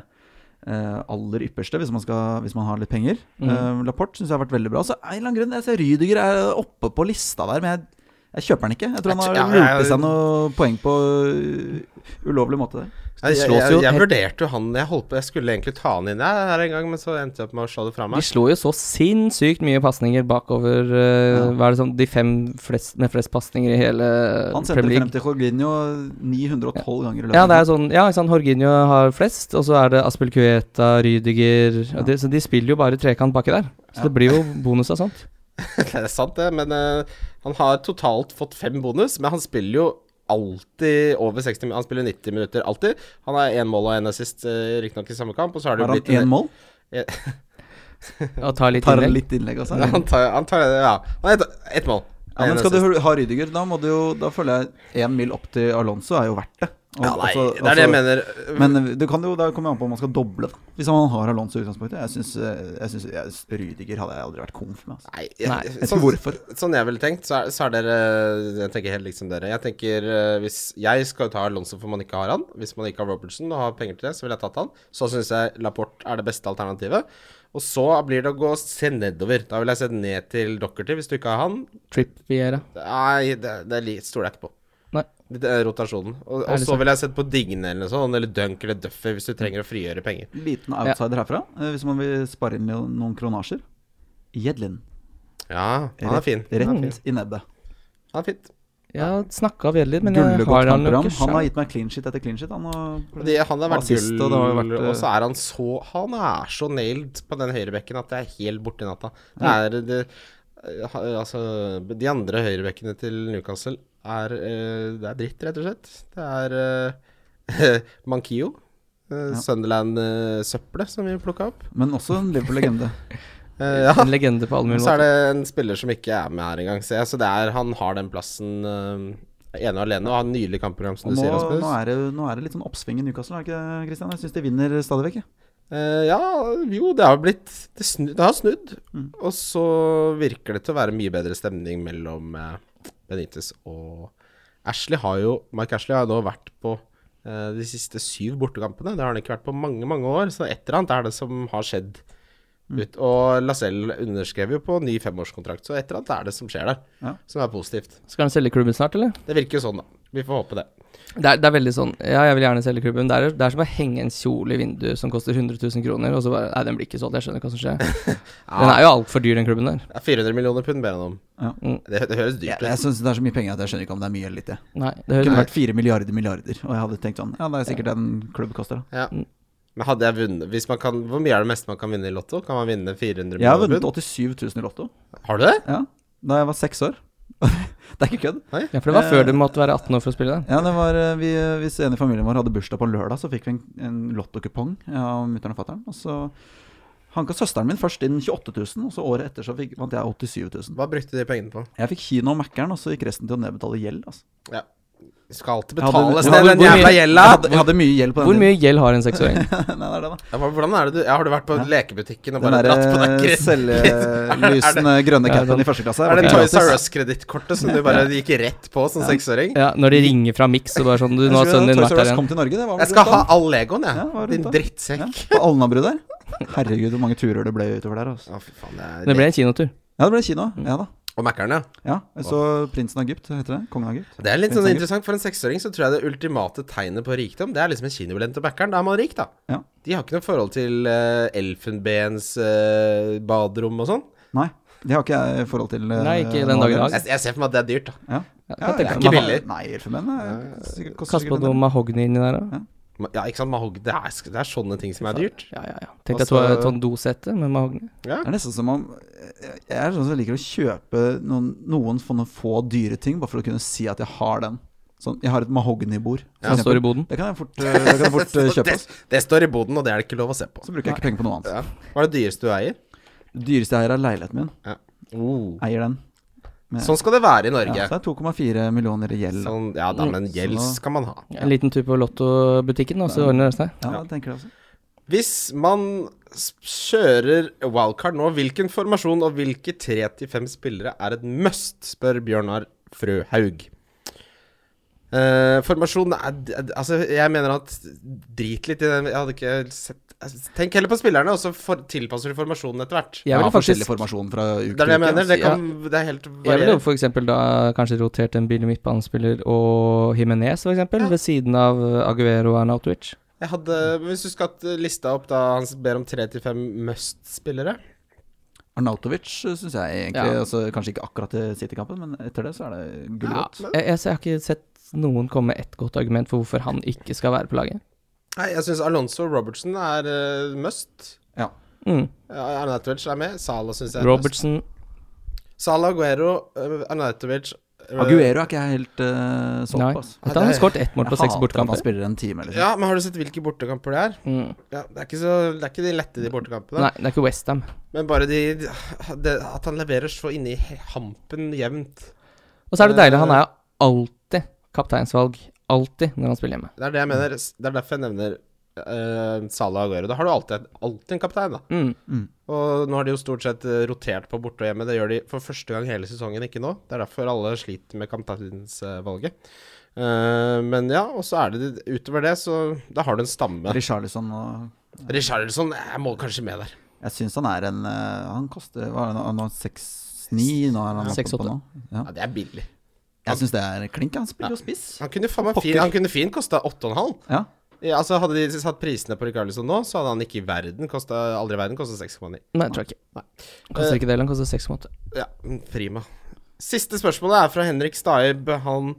Speaker 2: eh, aller ypperste, hvis man, skal, hvis man har litt penger.
Speaker 4: Mm.
Speaker 2: Eh, Laporte syns jeg har vært veldig bra. Så av en eller annen grunn, jeg ser Rydiger er oppe på lista der, men jeg, jeg kjøper den ikke. Jeg tror han
Speaker 3: Jeg
Speaker 2: har
Speaker 3: tror- ja,
Speaker 2: lurt
Speaker 3: jeg-
Speaker 2: i seg noen poeng på uh, ulovlig måte der.
Speaker 3: Jeg, jeg,
Speaker 4: slås jo
Speaker 3: jeg, jeg
Speaker 4: helt-
Speaker 3: vurderte jo han Jeg holdt på, jeg skulle egentlig ta han inn jeg, her en gang, men så endte jeg opp med å slå det fra
Speaker 4: De
Speaker 3: meg.
Speaker 4: slår jo så sinnssykt mye pasninger bakover eh,
Speaker 2: Ja.
Speaker 4: Hva er det sånn De fem flest, med flest pasninger i hele
Speaker 2: Han sendte
Speaker 4: Premier
Speaker 2: frem
Speaker 4: League.
Speaker 2: til Jorginho 912 ganger i løpet.
Speaker 4: Ja, det er sånn Ja, ikke sant, Jorginho har flest, og så er det Aspel Cueta, Rydiger og de, Så de spiller jo bare trekant baki der. Så det blir jo bonus av [laughs] sånt.
Speaker 3: [laughs] Det er sant, det, men eh, han har totalt fått fem bonus, men han spiller jo alltid over 60 min- Han spiller 90 minutter, alltid. Han har én mål og én assist, eh, riktignok i samme kamp, og så har det jo
Speaker 2: Har han
Speaker 3: blitt
Speaker 2: én mål?
Speaker 4: Og tar litt
Speaker 2: Tar
Speaker 4: innlegg.
Speaker 2: litt innlegg, altså?
Speaker 3: Ja, [laughs] Han tar, han tar ja. Han har ett- ett mål.
Speaker 2: Ja, men
Speaker 3: En
Speaker 2: skal
Speaker 3: assist.
Speaker 2: du ha Rydiger, da må du jo Da føler jeg én mil opp til Alonso er jo verdt det. Og-
Speaker 3: Ja, nei,
Speaker 2: altså-
Speaker 3: det er det jeg mener.
Speaker 2: altså- Men det kan jo, da kommer jeg an på om man skal doble, da. Hvis man har Alonso i utgangspunktet. Jeg syns, eh, jeg syns jeg, Rydiger hadde jeg aldri vært komf med. Altså.
Speaker 3: Nei,
Speaker 4: Nei,
Speaker 3: jeg,
Speaker 4: jeg
Speaker 2: vet ikke
Speaker 3: sånn,
Speaker 2: hvorfor.
Speaker 3: sånn jeg ville tenkt, så er, så er dere Jeg tenker helt liksom dere. Jeg tenker eh, Hvis jeg skal ta Alonso for man ikke har han, hvis man ikke har Robertson og har penger til det, så ville jeg tatt han. Så syns jeg Laporte er det beste alternativet. Og så blir det å gå og se nedover. Da vil jeg se ned til Dockerty hvis du ikke har han.
Speaker 4: Trip Viera.
Speaker 3: Nei, det, det li- stoler jeg ikke på.
Speaker 4: Nei.
Speaker 3: Det er rotasjonen. Og, og
Speaker 4: Ærlig
Speaker 3: så ville jeg sett på Digne eller noe sånt, eller Dunk eller Duffy hvis du trenger å frigjøre penger.
Speaker 2: Liten outsider herfra, eh, hvis man vil spare inn jo noen kronasjer. Jedlin.
Speaker 3: Ja, han er fin. Han er fin.
Speaker 2: Rett i nebbet.
Speaker 3: Han er fint.
Speaker 4: Jeg har snakka av Gjelder, men jeg
Speaker 2: Gullegodt
Speaker 4: har han jo
Speaker 2: kampprogram.
Speaker 4: ikke
Speaker 2: Han har
Speaker 4: sjøl.
Speaker 2: gitt meg clean shit etter clean shit. Han og
Speaker 3: Det, han har vært
Speaker 2: Assist,
Speaker 3: gull,
Speaker 2: og
Speaker 3: og,
Speaker 2: det har vært, eh,
Speaker 3: så er han så Han er så nailed på den høyrebekken at det er helt borte i natta. Det
Speaker 2: Mm.
Speaker 3: er det, eh, ha- Altså, de andre høyrebekkene til Newcastle er eh, Det er dritt, rett og slett. Det [laughs] er uh, Mankio. Sunderland-søppelet som vi plukka opp.
Speaker 2: Men også en
Speaker 3: [laughs]
Speaker 2: Liverpool-legende.
Speaker 3: Eh, ja.
Speaker 4: En legende på alle
Speaker 3: Men
Speaker 4: mulige
Speaker 3: [laughs] så er
Speaker 4: måter.
Speaker 3: det en spiller som ikke er med her engang, ser jeg. Så det er, han har den plassen eh, ene og alene, og har en nydelig kampprogram, som
Speaker 2: Og
Speaker 3: du
Speaker 2: nå,
Speaker 3: sier, Rasmus.
Speaker 2: nå, er det, nå er det litt sånn oppsving i Newcastle, er det ikke det, Christian? Jeg syns de vinner stadig vekk. jeg.
Speaker 3: Eh, ja, jo, det har blitt Det, snu, det har snudd.
Speaker 2: Mm.
Speaker 3: Og så virker det til å være mye bedre stemning mellom eh, Benitez og Ashley har jo Mike Ashley har jo nå vært på eh, de siste syv bortekampene. Det har han ikke vært på mange, mange år, så et eller annet er det som har skjedd.
Speaker 2: Mm.
Speaker 3: Ut. Og Lacelle underskrev jo på ny femårskontrakt, så et eller annet er det som skjer der,
Speaker 2: Ja.
Speaker 3: som er positivt.
Speaker 4: Skal han selge klubben snart, eller?
Speaker 3: Det virker jo sånn, da. Vi får håpe det.
Speaker 4: Det er, det er veldig sånn Ja, jeg vil gjerne selge klubben. Det er, det er som å henge en kjole i vinduet som koster 100 000 kroner, og så bare Nei, den blir ikke solgt, jeg skjønner hva som
Speaker 2: [laughs]
Speaker 4: skjer. Den er jo altfor dyr, den klubben der.
Speaker 3: Det er 400 millioner pund ber han om.
Speaker 2: Ja.
Speaker 3: Det, det høres dyrt
Speaker 2: Mm. Jeg,
Speaker 3: ut.
Speaker 2: jeg syns det er så mye penger at jeg skjønner ikke om det er mye eller lite.
Speaker 4: Nei, det
Speaker 2: Det kunne
Speaker 4: høres
Speaker 2: vært fire milliarder milliarder, og jeg hadde tenkt sånn Ja, det er sikkert det en klubb koster, da.
Speaker 3: Ja. Men hadde jeg vunnet hvis man kan, Hvor mye er det meste man kan vinne i lotto? Kan man vinne 400
Speaker 2: Jeg har vunnet
Speaker 3: millioner?
Speaker 2: 87 000 i Lotto.
Speaker 3: pund? Har du det?
Speaker 2: Ja, da jeg var seks år. [laughs] det er ikke kødd.
Speaker 4: Ja, for det
Speaker 2: Eh,
Speaker 4: var før du måtte være 18 år for å spille den.
Speaker 2: Ja, det var, eh, vi, eh, Hvis en i familien vår hadde bursdag på lørdag, så fikk vi en, en lottokupong eh, av mutter'n og fatter'n. Og så hanka søsteren min først inn 28 000, og så året etter så fikk, vant jeg 87 000.
Speaker 3: Hva brukte de pengene på?
Speaker 2: Jeg fikk kino og Mækkern, og så gikk resten til å nedbetale gjeld. Altså.
Speaker 3: Ja. Du skal alltid
Speaker 2: Jeg hadde-
Speaker 3: betales
Speaker 2: jeg
Speaker 3: ned
Speaker 2: hadde-
Speaker 3: den
Speaker 4: hvor mye-
Speaker 3: jævla gjelda!
Speaker 2: Jeg hadde, jeg hadde mye gjeld på den.
Speaker 4: Hvor mye gjeld har en seksåring?
Speaker 2: tiden. [laughs] Nei, det er det, da.
Speaker 3: Ja, hva- Hvordan er det du ja, Har du vært på lekebutikken og
Speaker 2: Den eh,
Speaker 3: bare dratt på deg
Speaker 2: derre
Speaker 3: kreditt? [laughs]
Speaker 2: selvlysende eh, grønne
Speaker 4: Ja,
Speaker 2: capen
Speaker 4: den-
Speaker 2: i første klasse
Speaker 3: Er
Speaker 2: var
Speaker 3: det
Speaker 2: ikke
Speaker 3: Toys
Speaker 2: gratis.
Speaker 3: R Us-kredittkortet som du bare gikk rett på som seksåring?
Speaker 4: Ja, når de ringer fra Mix og bare sånn Du, nå har
Speaker 2: Jeg
Speaker 4: sønnen
Speaker 2: husker
Speaker 4: din
Speaker 2: da Toys
Speaker 4: vært
Speaker 2: R
Speaker 4: her
Speaker 2: Us
Speaker 4: igjen.
Speaker 2: kom til Norge, det var vel sånn.
Speaker 3: Jeg skal
Speaker 2: rundt
Speaker 3: ha
Speaker 2: da.
Speaker 3: all Legoen, jeg.
Speaker 2: Ja, hva er det
Speaker 3: Din
Speaker 2: da?
Speaker 3: drittsekk.
Speaker 2: Ja, på Alnabru der. Herregud, hvor mange turer det ble utover der. Altså.
Speaker 3: Å, fy faen.
Speaker 4: Det
Speaker 3: Det er
Speaker 4: ble en kinotur.
Speaker 2: Ja, det ble kino. Ja da.
Speaker 3: Og Mækkern, ja.
Speaker 2: Ja, jeg så Prinsen av Egypt, heter det? Kongen av Egypt.
Speaker 3: Det er litt
Speaker 2: Prinsen
Speaker 3: sånn
Speaker 2: av Egypt.
Speaker 3: interessant. For en seksåring så tror jeg det ultimate tegnet på rikdom, det er liksom en kinobillett til backeren. Da er man rik, da.
Speaker 2: Ja.
Speaker 3: De har ikke noe forhold til uh, elfenbens eh, baderom og sånn.
Speaker 2: Nei, det har ikke jeg forhold til. eh,
Speaker 4: Nei, ikke den
Speaker 2: noe av
Speaker 4: dagen i
Speaker 2: det.
Speaker 4: dag.
Speaker 3: Jeg, jeg ser for meg at det er dyrt, da.
Speaker 2: Ja.
Speaker 4: Ja,
Speaker 2: Ja,
Speaker 4: kan tenke
Speaker 3: ikke
Speaker 4: meg.
Speaker 2: men-
Speaker 3: billig.
Speaker 2: Nei, elfenben er- sikkert- koster
Speaker 4: Kast på
Speaker 2: sikkert en
Speaker 4: noe
Speaker 2: del.
Speaker 4: mahogni inni der òg.
Speaker 3: Ma- Ja, ikke sant, mahog, det, er, sk- det er sånne ting som er dyrt.
Speaker 4: Ja, ja, ja. Tenkte jeg
Speaker 3: Altså-
Speaker 4: to tonn dosette med mahogni.
Speaker 2: Det er nesten som om Jeg jeg er sånn som liker å kjøpe noen, noen for noen få dyre ting, bare for å kunne si at jeg har den. Sånn, jeg har et mahognibord. for
Speaker 4: Som står i
Speaker 2: eksempel.
Speaker 4: boden.
Speaker 2: Det kan jeg fort, eh, det kan jeg fort eh,
Speaker 3: Så
Speaker 2: kjøpe.
Speaker 3: det,
Speaker 2: ass.
Speaker 3: det står i boden, og det er det ikke lov å se på.
Speaker 2: Så bruker jeg ikke penger på noe annet.
Speaker 3: Ja. Hva er det dyreste du eier?
Speaker 2: Dyreste jeg eier, er leiligheten min.
Speaker 3: Ja. Oh.
Speaker 2: Eier den. Med-
Speaker 3: Sånn skal det være i
Speaker 2: Ja,
Speaker 3: Norge.
Speaker 2: så det er 2,4 millioner i gjeld. da.
Speaker 3: Sånn, ja da, men gjeld
Speaker 2: Så-
Speaker 3: skal man ha.
Speaker 4: En liten tur på Lottobutikken, og så ordner det seg.
Speaker 2: Ja, jeg tenker det også.
Speaker 3: Hvis man s- kjører wildcard nå. Hvilken formasjon og hvilke tre til fem spillere er et must, spør Bjørnar Frøhaug. Eh, formasjon er d- d- Altså, jeg mener at drit litt i den Jeg hadde ikke sett altså, Tenk heller på spillerne, og så for, tilpasser du formasjonen etter hvert.
Speaker 4: Jeg
Speaker 2: ja,
Speaker 4: ville
Speaker 2: forskjellig
Speaker 4: faktisk
Speaker 2: formasjon fra uke
Speaker 3: Det er det jeg mener. Det,
Speaker 2: altså.
Speaker 3: kan, det er helt
Speaker 4: jeg ville
Speaker 3: varierende.
Speaker 4: jo for eksempel da kanskje rotert en billig midtbanespiller og Jimenez, for eksempel,
Speaker 3: Ja.
Speaker 4: ved siden av eh, Aguero og Arnautovic.
Speaker 3: Jeg hadde, Hvis du skal ha lista opp da han ber om tre til fem must-spillere
Speaker 2: Arnautovic syns jeg egentlig
Speaker 4: Ja.
Speaker 2: altså, Kanskje ikke akkurat til City-kampen, men etter det så er det gulrot.
Speaker 4: Jeg, jeg, jeg har ikke sett noen komme med ett godt argument for hvorfor han ikke skal være på laget.
Speaker 3: Nei, jeg syns Alonso og Robertson er eh, must.
Speaker 2: Ja.
Speaker 4: Mm.
Speaker 3: Ja, Arnautovic er med. Sala syns jeg er must.
Speaker 4: Robertson
Speaker 3: Sala Aguero, eh, Arnautovic eh,
Speaker 2: Aguero er ikke jeg helt uh, solgt
Speaker 4: Nei.
Speaker 2: på. ass.
Speaker 4: Vet du, han har skåret ett mål på
Speaker 2: Jeg
Speaker 4: seks
Speaker 2: hater at Han
Speaker 4: bortkamper.
Speaker 2: spiller en time, liksom.
Speaker 3: Ja, men har du sett hvilke bortekamper det er?
Speaker 4: Mm.
Speaker 3: Ja, det, er ikke så, det er ikke de lette, de bortekampene.
Speaker 4: Nei, det er ikke Westham.
Speaker 3: Men bare de, det, At han leverer så inni hampen jevnt.
Speaker 4: Og så er det
Speaker 3: Eh,
Speaker 4: deilig, han er jo alltid kapteinsvalg. Alltid når han spiller hjemme.
Speaker 3: Det er det jeg mener. Det er derfor jeg nevner eh, Sala og Aguero. Da har du alltid, alltid en kaptein, da.
Speaker 4: Mm.
Speaker 3: Og nå har de jo stort sett eh, rotert på borte og hjemme. Det gjør de for første gang hele sesongen, ikke nå. Det er derfor alle sliter med kapteinsvalget. Eh, men ja, og så er det utover det, så da har du en stamme.
Speaker 2: Richarlison og
Speaker 3: Richarlison jeg må kanskje med der.
Speaker 2: Jeg syns han er en eh, Han koster hva er det nå? Han har 6-9 nå er han oppe
Speaker 4: 6-8.
Speaker 2: på nå. Ja.
Speaker 3: Ja, Det er billig.
Speaker 2: Jeg syns det er klink. Han spiller jo spiss.
Speaker 3: Han kunne faen meg fin,
Speaker 2: Pokker.
Speaker 3: han kunne fin kosta 8,5.
Speaker 2: Ja.
Speaker 3: Ja, altså Hadde de satt prisene på Richarlison nå, så hadde han ikke i verden kosta aldri i verden kosta 6,9.
Speaker 4: Nei, tror jeg ikke.
Speaker 3: Eh,
Speaker 4: Koster ikke det, han koster 6,8.
Speaker 3: Ja, mm, prima. Siste spørsmålet er fra Henrik Staib. Han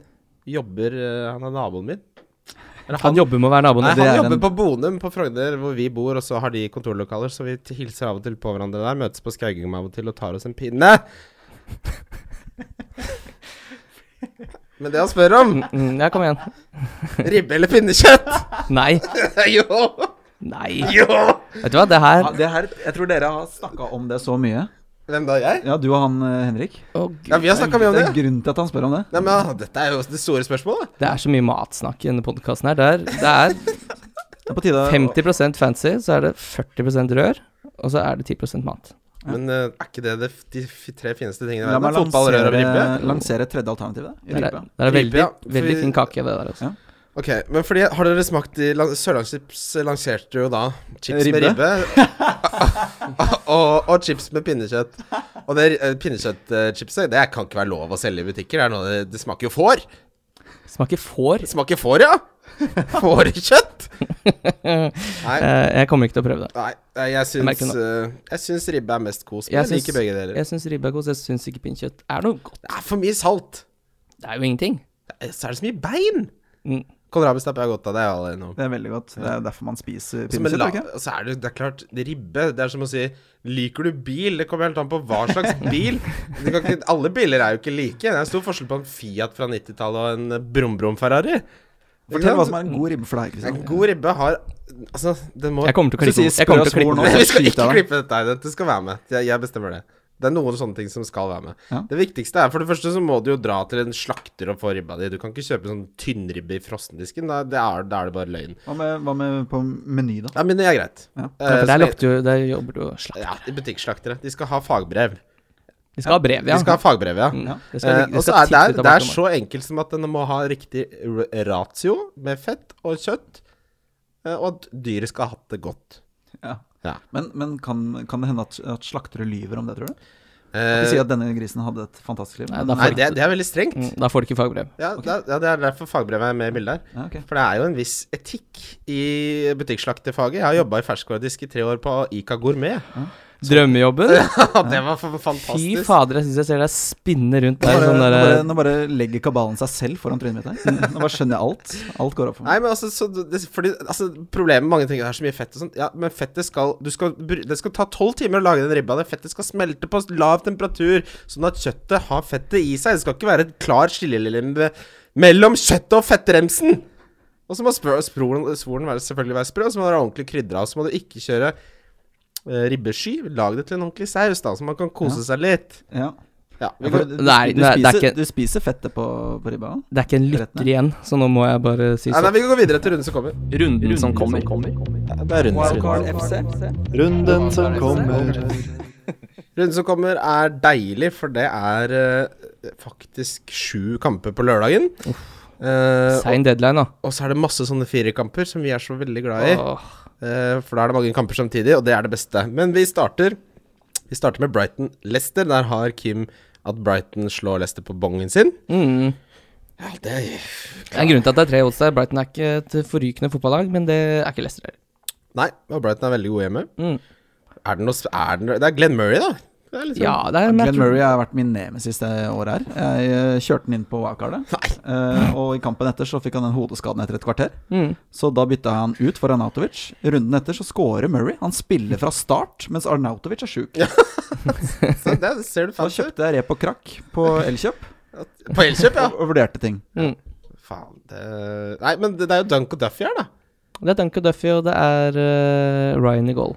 Speaker 3: jobber eh, Han er naboen min. Eller
Speaker 4: Han jobber med å være naboen.
Speaker 3: Nei,
Speaker 4: din.
Speaker 2: det
Speaker 3: han
Speaker 2: er
Speaker 3: jobber
Speaker 2: en-
Speaker 3: på Bonum på Frogner, hvor vi bor, og så har de kontorlokaler, så vi t- hilser av og til på hverandre der. Møtes på Skaugum av og til og tar oss en pinne. Men det han spør om,
Speaker 4: Mm, mm, Ja, kom igjen.
Speaker 3: ribbe eller pinnekjøtt? [laughs]
Speaker 4: Nei.
Speaker 3: jo!
Speaker 4: Nei.
Speaker 3: Jo!
Speaker 4: Vet du hva, det her
Speaker 2: Ja, det her, jeg tror dere har snakka om det så mye.
Speaker 3: Hvem da, jeg?
Speaker 2: Ja, du og han eh, Henrik.
Speaker 4: Å, Gud.
Speaker 3: Ja, vi har snakka mye om
Speaker 2: Det
Speaker 3: det.
Speaker 2: er grunnen til at han spør om det.
Speaker 3: Nei, men ah, Dette er jo det store spørsmålet.
Speaker 4: Det er så mye matsnakk i denne podkasten her. Det er, det
Speaker 2: Det er på tide å-
Speaker 4: er 50 fancy, så er det 40 rør, og så er det 10 mat.
Speaker 3: Men eh, er ikke det de, f- de f- tre fineste tingene i
Speaker 2: La meg
Speaker 3: verden? Fotball, rør og ribbe?
Speaker 2: lansere, lansere et tredje alternativ. da,
Speaker 4: Det
Speaker 2: i
Speaker 4: er,
Speaker 2: Ripe.
Speaker 4: det er
Speaker 3: Ripe,
Speaker 4: veldig,
Speaker 3: ja. For
Speaker 4: veldig
Speaker 3: vi-
Speaker 4: fin kake, det der også.
Speaker 3: Ok, men fordi Har dere smakt de lan- Sørlandschips lanserte jo da chips
Speaker 2: Ribbe.
Speaker 3: med ribbe. [laughs] og, og chips med pinnekjøtt. Og det eh, pinnekjøttchipset det kan ikke være lov å selge i butikker. Det, er noe, det smaker jo får.
Speaker 4: Smaker får.
Speaker 3: Det smaker får,
Speaker 4: [laughs]
Speaker 3: ja. Fårekjøtt. Nei.
Speaker 4: Eh, Jeg kommer ikke til å prøve det.
Speaker 3: Nei, nei, jeg
Speaker 4: Jeg
Speaker 3: syns,
Speaker 4: merker
Speaker 3: eh, jeg syns ribbe er mest kos. Men
Speaker 4: Jeg
Speaker 3: jeg,
Speaker 4: syns-
Speaker 3: liker begge deler.
Speaker 4: Jeg syns ribbe er godt, jeg syns ikke pinnekjøtt er noe godt.
Speaker 3: Det er for mye salt.
Speaker 4: Det er jo ingenting.
Speaker 3: Eh, Så er det så mye bein.
Speaker 4: Mm.
Speaker 3: Kålrabistappe er godt av, det er jo alle enige om.
Speaker 2: Det er veldig godt. Det er derfor man spiser
Speaker 3: Som en
Speaker 2: pinnekjøtt.
Speaker 3: la-
Speaker 2: ikke?
Speaker 3: og så er det, det er klart, det ribbe Det er som å si Liker du bil? Det kommer helt an på hva
Speaker 2: [laughs]
Speaker 3: slags bil. Du kan ikke, alle biler er jo ikke like. Det er stor forskjell på en Fiat fra 90-tallet og en eh, Brum Brum Ferrari.
Speaker 2: Fortell hva som er en god ribbe for deg.
Speaker 3: En
Speaker 2: Kristian.
Speaker 3: god ribbe har Altså, den må
Speaker 4: Jeg kommer til å
Speaker 2: Så
Speaker 4: klippe
Speaker 2: sier
Speaker 4: Jeg kommer til å
Speaker 2: Spør oss hvor nå.
Speaker 4: klippe den.
Speaker 3: Nei, vi [laughs] skal
Speaker 2: Skyt
Speaker 3: ikke
Speaker 2: deg, da.
Speaker 3: klippe dette. her, Dette skal være med. Jeg, jeg bestemmer det. Det er noen sånne ting som skal være med.
Speaker 2: Ja.
Speaker 3: Det viktigste er for det første så må du jo dra til en slakter og få ribba di. Du kan ikke kjøpe sånn tynnribbe i frossendisken. Da, det er, da er det bare løgn.
Speaker 2: Hva med, hva med på Meny, da?
Speaker 3: Ja, men det er greit.
Speaker 2: Ja.
Speaker 4: Ja,
Speaker 3: Eh,
Speaker 4: for der
Speaker 3: så-
Speaker 4: lukter jo Der jobber du jo slakt.
Speaker 3: Ja, de butikkslaktere. De skal ha fagbrev.
Speaker 4: Vi skal ha brev, ja.
Speaker 3: De skal ha fagbrev, ja.
Speaker 4: Mm,
Speaker 2: Ja.
Speaker 4: Det skal,
Speaker 3: Eh,
Speaker 4: ligge- det
Speaker 3: og så
Speaker 4: skal
Speaker 3: er det,
Speaker 4: titte ut
Speaker 3: er,
Speaker 4: av
Speaker 3: det er
Speaker 4: bakgrunnen.
Speaker 3: så enkelt som at den må ha riktig r- ratio med fett og kjøtt, eh, og at dyret skal ha hatt det godt.
Speaker 2: Ja.
Speaker 3: Ja.
Speaker 2: Men, men kan, kan det hende at, at slaktere lyver om det, tror du?
Speaker 3: Eh,
Speaker 2: Ikke si at denne grisen hadde et fantastisk liv.
Speaker 4: Nei,
Speaker 2: men-
Speaker 4: da
Speaker 3: nei,
Speaker 4: får
Speaker 3: det, det er veldig strengt.
Speaker 4: Mm, Da får du ikke fagbrev.
Speaker 3: Ja, det, er- ja, det er derfor fagbrevet er med i bildet her.
Speaker 2: Ja, ok.
Speaker 3: For det er jo en viss etikk i butikkslakterfaget. Jeg har jobba i ferskvaredisk i tre år på Ica Gourmet. [laughs]
Speaker 4: Drømmejobben?
Speaker 3: det var fa-
Speaker 4: Fy
Speaker 3: fantastisk.
Speaker 4: fader, jeg syns jeg ser deg spinne rundt
Speaker 2: Nå
Speaker 4: der.
Speaker 2: bare,
Speaker 4: Sånn
Speaker 2: nå,
Speaker 4: der
Speaker 2: bare, nå bare legger kabalen seg selv foran trynet mitt her. Nå bare skjønner jeg alt. Alt går opp for meg.
Speaker 3: Nei, men altså, så, det, fordi, altså Problemet med mange ting er så mye fett og sånt. Ja, men fettet skal, du skal br- Det skal ta tolv timer å lage den ribba. Det fettet skal smelte på lav temperatur, sånn at kjøttet har fettet i seg. Det skal ikke være et klar skillelinje mellom kjøttet og fettremsen. Og så må spro- sproren, svoren være, selvfølgelig være sprø, og så må det være ordentlig krydra. Og så må du ikke kjøre eh, ribbesky. Lag det til en ordentlig saus, da, så man kan kose seg litt. Ja.
Speaker 2: Ja. Ja, for
Speaker 4: det er-
Speaker 2: du,
Speaker 4: det er- det er
Speaker 2: spiser,
Speaker 4: ikke-
Speaker 2: du spiser fettet på, på ribba?
Speaker 4: Det er ikke en lytter igjen, så nå må jeg bare si
Speaker 3: Nei, nei,
Speaker 4: stopp.
Speaker 3: vi går videre til runden som kommer.
Speaker 4: Runden som kommer.
Speaker 5: Det er rundens runde.
Speaker 2: Wildcard FC?
Speaker 5: Runden som kommer.
Speaker 3: Runden som kommer er deilig, for det er eh, faktisk sju kamper på lørdagen. Eh, og,
Speaker 4: Sein deadline, da.
Speaker 3: og så er det masse sånne firekamper som vi er så veldig glad i.
Speaker 4: Åh.
Speaker 3: Eh, for da er det mange kamper samtidig, og det er det beste. Men vi starter Vi starter med Brighton-Lester. Der har Kim at Brighton slår Lester på bongen sin.
Speaker 4: Mm.
Speaker 3: Ja, det
Speaker 4: Det er en grunn til at det er tre odds der. Brighton er ikke et forrykende fotballag, men det er ikke Leicester heller.
Speaker 3: Nei, og Brighton er veldig gode hjemme.
Speaker 4: Mm.
Speaker 3: Er det noe sp- er det, noe- det er Glenn Murray, da. Det er litt
Speaker 4: Ja,
Speaker 3: sånn-
Speaker 4: det er
Speaker 2: Glenn
Speaker 4: match.
Speaker 2: Murray har vært min nemesis det året her. Jeg eh, kjørte den inn på wildcardet. Eh, og i kampen etter så fikk han den hodeskaden etter et kvarter.
Speaker 4: Mm.
Speaker 2: Så da bytta han ut for Arnautovic. Runden etter så scorer Murray. Han spiller fra start, mens Arnautovic er sjuk.
Speaker 3: så det ser du
Speaker 2: Da
Speaker 3: fint ut.
Speaker 2: kjøpte jeg rep og krakk på Elkjøp
Speaker 3: På Elkjøp, ja.
Speaker 2: og, og vurderte ting.
Speaker 4: Mm.
Speaker 3: Faen, det Nei, men det, det er jo Dunk og Duffy her, da.
Speaker 4: Det er Duncan Duffy, og det er eh, Ryan i goal.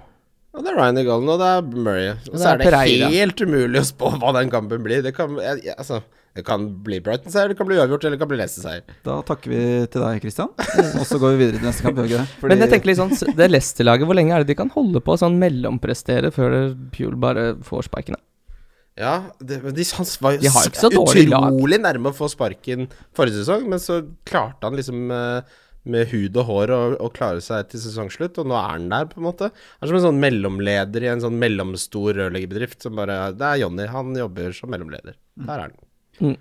Speaker 3: Og det er Ryan Egallen, og det er Murray. Og
Speaker 4: det
Speaker 3: så
Speaker 4: er
Speaker 3: er det
Speaker 4: Pereira.
Speaker 3: helt umulig å spå hva den kampen blir. Det kan, jeg, jeg, altså, det kan bli Brighton-seier, det kan bli uavgjort, eller det kan bli Leicester-seier.
Speaker 2: Da takker vi til deg, Christian. Og så går vi videre til neste kamp. gjør vi ikke det?
Speaker 4: Men jeg tenker litt sånn, s- det Leicester-laget, hvor lenge er det de kan holde på å sånn mellomprestere før det- Pjol bare får sparken? da?
Speaker 3: Ja, det, men de, han var jo
Speaker 4: De har jo ikke
Speaker 3: så
Speaker 4: så dårlig lag.
Speaker 3: utrolig nærme å få sparken forrige sesong, men så klarte han liksom eh, med hud og hår å å klare seg til sesongslutt, og nå er han der, på en måte. Han er som en sånn mellomleder i en sånn mellomstor rørleggerbedrift som bare Det er Jonny, han jobber som mellomleder. Der er han.
Speaker 4: Mm.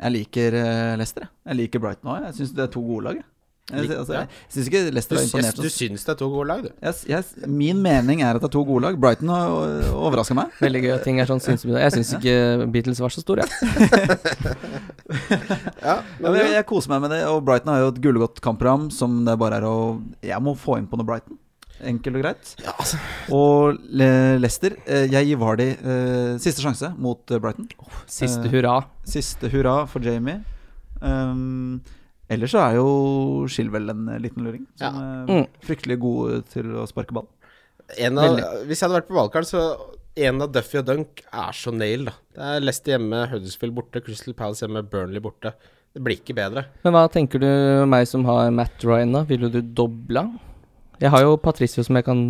Speaker 2: Jeg liker eh, Leicester. jeg. Jeg liker Brighton òg. Jeg syns det er to gode lag. jeg. Jeg, altså, jeg syns ikke
Speaker 3: Du,
Speaker 2: Leicester har
Speaker 3: syns-
Speaker 2: imponert
Speaker 3: du
Speaker 2: oss.
Speaker 3: syns det er to gode lag, du.
Speaker 2: Jeg, jeg, min mening er at det er to gode lag. Brighton har overraska meg.
Speaker 4: Veldig gøy at ting er sånn
Speaker 3: [laughs]
Speaker 4: synsbyrde. Jeg syns ikke Beatles var så store, jeg.
Speaker 3: Ja,
Speaker 2: Ja,
Speaker 3: men,
Speaker 2: men jeg, jeg koser meg med det, og Brighton har jo et gullgodt kampprogram som det bare er å Jeg må få inn på noe Brighton. Enkelt og greit.
Speaker 3: ja, altså,
Speaker 2: Og Le Leicester, eh, jeg gir Vardy eh, siste sjanse mot eh, Brighton.
Speaker 4: Siste
Speaker 2: Eh,
Speaker 4: hurra.
Speaker 2: Siste hurra for Jamie. Um, ellers så er jo Shilwell en eh, liten luring. Som er
Speaker 4: Mm.
Speaker 2: fryktelig god eh, til å sparke ball.
Speaker 3: en av, hvis jeg hadde vært på valgkart, så en av Duffy og Dunk er så nail, da. Det er Leicester hjemme, Huddersfield borte, Crystal Palace hjemme, Burnley borte. Det blir ikke bedre.
Speaker 4: Men hva tenker du meg som har Matt Ryan, da? Ville du dobla? Jeg har jo Patricio som jeg kan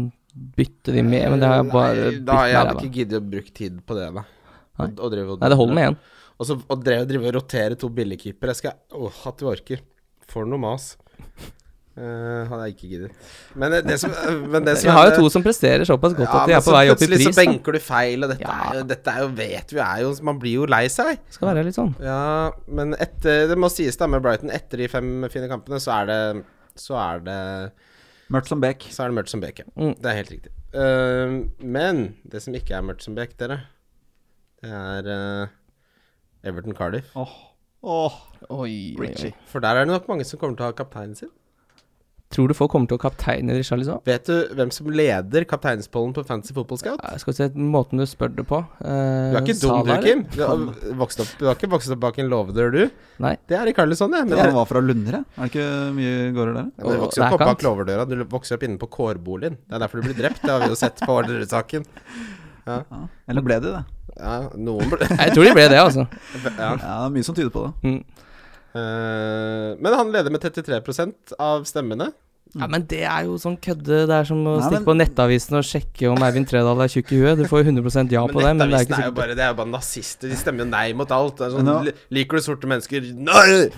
Speaker 4: bytte de med, men det har jeg bare
Speaker 3: Eh, Nei,
Speaker 4: bytt
Speaker 3: da,
Speaker 4: med
Speaker 3: Jeg hadde
Speaker 4: ræva.
Speaker 3: ikke giddet å bruke tid på det, da.
Speaker 4: Nei.
Speaker 3: Og, og drive og-
Speaker 4: Nei, det holder med én.
Speaker 3: Og så og drev, drive og rotere to billigkeepere. Jeg skal Åh, at du orker. For noe mas. Eh, hadde jeg ikke giddet. Men eh, det som, eh, men det som
Speaker 4: Vi har jo to som presterer såpass godt at de er på vei opp i
Speaker 3: Plutselig
Speaker 4: pris.
Speaker 3: så
Speaker 4: Da.
Speaker 3: benker du feil, og dette
Speaker 4: Ja.
Speaker 3: er jo, dette er jo vet vi er jo Man blir jo lei seg.
Speaker 4: Skal være litt sånn.
Speaker 3: Ja, men etter, det må sies da med Brighton, etter de fem fine kampene, så er det Så er det
Speaker 2: Mørkt som Beck.
Speaker 3: så er det mørkt som bek, ja.
Speaker 4: Mm.
Speaker 3: Det er helt riktig. Ehm, men det som ikke er mørkt som bek, dere, det er eh, Everton Cardiff.
Speaker 2: Åh, åh.
Speaker 4: Oi,
Speaker 2: Richie.
Speaker 3: For der er det nok mange som kommer til å ha kapteinen sin.
Speaker 4: Tror du folk kommer til å kapteine Richarlison?
Speaker 3: Vet du hvem som leder kapteinspollen på Fantasy Football Scout?
Speaker 4: Ja, jeg skal se måten du spør det på. Eh,
Speaker 3: Du er ikke dum, du, Kim. Du har, vokst opp, du har ikke vokst opp bak en låvedør, du.
Speaker 4: Nei.
Speaker 3: Det er i Carlisson, det. Men
Speaker 2: Han
Speaker 3: det,
Speaker 2: var fra Lundre. Er det ikke mye gårder der?
Speaker 3: men du vokser jo
Speaker 4: Det er
Speaker 3: ikke opp
Speaker 4: kant.
Speaker 3: bak låvedøra, du vokser opp inne på kårboligen. Det er derfor du blir drept, det har vi jo sett på Orderud-saken.
Speaker 2: Ja. Eller ble de det?
Speaker 3: Ja, noen ble
Speaker 4: Nei, Jeg tror de ble det, altså.
Speaker 3: [laughs] ja.
Speaker 2: Ja, det er mye som tyder på det.
Speaker 4: Mm.
Speaker 3: Eh, Men han leder med 33 av stemmene.
Speaker 4: Ja, Men det er jo sånn kødde. Det er som å
Speaker 2: Nei,
Speaker 4: stikke
Speaker 2: men-
Speaker 4: på Nettavisen og sjekke om Eivind Tredal er tjukk i huet. Du får jo 100 ja på det, men det er
Speaker 3: Nettavisen
Speaker 4: ikke
Speaker 3: er jo
Speaker 4: sikkert.
Speaker 3: bare, det er jo bare nazister. De stemmer jo nei mot alt. Det er sånn,
Speaker 2: Nå-
Speaker 3: li- Liker du sorte mennesker? Nei!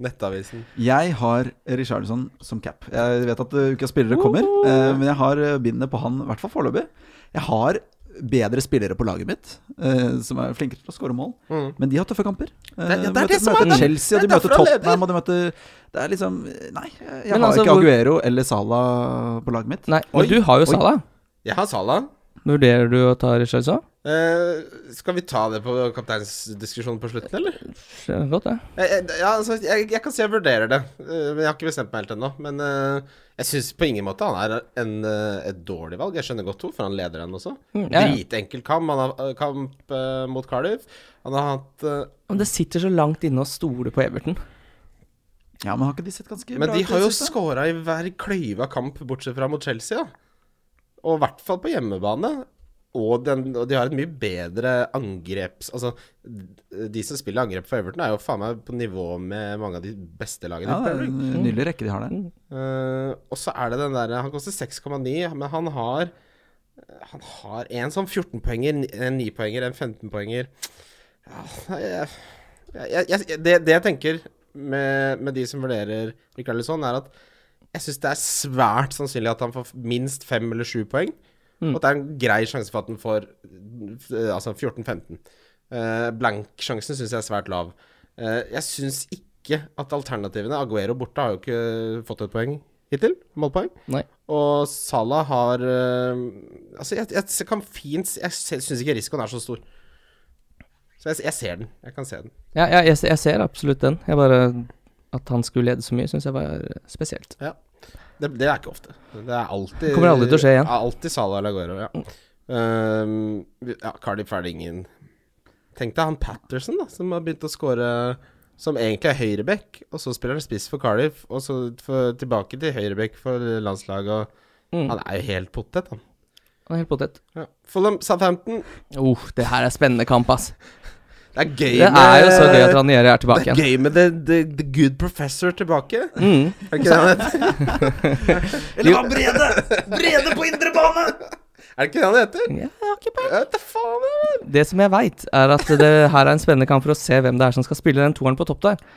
Speaker 3: Nettavisen.
Speaker 2: Jeg har Richarlison som cap. Jeg vet at eh, ukas spillere kommer, eh, men jeg har eh, bindet på han, i hvert fall foreløpig. Jeg har bedre spillere på laget mitt, eh, som er flinkere til å skåre mål, men de har tøffe kamper. Eh,
Speaker 3: Mm. Det er- det er
Speaker 2: møter,
Speaker 3: det som er
Speaker 2: møter
Speaker 3: det.
Speaker 2: Chelsea, og
Speaker 3: Det
Speaker 2: de
Speaker 3: er
Speaker 2: møter
Speaker 3: derfor han leder.
Speaker 2: Tottenham, og de møter Det er liksom eh, Nei, jeg
Speaker 4: Men
Speaker 2: har ikke
Speaker 4: altså, hvor-
Speaker 2: Aguero eller Salah på laget mitt.
Speaker 4: Nei,
Speaker 3: Oi,
Speaker 4: men du har jo
Speaker 2: oi.
Speaker 4: Salah.
Speaker 3: Jeg har Salah.
Speaker 4: Vurderer du å ta Richarlison?
Speaker 3: Eh, skal vi ta det på kapteinsdiskusjonen på slutten, eller?
Speaker 4: Skjønner Godt, det.
Speaker 3: Eh, eh, ja, altså, jeg, jeg kan si jeg vurderer det, eh, men jeg har ikke bestemt meg helt ennå. Men eh, jeg syns på ingen måte han er en, eh, et dårlig valg. Jeg skjønner godt hvorfor han leder den også.
Speaker 4: Mm, ja, ja.
Speaker 3: Dritenkel kamp. Han har eh, kamp eh, mot Cardiff. Han har hatt eh,
Speaker 4: Men det sitter så langt inne å stole på Everton.
Speaker 2: Ja, men har ikke de sett ganske
Speaker 3: Men
Speaker 2: bra
Speaker 3: de
Speaker 2: ut i
Speaker 3: har jo
Speaker 2: det siste?
Speaker 3: skåra i hver kløyva kamp, bortsett fra mot Chelsea, da. Og i hvert fall på hjemmebane. og, den, og de har et mye bedre angreps... Altså, de som spiller angrep for Everton, er jo faen meg på nivå med mange av de beste lagene.
Speaker 2: Ja,
Speaker 3: i
Speaker 2: det
Speaker 3: Premier
Speaker 2: er
Speaker 3: League.
Speaker 2: en nydelig rekke de har
Speaker 4: Mm.
Speaker 2: der.
Speaker 3: Eh, og så er det den derre Han koster 6,9, men han har Han har en sånn 14-poenger, en 9-poenger, en 15-poenger ja, jeg, jeg, jeg, det, det jeg tenker med, med de som vurderer Rikarlisson, er at jeg syns det er svært sannsynlig at han får minst fem eller sju poeng. Og at det er en grei sjanse for at han får eh, altså 14-15. Eh, Blank-sjansen syns jeg er svært lav. Eh, jeg syns ikke at alternativene Aguero borte har jo ikke fått et poeng hittil. Målpoeng.
Speaker 4: Nei.
Speaker 3: Og Salah har eh, Altså, jeg, jeg kan fint Jeg syns ikke risikoen er så stor. Så jeg, jeg ser den. Jeg kan se den.
Speaker 4: Ja, ja jeg, jeg ser absolutt den. Jeg bare At han skulle lede så mye, syns jeg var eh, spesielt.
Speaker 3: Ja. Det, det er ikke ofte. Det er alltid
Speaker 4: Kommer aldri til å skje igjen. Mm.
Speaker 3: er Alltid Salah eller Aguero, ja. Um, ja Cardiff er det ingen Tenk deg han Patterson, da, som har begynt å score Som egentlig er høyreback, og så spiller han spiss for Cardiff, og så for, tilbake til høyreback for landslaget. Og,
Speaker 4: Mm.
Speaker 3: Han er jo helt potet, han.
Speaker 4: Han er helt potet.
Speaker 3: Ja. Fulham Southampton.
Speaker 4: Oh, det her er spennende kamp, ass.
Speaker 3: Det er gøy
Speaker 4: Det er jo så gøy at Ranieri er tilbake
Speaker 3: det er [laughs]
Speaker 4: igjen.
Speaker 3: gøy med the, the, the Good Professor tilbake.
Speaker 4: Mm.
Speaker 3: Er det ikke det han heter?
Speaker 2: [laughs] Eller hva, Brede? Brede på indre bane!
Speaker 3: Er det ikke det han heter?
Speaker 4: Ja, jeg har ikke
Speaker 3: Jeg vet da faen. jeg.
Speaker 4: Det som jeg veit, er at det her er en spennende kamp for å se hvem det er som skal spille den toeren på topp der.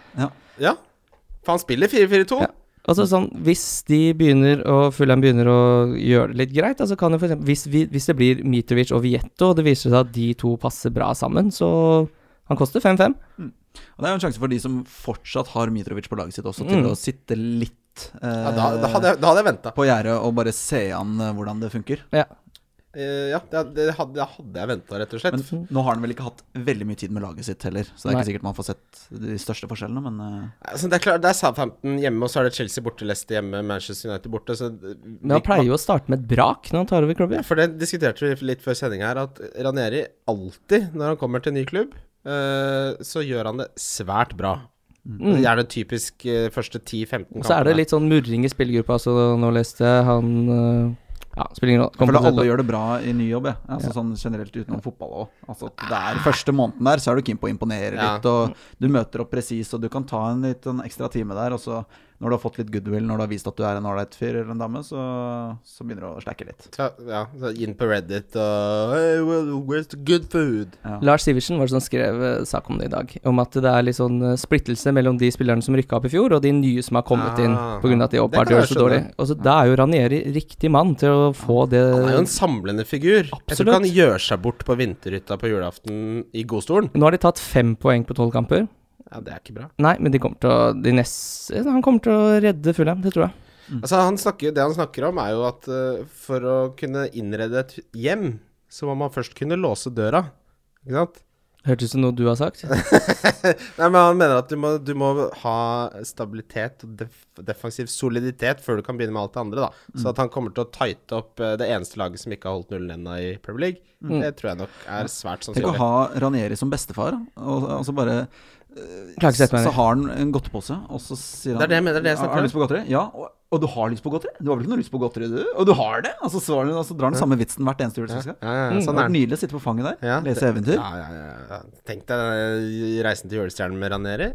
Speaker 3: Ja. For han spiller 4-4-2.
Speaker 4: Ja. Altså sånn, Hvis de begynner å Fulham begynner å gjøre det litt greit, altså kan jo for eksempel, hvis, vi, hvis det blir Mitrovic og Vietto, og det viser seg at de to passer bra sammen, så Han koster 5-5.
Speaker 2: Og Det er jo en sjanse for de som fortsatt har Mitrovic på laget sitt, også til
Speaker 4: Mm.
Speaker 2: å sitte litt eh,
Speaker 3: Ja, da, da hadde jeg, da hadde jeg venta.
Speaker 2: på gjerdet og bare se an eh, hvordan det funker.
Speaker 4: Ja.
Speaker 3: Eh, ja, det, det, hadde, det hadde jeg venta, rett og slett.
Speaker 2: Men nå har han vel ikke hatt veldig mye tid med laget sitt heller, så det er
Speaker 4: Nei.
Speaker 2: ikke sikkert man får sett de største forskjellene, men eh,
Speaker 3: altså, det er klart, det er Southampton hjemme, og så er det Chelsea borte, Leicester hjemme, Manchester United borte. Så eh,
Speaker 4: Men han pleier jo å starte med et brak når han tar over klubben.
Speaker 3: For det diskuterte vi litt før sending her, at Ranieri alltid, når han kommer til en ny klubb, eh, så gjør han det svært bra.
Speaker 4: Mm.
Speaker 3: Gjerne typisk eh, første 10-15
Speaker 4: Og
Speaker 3: kampene.
Speaker 4: så er det litt sånn murring i spillergruppa, så nå leste jeg han øh, Ja, spiller ingen rolle.
Speaker 2: Jeg
Speaker 4: Kommer
Speaker 2: føler
Speaker 4: til å
Speaker 2: alle
Speaker 4: sette-
Speaker 2: gjør det bra i ny jobb, jeg. Altså, Sånn generelt utenom fotball òg. Altså, det er første måneden der, så er du keen på å imponere
Speaker 3: Ja.
Speaker 2: litt, og du møter opp presis, og du kan ta en liten ekstra time der, og så, når du har fått litt goodwill, når du har vist at du er en ålreit fyr eller en dame, så, så begynner du å slacke litt.
Speaker 3: Tra- Ja, så inn på Reddit og hey, well, Where's the good food?
Speaker 4: Lars Sivertsen var det som skrev eh, sak om det i dag. Om at det er litt sånn eh, splittelse mellom de spillerne som rykka opp i fjor, og de nye som har
Speaker 3: Ah,
Speaker 4: kommet inn pga. at
Speaker 3: det
Speaker 4: de
Speaker 3: kan
Speaker 4: åpenbart gjør
Speaker 3: jeg
Speaker 4: det så dårlig. Og så Da er jo Ranieri riktig mann til å få det
Speaker 3: Han er jo en samlende figur. Jeg tror
Speaker 4: Absolutt.
Speaker 3: ikke han gjør seg bort på vinterhytta på julaften i godstolen.
Speaker 4: Nå har de tatt fem poeng på tolv kamper.
Speaker 3: Ja, det er ikke bra.
Speaker 4: Nei, men de kommer til å de nest, Han kommer til å redde Fulham, det tror jeg.
Speaker 3: Altså, han snakker, det han snakker om, er jo at eh, for å kunne innrede et hjem, så må man først kunne låse døra. Ikke sant?
Speaker 4: Hørtes ut som noe du
Speaker 3: [laughs]
Speaker 4: har sagt.
Speaker 3: Nei, men Han mener at du må, du må ha stabilitet og def defensiv soliditet før du kan begynne med alt det andre. da Så at han kommer til å tighte opp eh, det eneste laget som ikke har holdt nullen ennå i Premier League, det tror jeg nok er svært
Speaker 2: Tenk å
Speaker 3: sannsynlig.
Speaker 2: ha Ranieri som bestefar, og, og så bare
Speaker 4: Klarer ikke å sette
Speaker 2: Så
Speaker 4: meg ned.
Speaker 2: har han en godtepose, og så sier han
Speaker 3: Det er det jeg mener, det er det jeg snakker
Speaker 2: Har
Speaker 3: om.
Speaker 2: du lyst på godteri? Ja. Og, og du har lyst på godteri? Du har vel ikke noe lyst på godteri, du? Og du har det! Og så, svarer han, og så drar han samme vitsen hvert eneste juleselskap.
Speaker 3: Ja, ja,
Speaker 4: Mm.
Speaker 3: sånn
Speaker 2: Det
Speaker 3: er
Speaker 2: er
Speaker 3: den.
Speaker 2: nydelig å sitte på fanget der,
Speaker 3: Ja,
Speaker 2: lese
Speaker 3: det-
Speaker 2: eventyr.
Speaker 3: Ja, ja, ja, ja. Tenk deg eh, reisen til julestjernen med Raneri.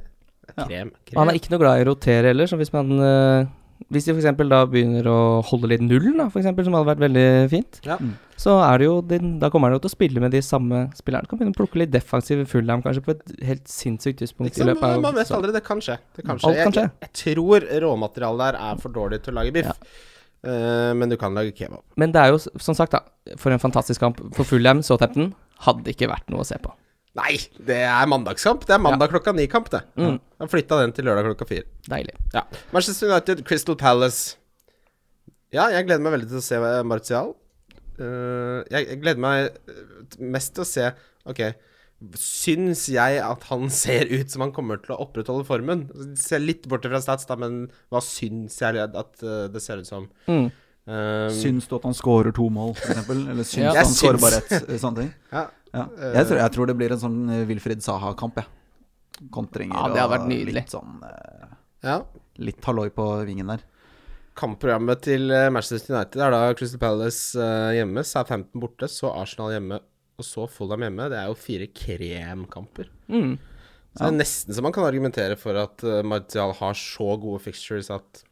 Speaker 3: Krem.
Speaker 4: Og han
Speaker 3: krem.
Speaker 4: er ikke noe glad i å rotere heller, så hvis man eh, Hvis de f.eks. da begynner å holde litt nullen, da, for eksempel, som hadde vært veldig fint,
Speaker 3: Ja.
Speaker 4: så er det jo den- Da kommer han jo til å spille med de samme spillerne. Kan begynne å plukke litt defensiv Fulham kanskje på et helt sinnssykt tidspunkt
Speaker 3: Liksom,
Speaker 4: i løpet av
Speaker 3: man vet
Speaker 4: sesongen.
Speaker 3: aldri. Det kan skje. Det kan skje.
Speaker 4: Alt kan skje.
Speaker 3: Jeg, jeg, jeg tror råmaterialet der er for dårlig til å lage biff.
Speaker 4: Ja.
Speaker 3: Eh, men du kan lage kebab.
Speaker 4: Men det er jo, s- som sagt, da, for en fantastisk kamp for Fulham, Southampton, hadde ikke vært noe å se på.
Speaker 3: Nei, det er mandagskamp. Det er mandag klokka ni-kamp, det.
Speaker 4: Mm.
Speaker 3: Jeg flytta den til lørdag klokka fire.
Speaker 4: Deilig.
Speaker 3: Ja. Manchester United, Crystal Palace. Ja, jeg gleder meg veldig til å se eh, Martial. Eh, jeg, jeg gleder meg eh, mest til å se Ok, syns jeg at han [laughs] ser ut som han kommer til å opprettholde formen? Altså, Ser litt bort fra stats, da, men hva syns jeg at eh, det ser ut som?
Speaker 4: Mm.
Speaker 3: Eh,
Speaker 2: Syns du at han scorer to mål, f.eks.? Eller syns
Speaker 4: Ja.
Speaker 2: du
Speaker 3: Jeg
Speaker 2: han scorer
Speaker 3: syns-
Speaker 2: bare ett? eh, Sånne ting.
Speaker 3: ja.
Speaker 2: Ja. Jeg, tror, jeg tror det blir en sånn eh, Wilfried Saha-kamp, jeg. Kontringer
Speaker 4: Ja, det hadde vært
Speaker 2: og
Speaker 4: nydelig.
Speaker 2: litt sånn eh,
Speaker 3: ja.
Speaker 2: Litt halloi på vingen der.
Speaker 3: Kampprogrammet til eh, Manchester United er da Crystal Palace eh, hjemme, Southampton borte, så Arsenal hjemme, og så Fulham hjemme. Det er jo fire kremkamper.
Speaker 4: Mm.
Speaker 3: Så det er nesten så man kan argumentere for at eh, Martial har så gode fixtures at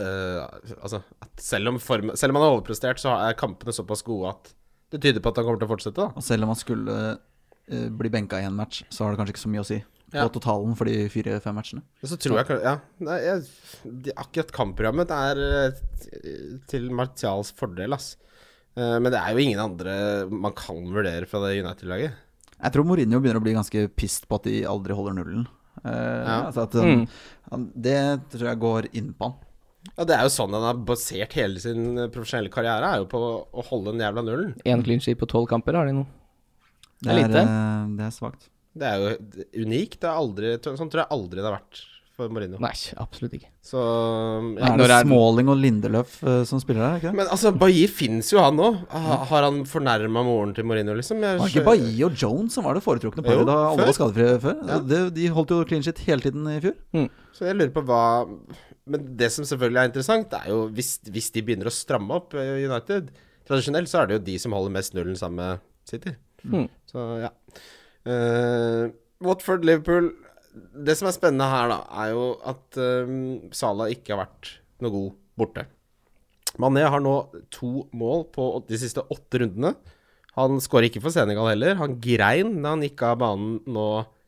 Speaker 3: eh, Altså, at selv om, form, selv om han har overprestert, så er kampene såpass gode at det tyder på at han kommer til å fortsette, da.
Speaker 2: Og selv om han skulle eh, bli benka i én match, så har det kanskje ikke så mye å si
Speaker 3: Ja.
Speaker 2: på totalen for de fire-fem matchene.
Speaker 3: Men så tror jeg kan- Ja. Nei, jeg, de, akkurat kampprogrammet er eh, til Martials fordel, ass. Eh, Men det er jo ingen andre man kan vurdere fra det United-laget.
Speaker 2: Jeg tror Mourinho begynner å bli ganske pissed på at de aldri holder nullen. Eh, altså at, sånn, han, det tror jeg går inn på han.
Speaker 3: Ja, Det er jo sånn han har basert hele sin eh, profesjonelle karriere, er jo på å holde den jævla nullen.
Speaker 4: Én clean sheet på tolv kamper har de nå.
Speaker 2: Det
Speaker 4: Det er
Speaker 2: er,
Speaker 4: lite.
Speaker 2: eh, det er svakt.
Speaker 3: Det er jo d- unikt. Det er aldri, t- sånn tror jeg aldri det har vært for Mourinho.
Speaker 4: Nei, absolutt ikke.
Speaker 3: Så ja.
Speaker 2: Er
Speaker 4: når
Speaker 2: det
Speaker 4: er den-
Speaker 2: Småling og Lindeløf eh, som spiller her, er det ikke det?
Speaker 3: Men altså, Bailly fins jo, han òg. Har han fornærma moren til Mourinho, liksom? Jeg
Speaker 2: Var det ikke
Speaker 3: skjø-
Speaker 2: Bailly og Jones som var det foretrukne
Speaker 3: Jo,
Speaker 2: paret da alle
Speaker 3: før.
Speaker 2: var skadefrie før?
Speaker 3: Ja.
Speaker 2: Det, de holdt jo clean shit hele tiden i fjor.
Speaker 3: Så jeg lurer på hva Men det som selvfølgelig er interessant, er jo hvis, hvis de begynner å stramme opp eh, United Tradisjonelt så er det jo de som holder mest nullen sammen med City.
Speaker 4: Mm.
Speaker 3: Så ja. Eh, Watford, Liverpool Det som er spennende her, da, er jo at eh, Salah ikke har vært noe god borte. Mané har nå to mål på åt- de siste åtte rundene. Han skårer ikke for Senegal heller. Han grein da han gikk av banen nå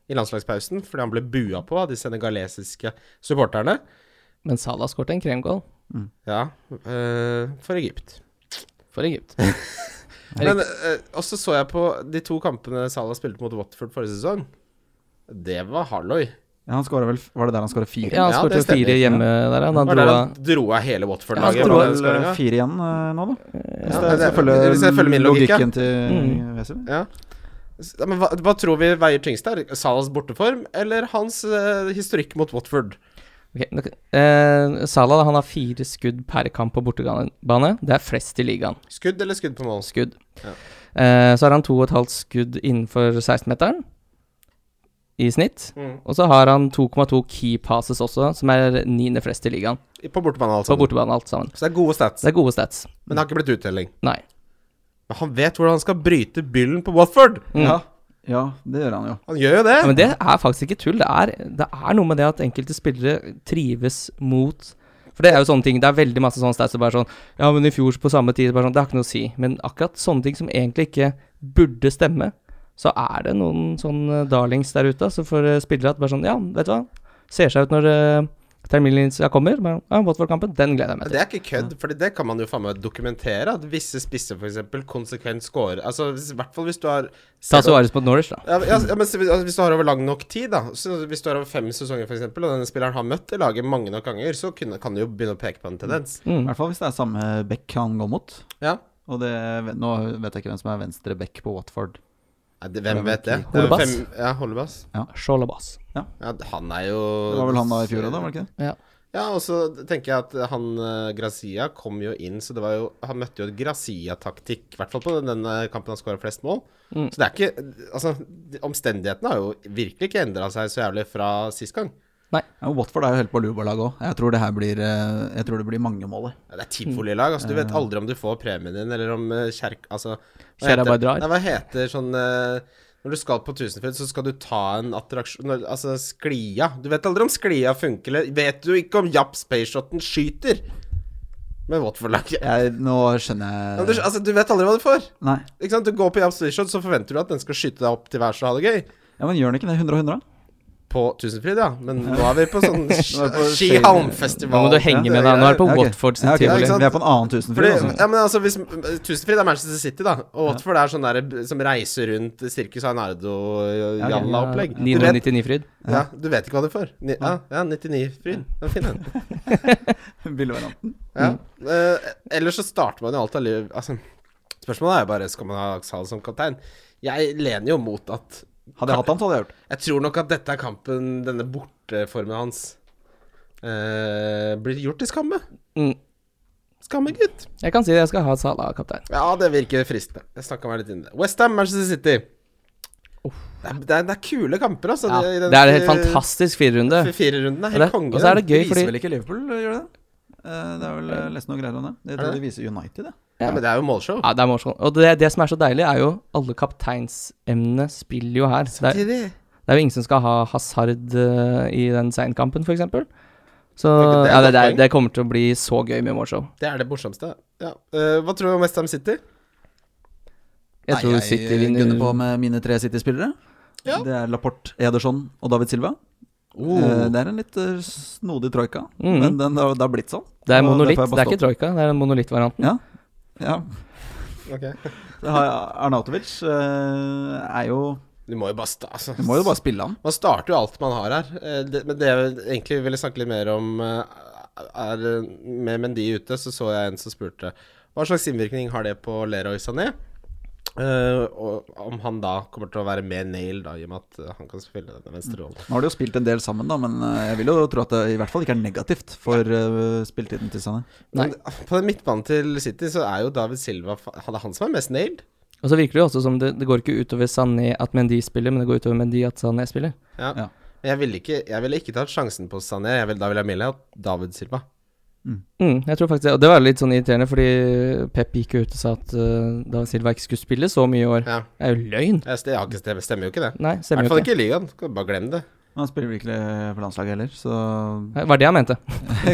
Speaker 3: i landslagspausen fordi han ble bua på av de senegalesiske supporterne.
Speaker 4: Men Salah skåret en kremgoal
Speaker 3: Ja, eh, for Egypt.
Speaker 4: for
Speaker 3: [laughs]
Speaker 4: Egypt.
Speaker 3: Men eh, også så jeg på de to kampene Salah spilte mot Watford forrige sesong. Det var halloi.
Speaker 2: Ja, han skåret vel Var det der han skåra fire?
Speaker 4: Ja, han
Speaker 3: Ja,
Speaker 4: skåret
Speaker 3: det
Speaker 4: jo fire
Speaker 3: stemmer.
Speaker 4: hjemme der, ja. Da
Speaker 3: Det var
Speaker 4: dro
Speaker 3: der
Speaker 4: han
Speaker 3: han dro av hele
Speaker 2: Han
Speaker 3: Watford-laget.
Speaker 2: skåra
Speaker 3: på den
Speaker 2: vel eh,
Speaker 3: skåringen.
Speaker 2: fire igjen eh, nå, da. Hvis
Speaker 3: Ja,
Speaker 2: jeg
Speaker 3: det-
Speaker 2: skal følge
Speaker 3: hvis jeg følger min logikk, ja.
Speaker 2: logikken til
Speaker 4: Mm.
Speaker 2: Weser.
Speaker 3: Ja. S- Men hva, hva tror vi veier tyngst der? Salas borteform eller hans eh, historikk mot Watford?
Speaker 4: Ok, nok- eh, Salah da, han har fire skudd per kamp på bortebane. Det er flest i ligaen.
Speaker 3: Skudd eller skudd på mål?
Speaker 4: Skudd.
Speaker 3: Ja.
Speaker 4: Eh, så har han to og et halvt skudd innenfor 16-meteren i snitt. Og så har han 2,2 key passes også, som er niende flest i ligaen.
Speaker 3: I- På bortebane,
Speaker 4: På
Speaker 3: altså.
Speaker 4: bortebane, alt sammen.
Speaker 3: Så det er gode stats.
Speaker 4: Så det er gode stats.
Speaker 3: Men det har ikke blitt uttelling.
Speaker 4: Nei.
Speaker 3: Men han vet hvordan han skal bryte byllen på Watford!
Speaker 4: Mm.
Speaker 2: Ja. ja, det gjør han jo.
Speaker 3: Han gjør jo det!
Speaker 4: Ja, men det er faktisk ikke tull. Det er, det er noe med det at enkelte spillere trives mot For det er jo sånne ting. Det er veldig masse sånne stats som bare sånn Ja, men i fjor på samme tid bare sånn, Det har ikke noe å si. Men akkurat sånne ting som egentlig ikke burde stemme, så er det noen sånne darlings der ute som for eh, spillere at bare sånn Ja, vet du hva. Ser seg ut når uh, terminlinja kommer. Bare, ja, Watford-kampen, den gleder jeg meg
Speaker 3: Men
Speaker 4: til.
Speaker 3: Det er ikke kødd, for det kan man jo faen meg dokumentere. At visse spisser f.eks. konsekvent scorer. Altså, hvis- i hvert fall hvis du har
Speaker 4: Ta Suarez mot Norwich, da.
Speaker 3: ja, ja, ja, men se- altså, Hvis du har over lang nok tid, da så altså, Hvis du har over fem sesonger, f.eks., og denne spilleren har møtt det laget mange nok ganger, så kunne, kan du jo begynne å peke på en tendens.
Speaker 2: I
Speaker 4: Mm.
Speaker 2: hvert fall hvis det er samme bekk han går mot.
Speaker 3: Ja.
Speaker 2: Og det, nå vet jeg ikke hvem som er venstre bekk på Watford.
Speaker 3: Nei, det, hvem vet det? Det er jo
Speaker 4: Holdebass?
Speaker 3: fem- Ja, Holdebass.
Speaker 4: Sjålabas.
Speaker 3: Ja, han er jo
Speaker 2: Det var vel han da i fjor òg, var det ikke det?
Speaker 4: Ja.
Speaker 3: Ja, og så tenker jeg at han eh, Grazia kom jo inn, så det var jo Han møtte jo et Grazia-taktikk, i hvert fall på den, den eh, kampen han skåra flest mål. Så det er ikke Altså, de- omstendighetene har jo virkelig ikke endra seg så jævlig fra sist gang.
Speaker 2: Ja, og Watford er jo helt på lubalag òg. Jeg tror det her blir eh, Jeg tror det blir mangemålet.
Speaker 3: Ja, det er tivolilag. Altså, du vet aldri om du får premien din, eller om eh, kjerk... Altså hva
Speaker 4: Kjerra
Speaker 3: heter-
Speaker 4: bare drar.
Speaker 3: Nei, hva heter sånn eh, Når du skal på Tusenfryd, så skal du ta en attraksjon når- Altså sklia. Du vet aldri om sklia funker, eller Vet du ikke om Japp Spaceshoten skyter? Men Watford-laget
Speaker 2: Jeg, nå skjønner
Speaker 3: Men
Speaker 2: jeg
Speaker 3: du, altså, du vet aldri hva du får.
Speaker 2: Nei.
Speaker 3: Ikke sant? Du går på Japs Shot, så forventer du at den skal skyte deg opp til værs og ha det gøy.
Speaker 2: Ja, Men gjør han ikke det? 100 og 100?
Speaker 3: På Tusenfryd, ja. [laughs] Men nå er vi på sånn
Speaker 2: Nå er vi på
Speaker 4: Nå
Speaker 3: skihalmfestival.
Speaker 4: må du henge med deg. Nå er det på
Speaker 2: Ja, ok.
Speaker 4: Watford sin
Speaker 2: Ja, ok,
Speaker 4: tivoli.
Speaker 3: ikke sant?
Speaker 2: Vi er på en annen tusenfryd.
Speaker 3: Fordi,
Speaker 2: [laughs] Altså.
Speaker 3: ja, men altså, hvis, Tusenfryd er Manchester City, da. Og Watford er sånn der som reiser rundt Circus
Speaker 2: ok.
Speaker 4: Eh,
Speaker 3: Arnardo-jalla-opplegg. Du, vet-
Speaker 4: 999-fryd.
Speaker 3: ja, du vet ikke hva du får. Ni, ja, ja 99-fryd. Den er fin, [laughs] den.
Speaker 2: Billigvarianten.
Speaker 3: Ja. eh, ellers så starter man jo alt av liv altså, Spørsmålet er jo bare skal man ha Axal som kaptein. Jeg lener jo mot at
Speaker 2: Hadde jeg hatt han, så hadde jeg gjort det.
Speaker 3: Jeg tror nok at dette er kampen denne borteformen hans eh, blir gjort til skamme.
Speaker 4: Mm.
Speaker 3: Skamme, gutt.
Speaker 4: Jeg kan si det, jeg skal ha Salah kaptein.
Speaker 3: Ja, det virker fristende. Jeg snakka meg litt inn i det. Westham, Manchester City. Det, er, det, er, det er kule kamper, altså.
Speaker 4: Ja,
Speaker 3: i den-
Speaker 4: det er en helt fantastisk firerunde.
Speaker 3: Fire rundene er
Speaker 4: Og det-
Speaker 3: helt konge.
Speaker 4: og så er det
Speaker 3: den.
Speaker 4: gøy fordi
Speaker 2: vel ikke Liverpool, gjør det? Eh, Det er vel eh, lest noen greier om det. Jeg tror
Speaker 3: det?
Speaker 2: de viser United, det.
Speaker 3: Ja, men det er jo målshow.
Speaker 4: Ja, det er morsomt. Og det, det som er så deilig, er jo alle kapteinsemnene spiller jo her. Det er, det er jo ingen som skal ha Hazard eh, i den seinkampen, f.eks. Så
Speaker 3: Men det er et
Speaker 4: ja, det, det,
Speaker 3: poeng.
Speaker 4: er- det kommer til å bli så gøy med morgenshow.
Speaker 3: Det er det morsomste. Ja. Eh, hva tror du om West Ham City?
Speaker 4: Jeg tror
Speaker 2: Nei,
Speaker 4: City
Speaker 2: gunner på
Speaker 4: vinner
Speaker 2: med mine tre City-spillere.
Speaker 3: Ja.
Speaker 2: Det er Laporte, Ederson og David Silva.
Speaker 4: Oh.
Speaker 2: Eh, Det er en litt eh, snodig troika,
Speaker 4: Mhm.
Speaker 2: men den, det har- det har blitt sånn.
Speaker 4: Det er
Speaker 2: Og
Speaker 4: monolitt,
Speaker 2: derfor
Speaker 4: det
Speaker 2: jeg
Speaker 4: er
Speaker 2: bare
Speaker 4: ikke troika. Det er den monolittvarianten.
Speaker 2: Ja. Ja. Det har jeg- Arnautovic eh, er jo
Speaker 3: Du må jo bare sta... Altså.
Speaker 2: Du må jo bare spille han.
Speaker 3: Man starter jo alt man har her. Eh, det- Men det jeg egentlig ville snakke litt mer om, eh, er eh, Med Mendy ute, så så jeg en som spurte hva slags innvirkning har det på Leroy Sané? Eh, og om han da kommer til å være mer nail, da, i og med at eh, han kan spille denne
Speaker 4: Mm.
Speaker 3: venstre rollen.
Speaker 2: Nå har de jo spilt en del sammen, da, men eh, jeg vil jo tro at det i hvert fall ikke er negativt for eh, spilletiden til Sané.
Speaker 3: Men ah, på den midtbanen til City så er jo David Silva fa- Det er han som er mest nailed.
Speaker 4: Og så virker det jo også som det, det går ikke utover Sané at Mendy spiller, men det går utover Mendy at Sané spiller.
Speaker 3: Ja.
Speaker 2: Ja.
Speaker 3: Men jeg ville ikke, jeg ville ikke tatt sjansen på Sané. Jeg vil, da ville jeg meldt David Silva.
Speaker 4: Mm, jeg tror faktisk det. Og det var litt sånn irriterende, fordi Pep gikk jo ut og sa at eh, David Silva ikke skulle spille så mye i år.
Speaker 3: Ja.
Speaker 4: Det er jo løgn!
Speaker 3: Jeg, jeg har ikke stemme, stemmer jo ikke det.
Speaker 4: Nei,
Speaker 3: I
Speaker 4: stemmer
Speaker 3: hvert fall
Speaker 4: jo ikke.
Speaker 3: ikke i ligaen. Skal Bare glem det.
Speaker 2: Men Han spiller vel ikke for landslaget heller,
Speaker 4: [laughs]
Speaker 2: så
Speaker 4: Nei, Var det han mente?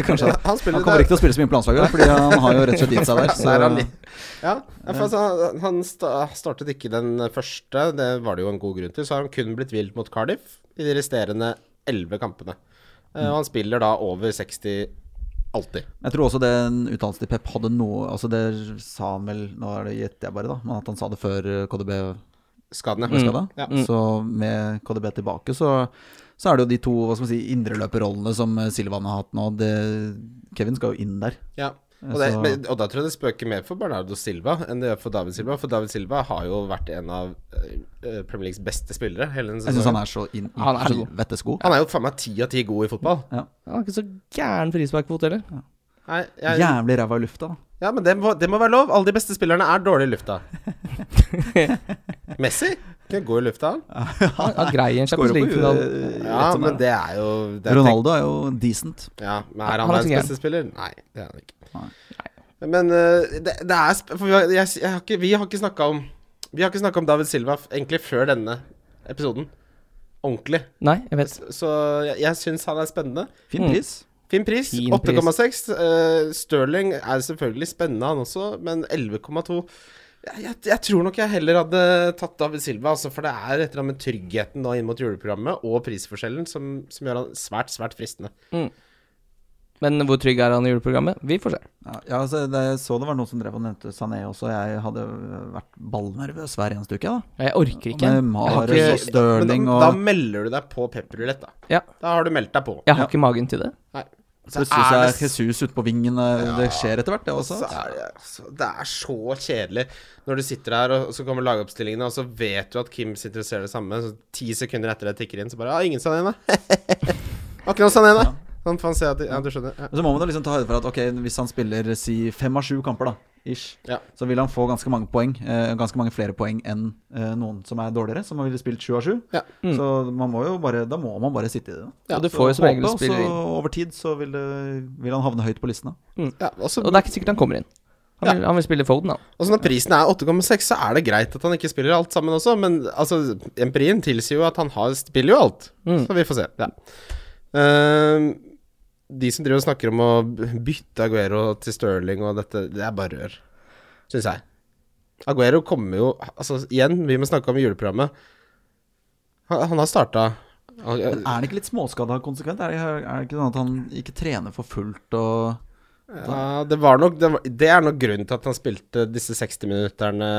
Speaker 2: Kanskje det.
Speaker 3: Han spiller
Speaker 2: Han kommer ikke til å spille så mye på landslaget, fordi han har jo rett og slett gitt
Speaker 4: [laughs]
Speaker 2: seg der.
Speaker 3: Der er han
Speaker 2: Så.
Speaker 3: litt- Ja, ja, for altså, han- han sta startet ikke den første, det var det jo en god grunn til. Så har han kun blitt vilt mot Cardiff i de resterende elleve kampene. Eh, Og han spiller da over 60 alltid.
Speaker 2: Jeg tror også den uttalelsen til Pep hadde noe Altså Det sa han vel Nå er det gjetter jeg bare, da, men at han sa det før eh, KDB
Speaker 3: Skadene.
Speaker 4: Mm.
Speaker 2: ble skada.
Speaker 3: Ja.
Speaker 2: Så med KDB tilbake, så, så er det jo de to hva skal man si, indreløperrollene som eh, Silvan har hatt nå. Det, Kevin skal jo inn der.
Speaker 3: Ja. Og, det,
Speaker 2: Så-
Speaker 3: men, og da tror jeg det spøker mer for Bernardo Silva enn det gjør for David Silva. For David Silva har jo vært en av eh, Premier Leagues beste spillere hele denne
Speaker 2: Jeg syns
Speaker 3: sesongen.
Speaker 2: han er så inn i
Speaker 4: Han er så god.
Speaker 2: helvetes god.
Speaker 3: Han er jo faen meg ti av ti god i fotball.
Speaker 4: Han har ikke så gæren frisparkkvote heller.
Speaker 3: Nei, jeg,
Speaker 2: Jævlig ræva i lufta, da.
Speaker 3: ja, men det må, det må være lov. Alle de beste spillerne er dårlige i lufta. Messi kan gå i lufta, han.
Speaker 4: Han, han greier en Champions League-finale.
Speaker 3: Ja, men det er jo det er
Speaker 2: eh, Ronaldo er jo decent.
Speaker 3: tenk- Ja, men er
Speaker 4: Han
Speaker 3: han
Speaker 4: er
Speaker 3: verdens
Speaker 4: ikke
Speaker 3: beste spiller? Nei, det er han ikke.
Speaker 2: Nei.
Speaker 3: Men eh, det, det er sp- For vi har, jeg, jeg har ikke, vi har ikke snakka om Vi har ikke snakka om David Silva f- egentlig før denne episoden. Ordentlig.
Speaker 4: Nei, jeg vet.
Speaker 3: Så jeg, jeg syns han er spennende.
Speaker 2: Fin
Speaker 4: Mm.
Speaker 2: pris.
Speaker 3: Fin pris.
Speaker 4: Fin
Speaker 3: 8,6. Uh, Sterling er selvfølgelig spennende, han også, men 11,2 jeg, jeg, jeg tror nok jeg heller hadde tatt David Silva, altså, for det er et eller annet med tryggheten nå inn mot juleprogrammet og prisforskjellen som, som gjør han svært, svært fristende.
Speaker 4: Men hvor trygg er han i juleprogrammet? Vi får se.
Speaker 2: Ja, ja altså, det, jeg så det var noen som drev og nevnte Sané også. Jeg hadde vært ballnervøs hver eneste uke. da
Speaker 4: Jeg orker ikke.
Speaker 2: Med
Speaker 4: Jeg har
Speaker 2: Mahrez
Speaker 4: ikke,
Speaker 2: og Stirling
Speaker 3: Men
Speaker 2: og
Speaker 3: da, da melder du deg på pepperulett, da.
Speaker 4: Ja.
Speaker 3: Da har du meldt deg på.
Speaker 4: jeg har ikke magen til det.
Speaker 3: Nei. Så
Speaker 2: Plutselig så
Speaker 3: er
Speaker 2: er Jesus ute på vingen. eh, Det skjer etter hvert, det også.
Speaker 3: så er det, altså, det er så kjedelig når du sitter her, og og så kommer lagoppstillingene, og så vet du at Kim sitter og ser det samme, så ti sekunder etter det tikker inn, så bare Ja, ingen Sané, [laughs] da. Var ikke noe Sané, da. Sånn faen ser jeg at de- Ja, du skjønner. Ja.
Speaker 2: Men så må man jo liksom ta høyde for at ok, hvis han spiller si fem av sju kamper, da, ish,
Speaker 3: Ja.
Speaker 2: så vil han få ganske mange poeng. Eh, ganske mange flere poeng enn eh, noen som er dårligere, som ville spilt sju av sju.
Speaker 3: Ja. Mm.
Speaker 2: Så man må jo bare, da må man bare sitte i det.
Speaker 3: Ja,
Speaker 4: du får jo som regel
Speaker 2: Håpe, og så
Speaker 4: spiller inn.
Speaker 2: Over tid så vil, det, vil han havne høyt på listene.
Speaker 3: Ja, og så-
Speaker 4: Og det er ikke sikkert han kommer inn. Han vil, han vil spille Foden, han.
Speaker 3: og så når prisen er 8,6, så er det greit at han ikke spiller alt sammen også, men altså, empirien tilsier jo at han har, spiller jo alt. Så vi får se. Ja. Ehm, de som driver og snakker om å bytte Aguero til Sterling og dette, det er bare rør, syns jeg. Aguero kommer jo Altså, igjen, vi må snakke om juleprogrammet. Han, han har starta
Speaker 2: Men er han ikke litt småskada konsekvent? Er det, er det ikke sånn at han ikke trener for fullt og
Speaker 3: Ja, det var nok det, var, det er nok grunnen til at han spilte disse 60-minutterne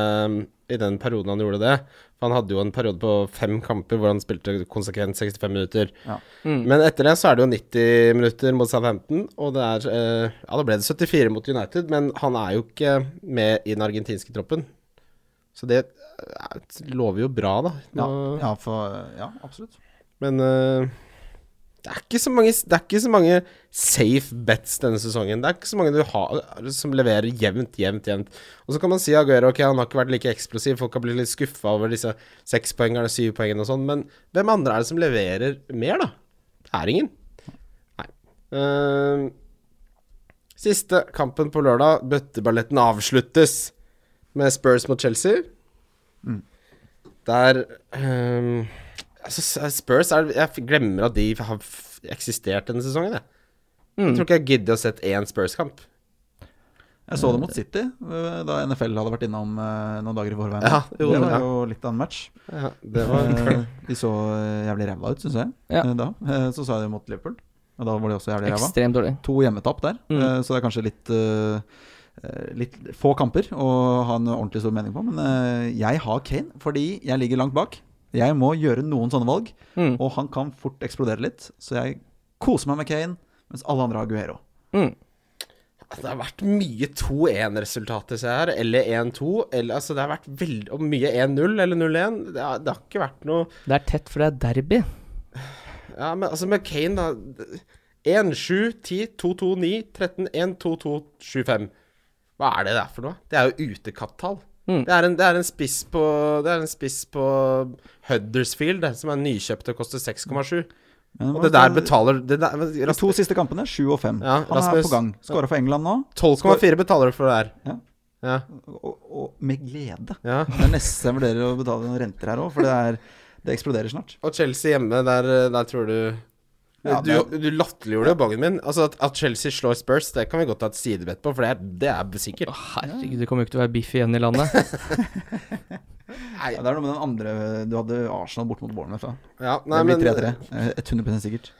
Speaker 3: i den perioden han gjorde det. For han hadde jo en periode på fem kamper hvor han spilte konsekvent 65 minutter.
Speaker 2: Ja.
Speaker 3: Men etter det så er det jo 90 minutter mot Southampton, og det er eh, Ja, da ble det 74 mot United, men han er jo ikke med i den argentinske troppen. Så det eh, lover jo bra, da.
Speaker 2: Ja,
Speaker 3: Nå-
Speaker 2: ja, for, ja absolutt.
Speaker 3: men eh, det, er ikke så mange, det er ikke så mange safe bets denne sesongen. Det er ikke så mange du har eh, som leverer jevnt, jevnt, jevnt. Og så kan man si Aguero ok, han har ikke vært like eksplosiv, folk har blitt litt skuffa over disse sekspoengerne, syvpoengene og sånn, men hvem andre er det som leverer mer, da? Det er ingen. Nei. Eh, Siste kampen på lørdag. Bøtteballetten avsluttes med Spurs mot Chelsea. Der ehm, altså, S- Spurs er, Jeg glemmer at de har f- eksistert denne sesongen, jeg.
Speaker 4: Mm.
Speaker 3: Jeg tror ikke jeg gidder å sett én Spurs-kamp.
Speaker 2: Jeg så det mot City eh, da NFL hadde vært innom eh, noen dager i forveien.
Speaker 3: Ja,
Speaker 2: det
Speaker 3: jo,
Speaker 2: var
Speaker 3: ja.
Speaker 2: jo litt av en match.
Speaker 3: Ja, det var
Speaker 2: Eh, De så eh, jævlig ræva ut, syns jeg.
Speaker 4: Ja.
Speaker 2: eh, Da. Eh, Så sa jeg det mot Liverpool, og da var de også jævlig ræva.
Speaker 4: Ekstremt dårlig.
Speaker 2: To hjemmetap der,
Speaker 4: Mm.
Speaker 2: eh, så det er kanskje litt eh, eh, Litt få kamper å ha en ordentlig stor mening på, men eh, jeg har Kane fordi jeg ligger langt bak. Jeg må gjøre noen sånne valg,
Speaker 4: Mm.
Speaker 2: og han kan fort eksplodere litt. Så jeg koser meg med Kane, mens alle andre har Guero.
Speaker 4: Mm.
Speaker 3: Altså, Det har vært mye 2-1-resultater, ser jeg her. Eller 1-2. Eller, altså, det har vært veld... og mye 1-0 eller 0-1. Det, har- det har ikke vært noe
Speaker 4: Det er tett, for det er derby.
Speaker 3: Ja, men altså, med Kane, da 1, 7, 10, 2, 2, 9, 13, 1, 2, 2, 7, 5. Hva er det der for noe? Det er jo utekapptall.
Speaker 4: Mm.
Speaker 3: Det, er en, det er en spiss på Det er en spiss på Huddersfield, det, som er nykjøpt og koster 6,7.
Speaker 2: Men
Speaker 3: Og det der betaler det der, men
Speaker 2: De
Speaker 3: Rasmus,
Speaker 2: to siste kampene, sju og fem.
Speaker 3: Ja,
Speaker 2: han er
Speaker 3: Rasmus-
Speaker 2: på gang. Skåra for England nå,
Speaker 3: 12,4 betaler du for det der.
Speaker 2: Ja.
Speaker 3: Ja.
Speaker 2: og, og med glede.
Speaker 3: ja.
Speaker 2: Det er nesten jeg vurderer å betale noen renter her òg, for det, er, det eksploderer snart.
Speaker 3: Og Chelsea hjemme, der, eh, der tror du
Speaker 2: Ja,
Speaker 3: du, du latterliggjorde jo bongen min. Altså At, at Chelsea slår Spurs, det kan vi godt ta et sidebett på, for det er, det er sikkert.
Speaker 4: Å, herregud, det kommer jo ikke til å være biff igjen i [laughs] landet.
Speaker 3: Nei,
Speaker 2: Ja, det er noe med den andre Du hadde Arsenal bort mot Bournemouth. da.
Speaker 3: ja,
Speaker 2: Det
Speaker 3: nei,
Speaker 2: blir
Speaker 3: men
Speaker 2: 3-3. eh, 100 sikkert.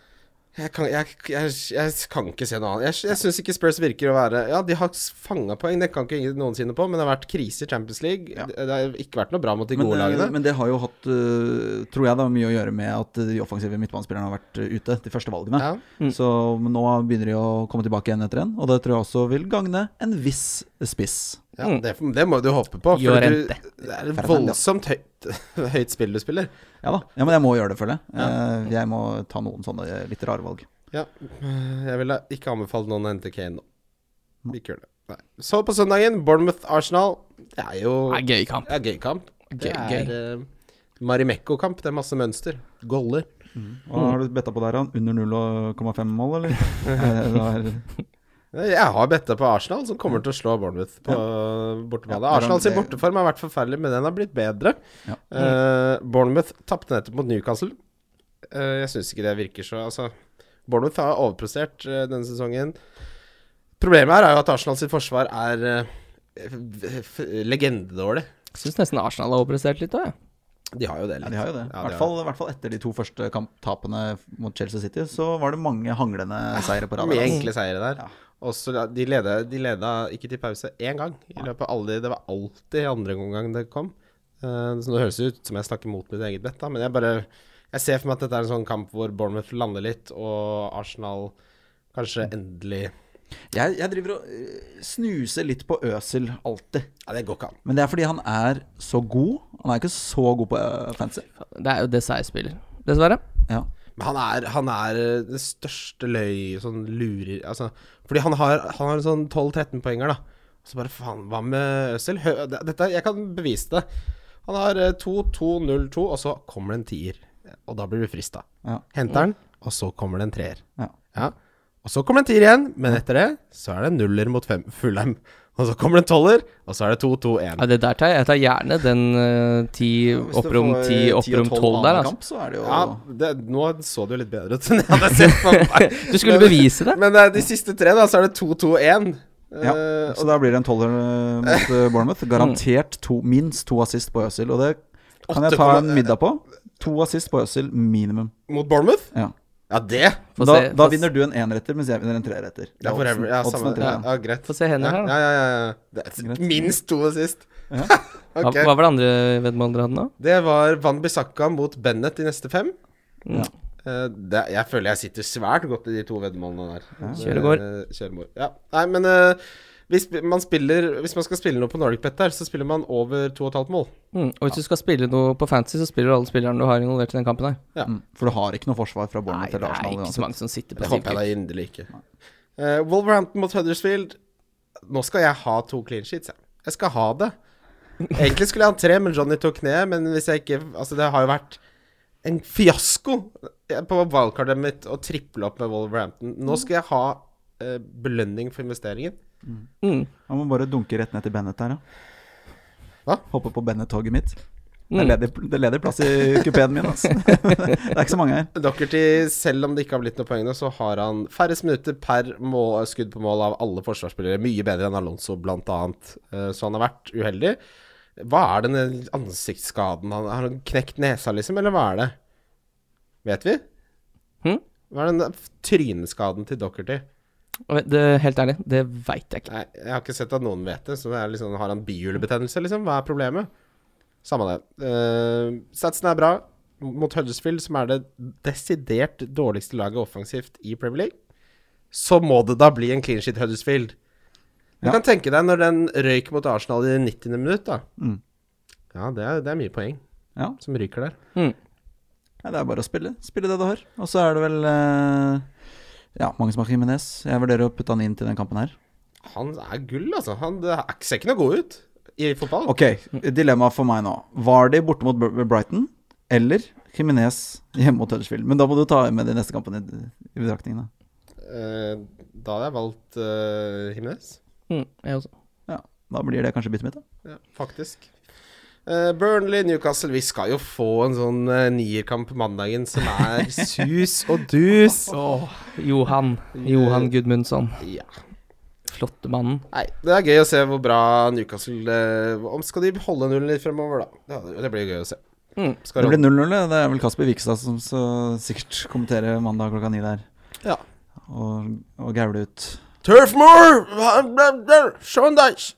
Speaker 3: Jeg kan, jeg, jeg, jeg kan ikke se noe annet. Jeg, jeg syns ikke Spurs virker å være Ja, de har fanga poeng, det kan ikke ingen noensinne på, men det har vært krise i Champions League.
Speaker 2: Ja.
Speaker 3: Det, det har ikke vært noe bra mot de
Speaker 2: Men,
Speaker 3: gode
Speaker 2: eh,
Speaker 3: lagene.
Speaker 2: men det har jo hatt, eh, tror jeg, da, mye å gjøre med at de offensive midtbanespillerne har vært eh, ute, de første valgene.
Speaker 3: Ja. Mm.
Speaker 2: Så men nå begynner de å komme tilbake igjen etter en, og det tror jeg også vil gagne en viss spiss.
Speaker 3: Ja, det, det må du håpe på. For du,
Speaker 4: Llorente.
Speaker 3: det er et voldsomt høyt, [laughs] høyt spill du spiller.
Speaker 2: Ja da. Ja, Men jeg må gjøre det, føler jeg. Eh, Jeg må ta noen sånne eh, litt rare valg.
Speaker 3: Ja, Eh, jeg ville ikke anbefalt noen å hente Kane nå. Ikke gjør det. Nei. Så på søndagen, Bournemouth-Arsenal. Det er jo
Speaker 4: Det er gøy kamp.
Speaker 3: det er gøy kamp. Det
Speaker 4: Gøy,
Speaker 3: er eh, Marimekko-kamp. Det er masse mønster. Goller.
Speaker 2: Hva har du betta på der, han? Under 0,5 mål, eller? Eh, det var-
Speaker 3: Jeg har betta på Arsenal, som kommer til å slå Bournemouth på bortebane.
Speaker 2: Ja,
Speaker 3: Arsenal sin
Speaker 2: det-
Speaker 3: borteform har vært forferdelig, men den har blitt bedre.
Speaker 2: Ja.
Speaker 3: Eh, Bournemouth tapte nettopp mot Newcastle. Eh, jeg syns ikke det virker så Altså, Bournemouth har overprestert eh, denne sesongen. Problemet her er jo at Arsenal sitt forsvar er eh, f- f- legendedårlig.
Speaker 4: Syns nesten Arsenal har overprestert litt òg, jeg.
Speaker 3: De har jo det
Speaker 2: Ja,
Speaker 3: litt.
Speaker 2: de har jo det.
Speaker 3: Ja,
Speaker 2: I
Speaker 3: de
Speaker 2: hvert fall, i hvert fall etter de to første kamptapene mot Chelsea City, så var det mange hanglende seire på rad.
Speaker 3: Mye
Speaker 2: altså.
Speaker 3: enkle seire der.
Speaker 2: Ja.
Speaker 3: Også, ja, de, leda, de leda ikke til pause én gang. I løpet av alle, det var alltid andre omgang det kom. Eh, så Nå høres det ut som jeg snakker mot mitt eget bett, da, men jeg bare Jeg ser for meg at dette er en sånn kamp hvor Bournemouth lander litt, og Arsenal kanskje endelig
Speaker 2: Jeg, jeg driver og øh, snuser litt på Øsil alltid.
Speaker 3: Ja, det går ikke an.
Speaker 2: Men det er fordi han er så god. Han er ikke så god på øh, fancy.
Speaker 4: Det er jo Desai-spiller, dessverre.
Speaker 2: Ja.
Speaker 3: Men han er, han er eh, det største løy Sånn lurer altså, Fordi han har, han har en sånn 12-13 poenger da Så bare faen, hva med Øsel? Hø- det- Dette, jeg kan bevise det Han har eh, 2-2-0-2 Og så kommer det en 10-er Og da blir du fristet
Speaker 2: Ja.
Speaker 3: Henter den, og så kommer det en 3-er
Speaker 2: Ja.
Speaker 3: ja. Og så kommer det en 10-er igjen Men etter det, så er det en 0-er mot 5 Fulham Og så kommer det en 12-er Og så er det 2-2-1
Speaker 4: Ja, det der tar jeg. Jeg tar gjerne den eh, ti opprom ti, opprom tolv der, altså.
Speaker 2: Kamp, så er det jo
Speaker 3: ja, det, nå så det jo litt bedre ut enn jeg hadde sett for meg
Speaker 4: [laughs] Du skulle bevise det.
Speaker 3: Men eh, de siste tre, da, så er det 2-2-1. Eh,
Speaker 2: ja. Så da blir det en tolver øh, mot øh,
Speaker 4: Mm.
Speaker 2: Bournemouth. Garantert to, minst to assist på Øsil, og det kan jeg ta
Speaker 3: Åtte komma-
Speaker 2: en middag på. To assist på Øsil minimum.
Speaker 3: Mot Bournemouth?
Speaker 2: Ja.
Speaker 3: Ja, det!
Speaker 4: Få
Speaker 2: Da,
Speaker 4: se,
Speaker 2: da
Speaker 4: få se-
Speaker 2: vinner du en enretter, mens jeg vinner en treretter.
Speaker 3: Det er forever. Ja,
Speaker 2: Oddsen-
Speaker 3: samme,
Speaker 2: oddsen er
Speaker 3: ja,
Speaker 2: tre,
Speaker 3: ja, greit.
Speaker 4: Få se hender
Speaker 3: ja,
Speaker 4: her, da.
Speaker 3: ja, ja, ja. Det er
Speaker 2: Greit.
Speaker 3: minst to sist.
Speaker 2: Ja.
Speaker 4: Hva,
Speaker 3: [laughs] ok.
Speaker 4: hva var det andre veddemålet dere hadde nå?
Speaker 3: Det var Van Bissaka mot Bennett i neste fem.
Speaker 4: Mm.
Speaker 2: Ja.
Speaker 3: Eh, det, jeg føler jeg sitter svært godt i de to veddemålene der.
Speaker 4: Kjør og går.
Speaker 3: Eh, kjør og går. Ja. Nei, men eh, hvis man, spiller, hvis man skal spille noe på Nordic Bet der, så spiller man over 2,5 mål.
Speaker 4: Mm. Og hvis du skal spille noe på fantasy, så spiller du alle spillerne du har involvert i den kampen her.
Speaker 2: Mm. For du har ikke noe forsvar fra
Speaker 4: Nei,
Speaker 2: Bournemouth
Speaker 4: det
Speaker 2: eller
Speaker 4: er
Speaker 2: Arsenal.
Speaker 4: ikke
Speaker 2: uansett.
Speaker 4: så mange som sitter på
Speaker 3: Det håper jeg
Speaker 4: tilbud.
Speaker 3: da inderlig ikke. Eh, Wolverhampton mot Huddersfield. Nå skal jeg ha to clean sheets, jeg. Jeg skal ha det. Egentlig skulle jeg ha tre, men Johnny tok kneet. Men hvis jeg ikke Altså, det har jo vært en fiasko på wildcardet mitt å triple opp med Wolverhampton. Nå skal jeg ha eh, belønning for investeringen.
Speaker 4: Mm.
Speaker 2: Han må bare dunke rett ned til Bennett der, ja.
Speaker 3: Hva?
Speaker 2: Hoppe på Bennett-toget mitt. Det er
Speaker 4: Mm.
Speaker 2: ledig, det er ledig plass i kupeen min, altså. [laughs] det er ikke så mange her.
Speaker 3: Doherty, selv om det ikke har blitt noen poeng nå, så har han færrest minutter per må skudd på mål av alle forsvarsspillere. Mye bedre enn Alonso, blant annet. Eh, Så han har vært uheldig. Hva er denne ansiktsskaden? Han Har han knekt nesa, liksom, eller hva er det? Vet vi?
Speaker 4: Hm?
Speaker 3: Hva er den tryneskaden til Doherty?
Speaker 4: Og Det, helt ærlig, det veit jeg ikke.
Speaker 3: Nei, jeg har ikke sett at noen vet det, så det er liksom, har han bihulebetennelse, liksom? Hva er problemet? Samme det. Eh, satsen er bra mot Huddersfield, som er det desidert dårligste laget offensivt i Premier League. Så må det da bli en clean sheet Huddersfield. Du
Speaker 2: Ja.
Speaker 3: kan tenke deg når den røyk mot Arsenal i 90. minutt, da.
Speaker 2: Mm.
Speaker 3: Ja, det er, det er mye poeng
Speaker 2: Ja.
Speaker 3: som ryker der.
Speaker 2: Nei, det er bare å spille. Spille det du har. Og så er det vel eh, Ja, mange som har Jimenez. Jeg vurderer å putte han inn til den kampen her.
Speaker 3: Han er gull, altså. Han det er- ser ikke noe god ut i fotball.
Speaker 2: Ok, dilemma for meg nå. Var de borte mot Br- Brighton eller Jimenez hjemme mot Huddersfield? Men da må du ta med de neste kampene i i betraktning, da.
Speaker 3: Eh, da hadde jeg valgt uh, Himnes.
Speaker 4: Mm, jeg også.
Speaker 2: Ja, da blir det kanskje byttet mitt, da.
Speaker 3: Ja, faktisk. Eh, Burnley, Newcastle Vi skal jo få en sånn uh, nierkamp mandagen som
Speaker 2: [laughs]
Speaker 3: er sus og dus.
Speaker 4: Johan. Johan Gudmundsson.
Speaker 3: Ja.
Speaker 4: Flotte mannen.
Speaker 3: Nei, det er gøy å se hvor bra Newcastle eh, Om skal de holde nullen litt fremover, da? Det, det blir gøy å se.
Speaker 4: Mm.
Speaker 3: Skal
Speaker 2: Det blir
Speaker 3: Ron-
Speaker 2: 0-0. Det er vel Kasper Vikstad som så sikkert kommenterer mandag klokka ni der.
Speaker 3: Ja.
Speaker 2: Og, og gaule ut.
Speaker 3: Turfmore! Shondice!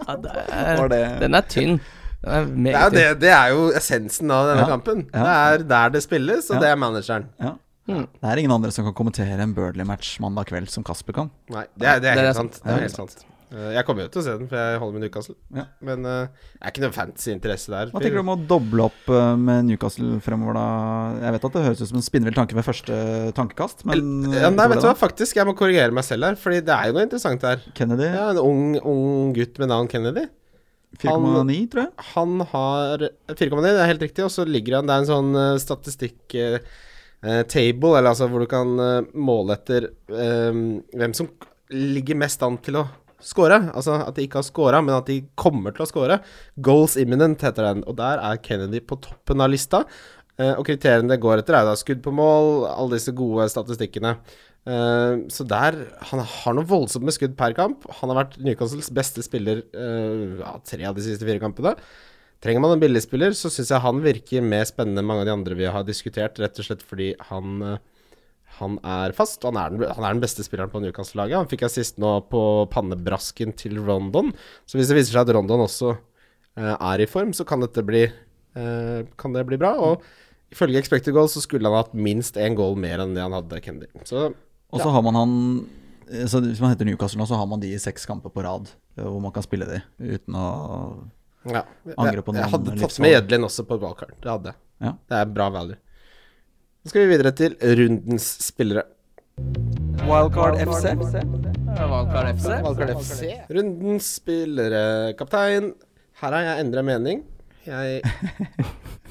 Speaker 2: Var det
Speaker 4: Den er tynn. Den
Speaker 3: Det
Speaker 4: er
Speaker 3: er, jo
Speaker 4: meget
Speaker 3: det,
Speaker 4: tynn.
Speaker 3: det er jo essensen av denne
Speaker 2: Ja.
Speaker 3: kampen.
Speaker 2: Ja.
Speaker 3: Det er der det spilles, og
Speaker 2: Ja.
Speaker 3: det er manageren.
Speaker 2: Ja.
Speaker 4: Mm.
Speaker 2: Det er ingen andre som kan kommentere en Burnley-match mandag kveld som Kasper kan.
Speaker 3: Nei, det er, det er
Speaker 4: Det er
Speaker 3: helt
Speaker 4: sant.
Speaker 3: sant. Det
Speaker 2: Ja,
Speaker 3: er helt sant. Eh, Jeg kommer jo til å se den, for jeg holder med Newcastle.
Speaker 2: Ja.
Speaker 3: Men eh, det er ikke noe fancy interesse der.
Speaker 2: Hva tenker du om å doble opp eh, med Newcastle fremover, da? Jeg vet at det høres ut som en spinnvill tanke ved første tankekast, men eh,
Speaker 3: Ja, nei, vet du hva, faktisk, jeg må korrigere meg selv her, Fordi det er jo noe interessant her.
Speaker 2: Kennedy
Speaker 3: Ja, en ung, ung gutt med navn Kennedy.
Speaker 2: 4,9, tror jeg.
Speaker 3: Han har 4,9, det er helt riktig, og så ligger han Det er en sånn eh, statistikk eh, eh, table, eller altså hvor du kan eh, måle etter eh, hvem som k- ligger mest an til å score. Altså at de ikke har scora, men at de kommer til å score. Goals imminent heter den, og der er Kennedy på toppen av lista. Eh, og kriteriene det går etter, er da skudd på mål, alle disse gode statistikkene. Eh, så der Han har noe voldsomt med skudd per kamp. Han har vært Newcastles beste spiller eh, ja, tre av de siste fire kampene. Trenger man en billigspiller, så syns jeg han virker mer spennende enn mange av de andre vi har diskutert, rett og slett fordi han eh, han er fast. Han er den, han er den beste spilleren på Newcastle-laget. Han fikk assist nå på pannebrasken til Rondon. Så hvis det viser seg at Rondon også eh, er i form, så kan dette bli eh, Kan det bli bra. Og ifølge Expected Goal så skulle han hatt minst én goal mer enn det han hadde Kennedy. Så
Speaker 2: Og så har man han eh, så Hvis man heter Newcastle nå, så har man de i seks kamper på rad eh, hvor man kan spille de uten å
Speaker 3: ja. Jeg,
Speaker 2: Angrer på noen sånn-
Speaker 3: jeg hadde tatt
Speaker 2: livsvalg.
Speaker 3: med Jedlin også på wildcard. Det hadde jeg.
Speaker 2: Ja.
Speaker 3: Det er bra value. Så skal vi videre til rundens spillere.
Speaker 1: Wildcard FC.
Speaker 3: Rundens spillere, kaptein. Her har jeg endra mening. Jeg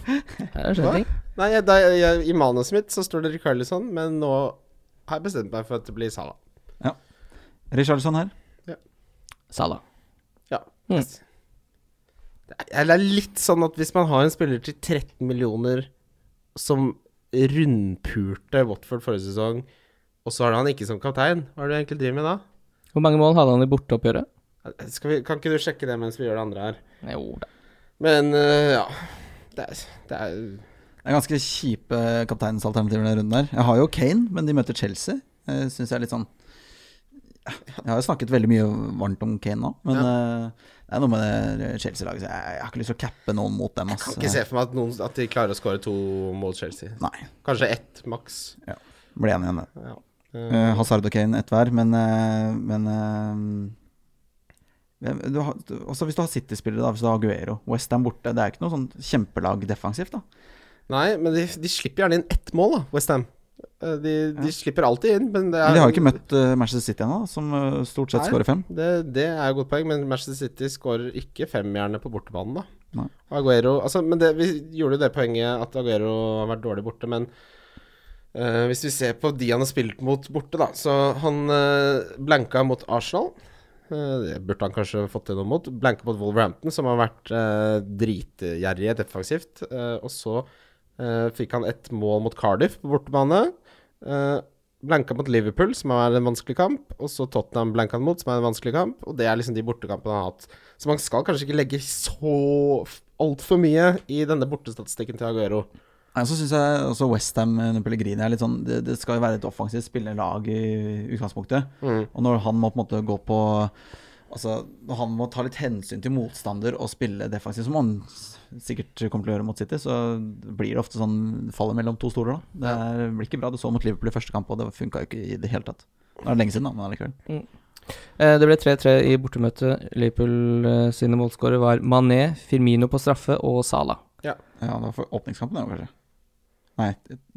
Speaker 4: Her er det skjønning.
Speaker 3: Nei, jeg, da, jeg, i manuset mitt så står det Rikarlison, men nå har jeg bestemt meg for at det blir Salah.
Speaker 2: Richarlison her.
Speaker 4: Salah.
Speaker 3: Ja.
Speaker 4: Mm.
Speaker 3: Yes. Det er- eller det er litt sånn at hvis man har en spiller til 13 millioner som rundpulte Watford forrige sesong, og så har du han ikke som kaptein, hva er det du egentlig driver med da?
Speaker 4: Hvor mange mål hadde han i borteoppgjøret?
Speaker 3: Skal vi, kan ikke du sjekke det mens vi gjør det andre her?
Speaker 4: Jo da.
Speaker 3: Men øh, ja. Det er, det er
Speaker 2: Det er ganske kjipe kapteinsalternativer denne runden her. Jeg har jo Kane, men de møter Chelsea. Uh, Syns jeg er litt sånn Jeg har jo snakket veldig mye varmt om Kane nå, men eh, det er noe med det Chelsea-laget. så Jeg, jeg har ikke lyst til å cappe noen mot dem. ass.
Speaker 3: Kan ikke se for meg at, noen, at de klarer å skåre to mot Chelsea.
Speaker 2: Nei.
Speaker 3: Kanskje ett, maks.
Speaker 2: Ble enig igjen, det.
Speaker 3: Ja.
Speaker 2: Eh, Hazard og Kane ett hver, men, eh, men eh, hvem- du har, du, også Hvis du har City-spillere, da, hvis du har Aguero Westham borte, det er ikke noe sånn kjempelag defensivt. da
Speaker 3: Nei, men de, de slipper gjerne inn ett mål, da, Westham. De, de slipper alltid inn, men det er
Speaker 2: Men de har jo ikke møtt eh, Manchester City ennå, som eh, stort sett
Speaker 3: Nei.
Speaker 2: skårer fem.
Speaker 3: Det, det er et godt poeng, men Manchester City skårer ikke femmerne på bortebanen, da.
Speaker 2: Nei.
Speaker 3: Og Aguero altså, Men det, vi gjorde jo det poenget at Aguero har vært dårlig borte, men Eh, hvis vi ser på de han har spilt mot borte, da Så han eh, blanka mot Arsenal. Eh, det burde han kanskje fått til noe mot. Blanka mot Wolverhampton, som har vært eh, dritgjerrige defensivt. Eh, og så eh, fikk han ett mål mot Cardiff på bortebane. Eh, blanka mot Liverpool, som er en vanskelig kamp. Og så Tottenham blanka han mot, som er en vanskelig kamp. Og det er liksom de bortekampene han har hatt. Så man skal kanskje ikke legge så altfor mye i denne bortestatistikken til Aguero.
Speaker 2: Nei, så synes jeg også Westham under Pellegrini er litt sånn Det, det skal jo være et offensivt spillende lag i utgangspunktet. Og når han må på en måte gå på Altså, når han må ta litt hensyn til motstander og spille defensivt, som han s- sikkert kommer til å gjøre mot City, så blir det ofte sånn fallet mellom to stoler, da. Det er, blir ikke bra. Du så mot Liverpool i første kamp, og det funka jo ikke i det hele tatt. Det er det lenge siden, da, men allikevel.
Speaker 4: Eh, Det ble 3-3 i bortemøtet. Liverpool eh, sine målskårere var Mané, Firmino på straffe og Sala.
Speaker 2: Ja, det var for åpningskampen, det, kanskje. Nei,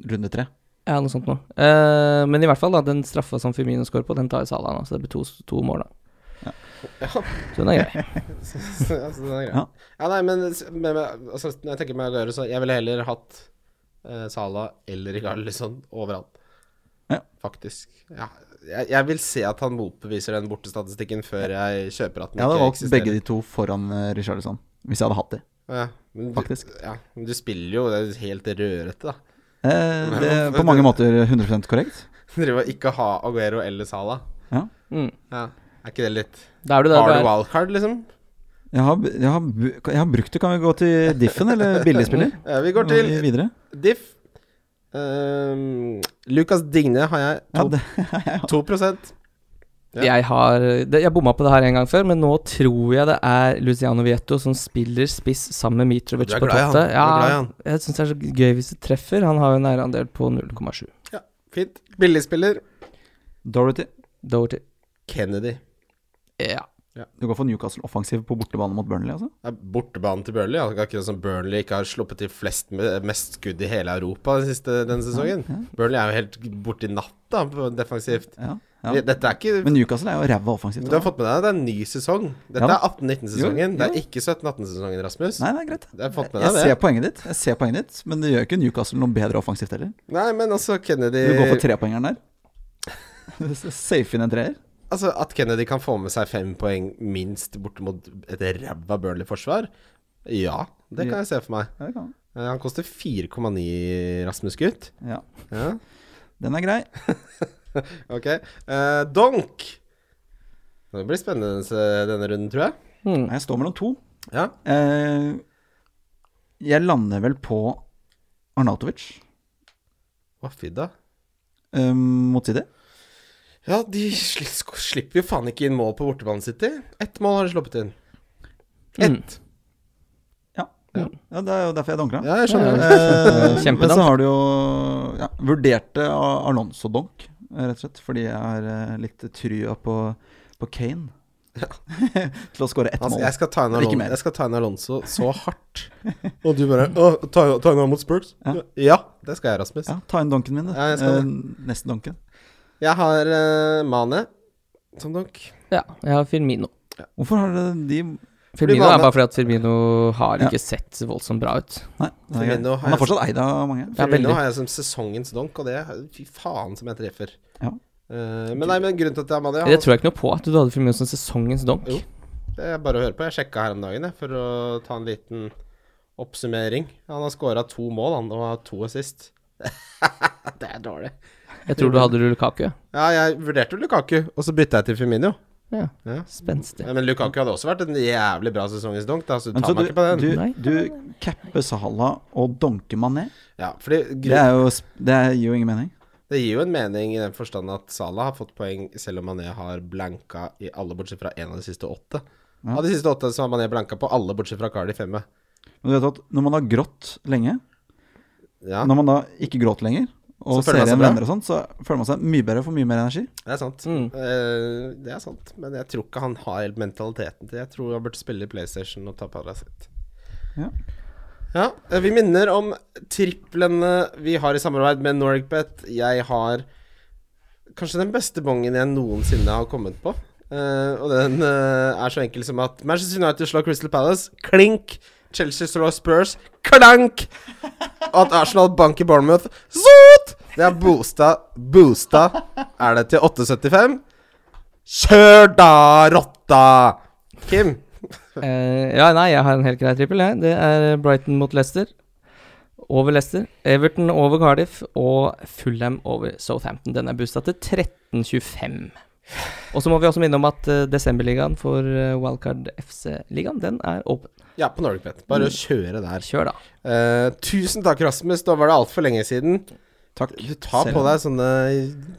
Speaker 2: runde tre.
Speaker 4: Ja, noe sånt noe. Eh, men i hvert fall, da, den straffa som Firmino scorer på, den tar jo Sala nå, så det blir to, to mål, da. Så den er grei.
Speaker 3: Så, [laughs] så, altså, det er greit.
Speaker 2: Ja.
Speaker 3: Ja, nei, men s- men- men, altså, når jeg tenker meg Aguero, så jeg ville heller hatt eh, Sala eller Rikarlison over han.
Speaker 2: Ja.
Speaker 3: Faktisk. Ja, jeg, jeg vil se at han motbeviser den bortestatistikken før jeg kjøper at den
Speaker 2: Jeg hadde
Speaker 3: ikke
Speaker 2: valgt
Speaker 3: eksisterer.
Speaker 2: begge de to foran eh, Richarlison, hvis jeg hadde hatt de.
Speaker 3: Ja, men du,
Speaker 2: Faktisk.
Speaker 3: Ja, men du spiller jo det er helt rørete, da. [laughs]
Speaker 2: Eh, det
Speaker 3: Men-
Speaker 2: er på mange måter 100 korrekt.
Speaker 3: Driver og ikke ha Aguero eller Sala.
Speaker 4: Mm.
Speaker 3: Ja. Er ikke det litt
Speaker 4: Da er du der
Speaker 3: Har
Speaker 4: du
Speaker 3: du
Speaker 4: er.
Speaker 3: wildcard, liksom?
Speaker 2: Jeg har, jeg, har, bu- jeg har brukt det. Kan vi gå til
Speaker 3: [laughs]
Speaker 2: Diffen, eller billigspiller?
Speaker 3: Ja, vi går til
Speaker 2: Og videre.
Speaker 3: Diff. Ehm, Lucas Digne har jeg
Speaker 2: Ja,
Speaker 3: to,
Speaker 2: det, [laughs]
Speaker 3: 2 Ja.
Speaker 4: Jeg har det, Jeg bomma på det her en gang før, men nå tror jeg det er Luciano Vietto som spiller spiss sammen med Mitrovic
Speaker 3: Du er
Speaker 4: på
Speaker 3: glad i han.
Speaker 4: totte.
Speaker 3: Du er glad i
Speaker 4: Ja,
Speaker 3: han.
Speaker 4: jeg syns det er så gøy hvis det treffer. Han har jo en nærandel på 0,7.
Speaker 3: Ja, fint. Billigspiller.
Speaker 2: Dorothy.
Speaker 4: Doherty.
Speaker 3: Kennedy.
Speaker 4: Ja.
Speaker 2: Du går for Newcastle offensiv på bortebane mot Burnley, altså?
Speaker 3: Det er bortebanen til Burnley. altså, Akkurat som Burnley ikke har sluppet til flest, mest skudd i hele Europa den siste denne sesongen. Burnley er jo helt borti natta på- defensivt.
Speaker 2: Ja.
Speaker 3: Vi-
Speaker 2: ja.
Speaker 3: Dette er ikke
Speaker 2: Men Newcastle er jo ræva offensivt.
Speaker 3: Du har
Speaker 2: da.
Speaker 3: fått med deg at det er en ny sesong. Dette
Speaker 2: Ja da.
Speaker 3: er 18-19-sesongen.
Speaker 2: Jo,
Speaker 3: Det
Speaker 2: jo.
Speaker 3: er ikke 17-18-sesongen, Rasmus.
Speaker 2: Nei, det er greit.
Speaker 3: Jeg har fått med
Speaker 2: Jeg
Speaker 3: deg
Speaker 2: ser
Speaker 3: det.
Speaker 2: poenget ditt, Jeg ser poenget ditt men det gjør ikke Newcastle noe bedre offensivt heller.
Speaker 3: Nei, men altså, Kennedy
Speaker 2: Du går for trepoengeren der. [laughs] Safe inn en treer.
Speaker 3: Altså, At Kennedy kan få med seg fem poeng minst borte mot et ræva Burnley-forsvar, ja, det kan jeg se for meg.
Speaker 2: Ja, det kan han.
Speaker 3: Eh, Han koster 4,9, Rasmus Gutt.
Speaker 2: Ja.
Speaker 3: Ja,
Speaker 2: Den er grei.
Speaker 3: ok. Eh, donk! Det blir spennende eh, denne runden, tror jeg.
Speaker 4: Hmm.
Speaker 2: Jeg står mellom to.
Speaker 3: Ja.
Speaker 2: Eh, jeg lander vel på Arnautovic
Speaker 3: Å, fy da.
Speaker 2: eh, mot City.
Speaker 3: Ja, de sli- sk- slipper jo faen ikke inn mål på bortebanen City. Ett mål har de sluppet inn. Ett.
Speaker 2: Ja. ja. Det er jo derfor jeg donkla.
Speaker 3: Ja, jeg skjønner. det.
Speaker 2: Eh,
Speaker 4: [laughs] Kjempedank.
Speaker 2: Men så har du jo ja, vurderte Ar- Alonso donk, rett og slett, fordi jeg har eh, litt trua på, på Kane. [laughs] Til å skåre ett
Speaker 3: Altså,
Speaker 2: mål.
Speaker 3: jeg skal ta inn
Speaker 2: Ikke
Speaker 3: Alonso,
Speaker 2: mer.
Speaker 3: jeg skal ta inn Alonso så hardt. [laughs] Og du bare Å, ta, ta inn han mot Spurs? Ja. det skal jeg, Rasmus.
Speaker 2: Ja, ta inn donken min, du.
Speaker 3: Ja, jeg skal det.
Speaker 2: Eh, Neste donken.
Speaker 3: Jeg har eh, Mane som donk.
Speaker 4: Ja, jeg har Firmino.
Speaker 2: Hvorfor har dere de
Speaker 4: Firmino
Speaker 3: Fordi
Speaker 4: er
Speaker 3: Mane-
Speaker 4: bare fordi at Firmino har
Speaker 2: Ja.
Speaker 4: ikke sett voldsomt bra ut.
Speaker 2: Nei, det er greit.
Speaker 3: Firmino har
Speaker 2: han er
Speaker 3: jeg-
Speaker 2: fortsatt eid av mange.
Speaker 4: Ja,
Speaker 3: Firmino
Speaker 4: veldig.
Speaker 3: har jeg som sesongens donk, og det er- Fy faen som jeg treffer.
Speaker 2: Ja.
Speaker 3: Eh, men nei, men grunnen til at jeg har Mane
Speaker 4: Det
Speaker 3: jeg har-
Speaker 4: tror jeg ikke noe på, at du hadde Firmino som sesongens donk.
Speaker 3: Jo. Det er bare å høre på. Jeg sjekka her om dagen jeg, for å ta en liten oppsummering. Han har skåra to mål han, og har to assist. det er dårlig.
Speaker 4: Jeg tror du hadde Lukaku.
Speaker 3: Ja, jeg vurderte jo Lukaku, og så bytta jeg til Firmino.
Speaker 4: Ja,
Speaker 3: Ja.
Speaker 4: Spenstig.
Speaker 3: Ja, men Lukaku hadde også vært en jævlig bra sesongens donk, da, så du
Speaker 2: Men
Speaker 3: tar
Speaker 2: så
Speaker 3: meg ikke på
Speaker 2: du,
Speaker 3: den.
Speaker 4: Nei.
Speaker 2: du, du capper Salah og donker Mané.
Speaker 3: Ja, fordi
Speaker 2: Det,
Speaker 3: grunn,
Speaker 2: er jo, sp- det gir jo ingen mening.
Speaker 3: det gir jo en mening i den forstand at Salah har fått poeng, selv om Mané har blanka i alle bortsett fra én av de siste åtte. Av de siste åtte så har Mané blanka på alle bortsett fra Cardi femme.
Speaker 2: Men du vet at når man har grått lenge,
Speaker 3: Ja,
Speaker 2: når man da ikke gråter lenger, og
Speaker 3: Så
Speaker 2: ser
Speaker 3: føler man seg
Speaker 2: igjen
Speaker 3: bra.
Speaker 2: venner og sånn, så føler man seg mye bedre og får mye mer energi.
Speaker 3: det er sant.
Speaker 4: Mm.
Speaker 3: Eh, det er sant, men jeg tror ikke han har helt mentaliteten til Jeg tror han burde spille i PlayStation og ta Paracet.
Speaker 2: Ja.
Speaker 3: Ja, eh, vi minner om triplene vi har i samarbeid med NorgBet. Jeg har kanskje den beste bongen jeg noensinne har kommet på. Eh, og den eh, er så enkel som at Manchester United slår Crystal Palace, klink! Chelsea slår Spurs, klank! Og at Arsenal banker Bournemouth, zot! Det er boosta Boosta er det til 875. Kjør da, rotta! Kim.
Speaker 4: [laughs] Eh, ja, nei, jeg har en helt grei trippel, jeg. Det er Brighton mot Leicester. Over Leicester. Everton over Cardiff. Og Fulham over Southampton. Den er boosta til 13,25. Og så må vi også minne om at eh, desemberligaen for eh, Wildcard FC-ligaen, den er åpen.
Speaker 3: Ja, på Nordic Bet. Bare å kjøre der.
Speaker 4: Kjør, da.
Speaker 3: Mm. Eh, tusen takk, Rasmus. Da var det altfor lenge siden.
Speaker 2: Takk.
Speaker 3: Du tar
Speaker 2: Selv
Speaker 3: på
Speaker 2: om-
Speaker 3: deg sånne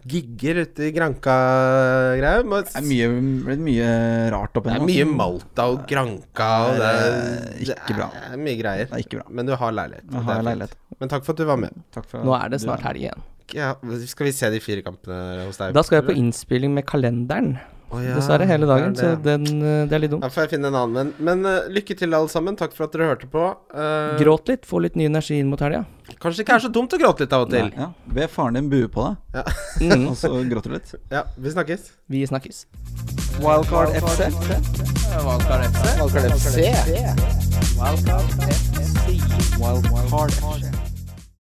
Speaker 3: gigger ute i Granca-greier. men-
Speaker 2: Det er mye, blitt mye rart opp
Speaker 3: Det er
Speaker 2: igjennom.
Speaker 3: mye Malta og Granca og det er
Speaker 2: Det er ikke bra.
Speaker 3: Det er mye greier.
Speaker 2: Det er ikke bra.
Speaker 3: Men du har leilighet.
Speaker 2: Jeg
Speaker 3: og
Speaker 2: har
Speaker 3: det er fint.
Speaker 2: leilighet.
Speaker 3: Men takk for at du var med.
Speaker 2: Takk for
Speaker 4: Nå er det
Speaker 2: du
Speaker 4: snart helg igjen.
Speaker 3: Ja, skal vi se de fire kampene hos deg?
Speaker 4: Da skal jeg på innspilling med kalenderen,
Speaker 3: Å ja,
Speaker 4: dessverre, hele dagen.
Speaker 3: det er
Speaker 4: Så
Speaker 3: det.
Speaker 4: den, eh, det er litt dumt.
Speaker 3: Da får jeg finne en annen venn. Men eh, lykke til, alle sammen. Takk for at dere hørte på. Eh,
Speaker 4: Gråt litt, få litt ny energi inn mot
Speaker 3: [laughs]
Speaker 4: helga.
Speaker 3: Kanskje det ikke er så dumt å gråte litt av og til.
Speaker 2: Ja, Be faren din bue på deg,
Speaker 4: Mm,
Speaker 2: og så gråter du litt.
Speaker 3: Ja, vi snakkes.
Speaker 4: vi snakkes.
Speaker 2: Wildcard FC.
Speaker 3: Valgkarl FC.
Speaker 2: Wildcard FC.